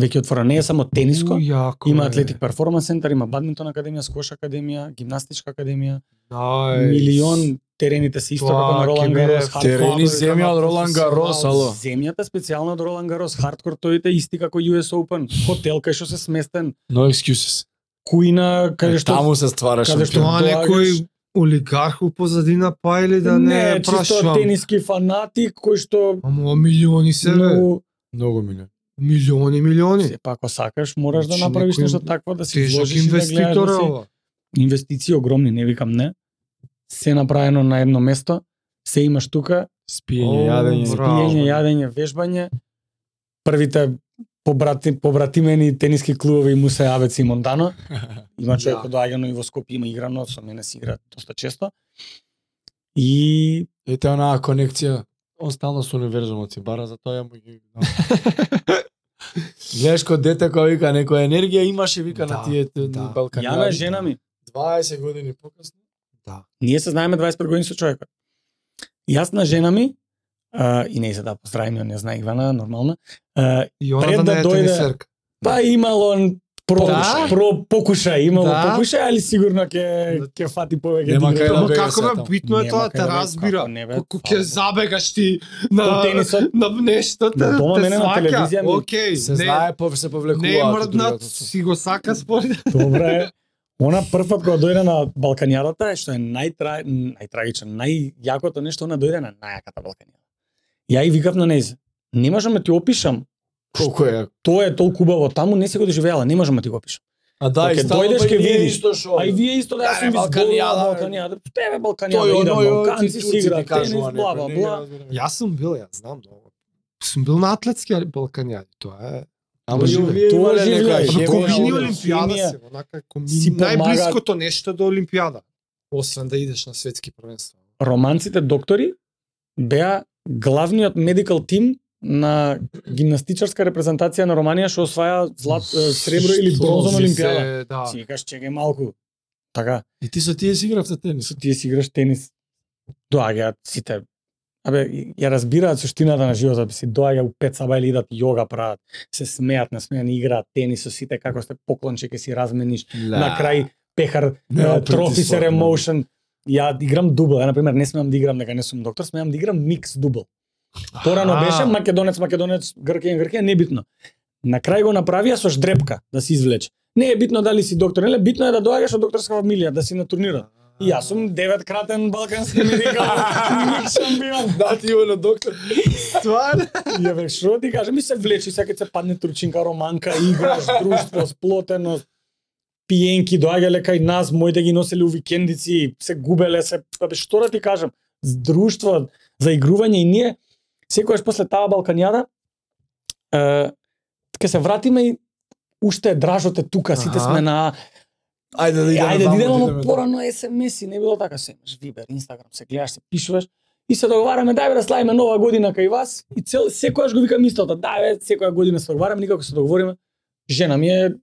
веќе отворено. Не е само тениско, У, јако има е. атлетик перформанс центар, има бадминтон академија, скош академија, гимнастичка академија, Најс. милион терените се исто Тоа како на ќе Ролан биде Гарос. хардкор. Терени земја од Ролан Гарос, ало. Земјата специјално од Ролан Гарос, хардкор тоите исти како US Open, хотел кај што се сместен, No excuses. кујна каде што Таму се ствара шампион. каде што Тоа доаѓаш- некој олигарх у позадина па или да не, не чисто прашувам. тениски фанатик кој што Ама милиони се, бе. многу Многу милион. милиони, милиони. сепак па ако сакаш мораш да Значи, направиш некој нешто такво да се Тежок изложиш и да гледаш инвеститор да е си ова. инвестиции огромни, не викам не. Се направено на едно место, се имаш тука, Спиење, О, јадење. бра. пиење, Браво, јадење, вежбање. Првите побрати, побратимени тениски клубови му се Авец и Мондано. Има човек Да. кој доаѓано и во Скопје има играно, со мене се игра доста често. И <laughs> Ете онаа конекција. Он стално со универзумот си бара, за тоа ја му <laughs> ги... Гледаш кod дете кој вика некоја енергија имаше вика на Да, тие да. Балкани. Јана е жена ми. 20 години покасно. Да. Ние се знаеме 25 години со човекот. И Јас на жена ми, а, и не се да поздравим, ја не знае Ивана, нормално, а, И она Пред да да не е дојде- тенисерка. Па имало он про, Да? про покушај, имало Да? покушај, али сигурно ќе ќе фати повеќе. Нема дигри. кај да Ама бе, како сега бе таму. битно е Нема тоа кај те да бе, разбира. како не бе, па. Колку фала ќе бе. забегаш ти По на тенисот на нешто те На дома те мене на сваќа. телевизија ми- Океј, Се не- знае, пов се Не е повлекуваат. од мрднат, другото со- си го сака според. Добра е. Она прв пат кога дојде на Балканијадата, што е најтра... најтрагично, најјакото нешто, она дојде на најјаката Балканијада. Ја и викав на нејзе, не можам да ти опишам, Колку е? тоа е толку убаво таму, не се го доживеала, не можам да ти го опишам. А да, и Кога стално дојдеш, па и ке ние видиш. исто шо. А и вие исто да Да, јас сум бе, Балканијада, Балканијада, бе. Балканијада, тебе Тој Балканијада, оној, идам оној, Балканци, си турците игра, кажува, тенис, не, бла, не, бла, не, бла. не, не, не. Јас сум бил, ја знам многу. Сум бил на атлетски Балканијади, тоа е. Па Ама Тоа живе, живе, тоа имале живе. нека Ама хемија, кога комбини химија, оној. олимпијада химија. се, онака Си комбини помагаат. најблиското нешто до олимпијада, освен да идеш на светски првенство. романците доктори беа главниот медикал тим на гимнастичарска репрезентација на Романија што осваја злат, е, сребро или Што бронза на си Олимпијада. Се, Да. Си викаш, чекај малку. Така, И ти со тие си игравте тенис. со тие си играш тенис. Доаѓаат сите. Абе, ја разбираат суштината на животот, си доаѓа у пет саба или идат јога прават, се смеат, не смеат, играат тенис со сите како сте поклонче ќе си размениш, Да. на крај пехар Нема е, трофи притисок, се нема. ремоушен. Ја играм дубл, ја на пример не смеам да играм дека не сум доктор, смеам да играм микс дубл. Порано Аха. беше македонец, македонец, гркин, гркин, не е битно. На крај го направија со ждрепка да се извлече. Не е битно дали си доктор, нели битно е да доаѓаш од докторска фамилија да си на турнира. И јас сум <laughs> деветкратен балкански медикал микс шампион. Да, ти има на доктор. Стварно? Ја век шо ти кажа, ми се влечи, сега ќе се падне турчинка, романка, играш, друштво, сплотеност, пиенки доаѓале кај нас, моите ги носеле у викендици, се губеле се, абе што да ти кажам, с друштво за игрување и ние секогаш после таа балканијада е, ќе се вратиме и уште дражот е тука, сите Аха. сме на Ајде да Е, идеме. ајде, таму, да идеме, таму. ама порано SMS и не било така се. имаш Вибер, Инстаграм, се гледаш, се пишуваш и се договараме, дај бе да славиме нова година кај вас и цел секогаш го викам истото, дај бе, секоја година се договараме, никако се договориме. Жена ми е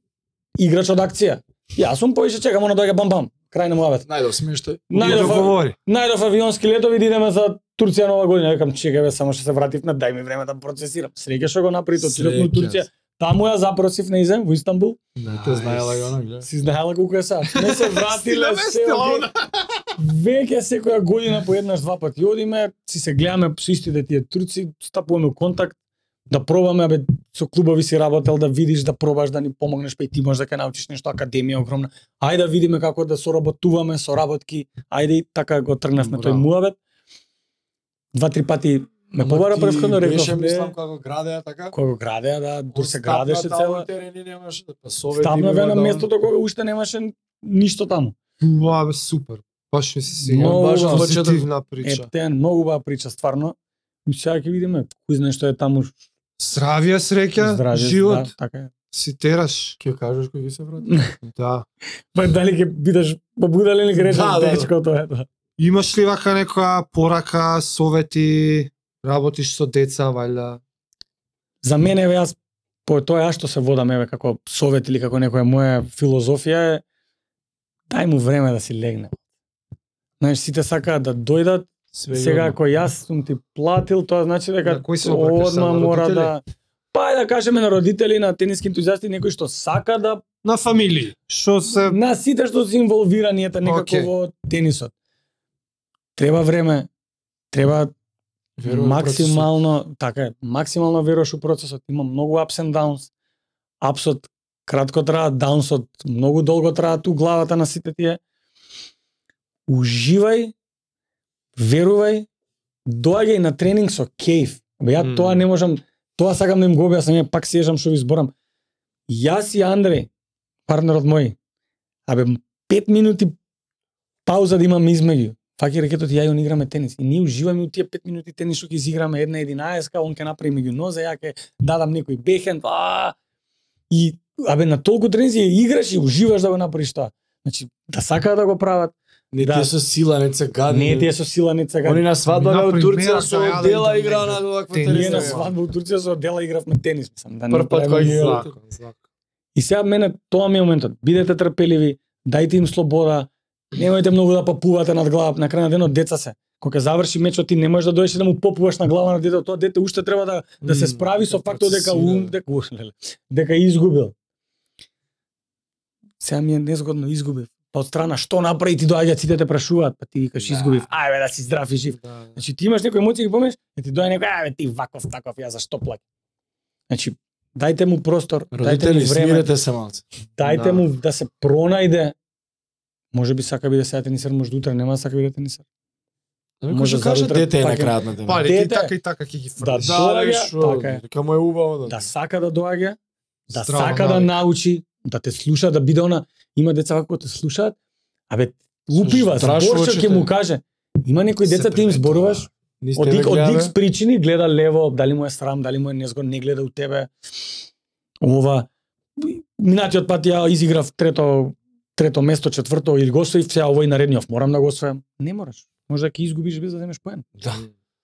играч од акција. Јас сум поише чекам оно доаѓа бам бам. Крај на муабет. Најдов смеште. Најдов- Најдов говори. Најдов авионски летови да идеме за Турција нова година. Викам чекај бе, само што се вративме, дај ми време да процесирам. Среќа што го направи тоа во Турција. Таму ја запросив на изем во Истанбул. Не те знаела и она, гледа. Си знаела колку е сад. Не се вратиле се. наместила оке. она. Веќе секоја година по еднаш два пати одиме, си се гледаме со истите тие турци, стапуваме у контакт, да пробаме, абе, со клубови си работел, да видиш, да пробаш, да ни помогнеш, па и ти можеш да ке научиш нешто, академија огромна. Ајде да видиме како да соработуваме, соработки, ајде и така го тргнавме тој Браво. муабет. Два-три пати ме Ама побара ти пресходно, Беше, реков, мислам, не, како градеа така. кој го градеа, да, дур се Стапна градеше таму цела. терени немаше да пасове. Стапна дивива ве на да он- местото кога уште немаше ништо таму. Уа, бе, супер. Баш ми се сега. Много Баш баш да- позитивна прича. Ептен, многу баа прича, стварно. И сега ќе видиме, кој знае што е таму, Здравија, среќа, здравје, живот, Да, така е. си тераш. Ќе кажеш кој ќе се врати. <laughs> Да. Па дали ќе бидеш побудален или ќе речеш Да, да, да, да. течко тоа е тоа. Имаш ли вака некоја порака, совети, работиш со деца, вајда? За мене еве јас по тоа што се водам еве како совет или како некоја моја филозофија е дај му време да си легне. Знаеш, сите сакаат да дојдат, Све сега јавно. ако јас сум ти платил, тоа значи дека На кој се обраќаш, одма на мора родители? да... Па да кажеме на родители, на тениски ентузијасти, некој што сака да На фамилии. Што се... на сите што се инволвирани ете некако Океј. во тенисот. Треба време, треба Верувам максимално, така е, максимално веруваш у процесот. Има многу ups and downs. Апсот кратко траа, даунсот многу долго траа ту главата на сите тие. Уживај, верувај, доаѓај на тренинг со кејф. Бе, ја Мм. тоа не можам, тоа сакам да им го објаснам, ја пак сежам што ви зборам. Јас и Андреј, партнерот мој, абе, пет минути пауза да имам измеѓу. Факи рекетот и ја јон играме тенис. И ние уживаме у тие 5 минути тенис што ќе изиграме една 11 он ќе направи меѓу нозе, ја ќе дадам некој бехенд, а и абе на толку тренинзи ја играш и уживаш да го направиш тоа. Значи, да сакаат да го прават, Не ти Да. е со сила, не ти се гадни. не е тие со сила, не сега. Они на свадба бе, од Например, Турција да со јаде дела интернет. игра на оваква Тенис, Ние на да. телевизија. свадба у Турција со дела игравме тенис, мислам, да не Прв пат правиме кога ги ни- играв. Закон, закон. И сега мене тоа ми е моментот. Бидете трпеливи, дајте им слобода, немојте многу да попувате над глава, на крај на денот деца се. Кога заврши мечот ти не можеш да дојдеш и да му попуваш на глава на детето, тоа дете уште треба да да се Мм, справи со да фактот дека ум процесира. дека ух, леле, дека изгубил. Сега ми е незгодно изгубив. Па од страна што направи ти доаѓа сите те прашуваат, па ти викаш изгубив. Ај бе да си здрав и жив. Да. Значи ти имаш некои емоции ги помнеш, е ти доаѓа некој, ај бе, ти ваков таков, ја зашто плаќам. Значи дајте му простор, дајте му Родители, време, смирете се малце. дајте Да. му да се пронајде. Може би сака би да сега тенисер, може да утре нема да сака би да тенисер. Да ми Може кажа, кажа завтра дете е на пак е- крајот на денот. Па, и ти Дете. така и така ќе ги Да, фрлиш. Да, доаѓа, решо. така е. Дека му е убаво да. Да сака да доаѓа, да Здрава сака да навика. научи, да те слуша, да биде она, има деца како те слушаат, абе лупива, Страшно зборче очите. ќе му каже. Има некои Се деца ти им приметува. зборуваш, Нисте од ме ик, од гледале? икс причини гледа лево, дали му е срам, дали му е незгодно, не гледа у тебе. Ова минатиот пат ја изиграв трето трето место, четврто или го освоив, сега овој наредниот морам да го освојам. Не мораш. Може да ќе изгубиш без да земеш поен. Да.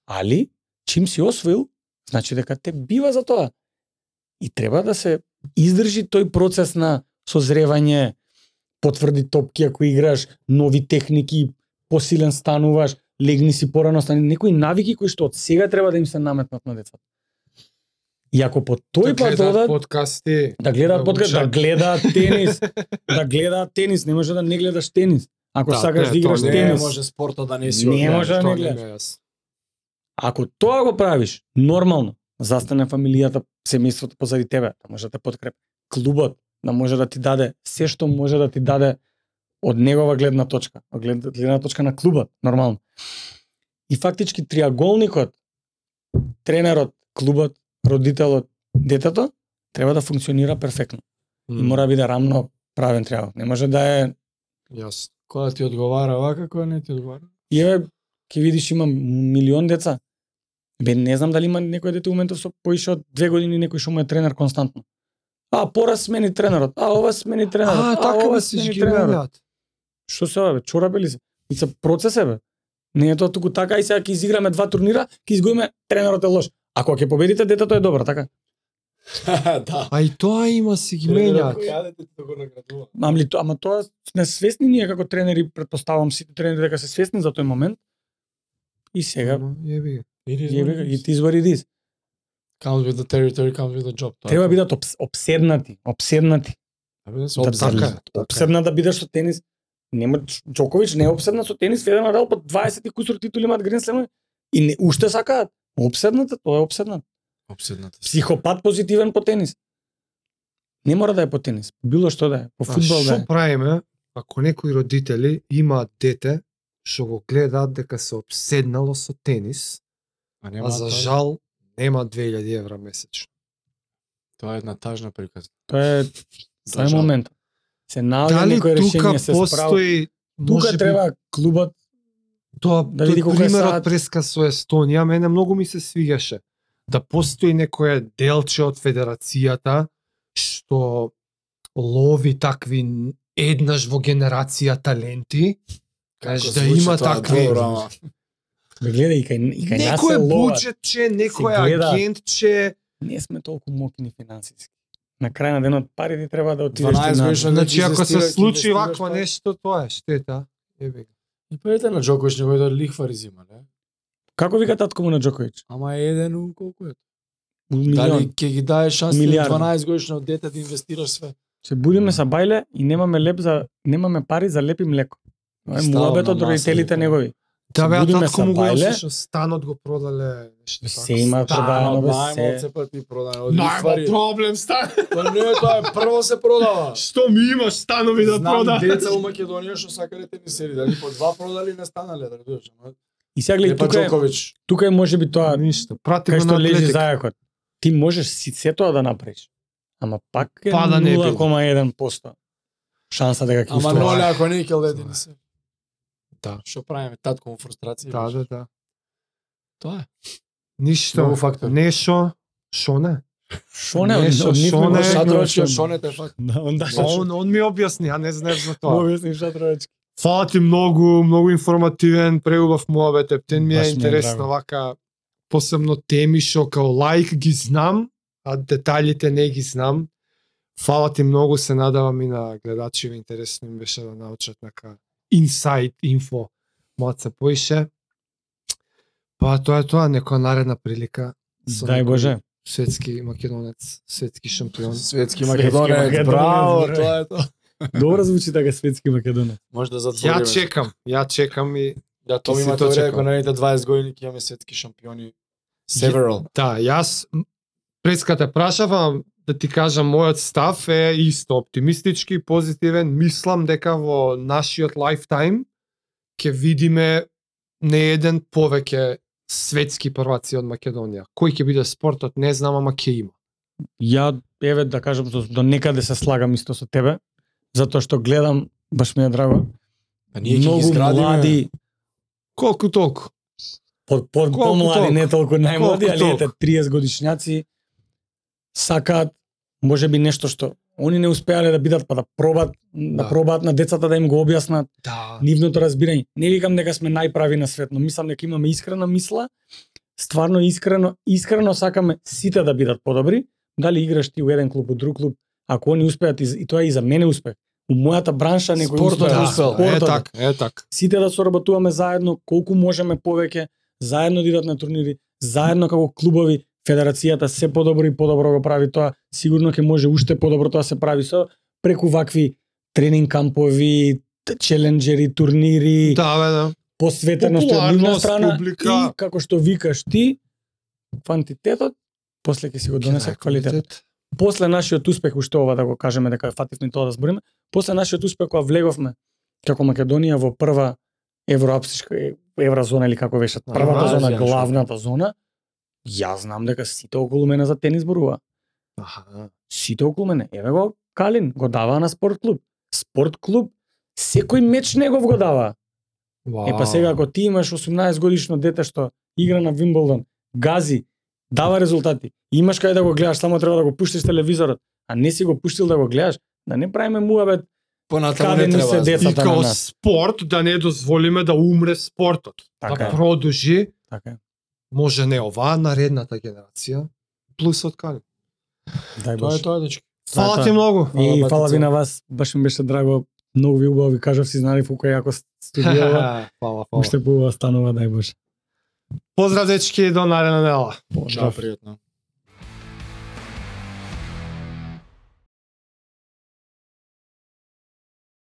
Али, чим си освоил, значи дека те бива за тоа. И треба да се издржи тој процес на созревање, потврди топки ако играш, нови техники, посилен стануваш, легни си порано, стани некои навики кои што од сега треба да им се наметнат на децата. И ако по Да тој пат гледаат одат, подкасти. да гледаат Да подкаст, да учат. гледаат <laughs> тенис, да гледаат тенис, не може да не гледаш тенис. Ако Да, сакаш не, да тоа играш не тенис, може спорта да не си Не одгледаш, може да не тоа гледаш. ме јас. Ако тоа го правиш, нормално, застане фамилијата, семејството позади тебе, да може да те подкрепи. Клубот да може да ти даде се што може да ти даде од негова гледна точка, од глед- гледна точка на клубот, нормално. И фактички триаголникот, тренерот, клубот, родителот, детето, треба да функционира перфектно. И мора да биде рамно правен триагол. Не може да е Јас. Кога ти одговара вака, кога не ти <laughs> одговара. И еве, ќе видиш има милион деца. Бе, не знам дали има некој дете ументов со поише од две години некој што му е тренер константно. А, пора смени тренерот. А, ова смени тренерот. А, така ова да си смени ги тренерот. гледаат. Што се ова, бе? Чорабе ли се? И се процес е, бе. Не е тоа туку така, и сега ќе изиграме два турнира, ќе изгубиме, тренерот е лош. Ако ќе победите, детето е добро, така? да. А и тоа има си ги менјат. Јадете да тоа го наградува. Ама, ли, то- ама тоа сме свесни ние како тренери, предпоставам сите тренери дека се свесни за тој момент. И сега Ама, Јеби. га. и ти извари дис. Comes with the territory, comes with the job. Тоа е Треба тоа. бидат обс- обседнати, Така обседнати. Треба да се Да, обзакаат. така е, Така е. Обседнат да бидеш со тенис. Нема Джокович не е обседнат со тенис, Федер Надал под 20 и кусур титули имаат Грен Слемови и не, уште сакаат. Обседната, тоа е обседнат. Обседната. Психопат позитивен по тенис. Не мора да е по тенис, било што да е, по А фудбал да е. Што правиме ако некои родители имаат дете што го гледаат дека се обседнало со тенис, А а нема тоа. за жал нема 2000 евра месечно. Тоа е една тажна приказна. Тоа е За тоа е жал. момент. Се наоѓа Дали некој тука решение се справи. постои може Тука би треба клубот Тоа, Да тој види колку е примерот саат. преска со Естонија, мене многу ми се свигаше. Да постои некоја делче од федерацијата, што лови такви н- еднаш во генерација таленти, Кажеш Како да звучи има тоа, такви. Добро, ама. Бе, гледај и кај и кај нас да се некој лова. буџетче, некој Се гледа. агентче, Не сме толку мокни финансиски. На крај на денот парите треба да отидеш 12 ти на годишно значи ако се инвестираш, случи инвестираш, вакво па- нешто, тоа е штета. Ебе. И парите на Джокович не да лихва зима, не? Како вика татко му на Джокович? Ама е еден у колку е? Дали Милион. ќе ги даеш шанси на Милиарди. 12 годишно дете да инвестираш све? Се будиме Да. са бајле и немаме леп за немаме пари за леп и млеко. Тоа е Ставам муабет на од маса, родителите викам. негови. Да бе, а будиме татко са му го бајле. имаше што станот го продале нешто така. Се има продадено Станот, бе најмал се. се пати продан. Од Најма лихвари. проблем стан. Па не, тоа е прво се продава. <laughs> Што ми имаш станови да Знам прода? деца у Македонија што сакале тенисери, дали по два продали не станале, да разбираш, ама. И сега Не гледај па тука е, Джокович. тука е можеби тоа Ништо, прати кај го на што лежи атлетика. зајакот. Ти можеш си се тоа да направиш. Ама пак е Па да не е било. 0,1% шанса дека ќе Ама успееш. ноле ако не ќе леди не се. Да. Што правиме татко му фрустрација? Да, да, да. Тоа е. Ништо. Многу фактор. Нешо, шо не? Шо не, од Нешто, од нив шо не не, може шо Шатрович шатровачки. од Шонет е факт. Да, он <laughs> да А Па Он, он ми објасни, а не знаев за тоа. Објасни шатровачки. Фала ти многу, многу информативен, преубав муабет, ептен ми Баш ми е е интересно драго. вака посебно теми што као лаик ги знам, а деталите не ги знам. Фала ти многу, се надавам и на гледачиве интересно им беше да научат нека инсайт инфо малце се поише. Па тоа е тоа, некоја наредна прилика со Дај некој Боже. светски македонец, светски шампион. Светски македонец, македонец, браво, браво. тоа е тоа. Добро звучи така светски македонец. Може да Ја затвориме. чекам, ја чекам и Да, тоа Ти ми си има тоа тоа чекал. ако наредите 20 години ќе имаме светски шампиони. Several. Да, јас преската прашав, ама да ти кажам мојот став е исто оптимистички, позитивен, мислам дека во нашиот лайфтайм ќе видиме не еден повеќе светски прваци од Македонија. Кој ќе биде спортот, не знам, ама ќе има. Ја еве да кажам што до некаде се слагам исто со тебе, затоа што гледам баш ми е драго. Па ние ќе ги Многу изградиме. млади, Колку толку. по, по, Колку помлади, толку? не толку најмлади, Колку али ете толку? 30 годишњаци сакаат може би нешто што они не успеале да бидат па да пробат да, Да. пробаат на децата да им го објаснат Да. нивното разбирање. Не викам дека сме најправи на свет, но мислам дека имаме искрена мисла, стварно искрено, искрено сакаме сите да бидат подобри, дали играш ти у еден клуб, у друг клуб, ако они успеат и, и тоа е и за мене успех. У мојата бранша некој Спортот успеа, е успел. Е спортот е. така, е така. Сите да соработуваме заедно, колку можеме повеќе, заедно да идат на турнири, заедно како клубови, федерацијата се подобро и подобро го прави тоа, сигурно ќе може уште подобро тоа се прави со преку вакви тренинг кампови, т- челенџери, турнири, Да, бе, да. посветеност од нивна Популарност, страна публика. и како што викаш ти, квантитетот после ќе си го донесе квалитет. После нашиот успех уште ова да го кажеме дека фативме тоа да збориме, после нашиот успех кога влеговме како Македонија во прва евроапсичка е- евразона или како беше Да, првата Евразија, зона, шо? главната зона, ја знам дека сите околу мене за тенис зборува. Аха. Сите околу мене. Еве го Калин го дава на спорт клуб. Спорт клуб секој меч негов го дава. Вау. Е па сега ако ти имаш 18 годишно дете што игра на Вимблдон, гази, дава резултати, имаш кај да го гледаш, само треба да го пуштиш телевизорот, а не си го пуштил да го гледаш, да не правиме муабет. Понатаму Каде не ни се треба. да деца? знам. И децата на као нас. спорт да не дозволиме да умре спортот. Така да Па, е, продолжи така е. може не оваа наредната генерација, плюс од Калин. Дај Тоа Боже. е тоа, дечки. Фала Затоа- ти многу. Фала, И фала батица. ви <laughs> на вас, баш ми беше драго. Многу ви убаво ви кажав, си знали фука јако студијава. <laughs> Фала, фала. Уште убава станува, дај Боже. Поздрав, дечки, до наредна недела. Чао, пријатно.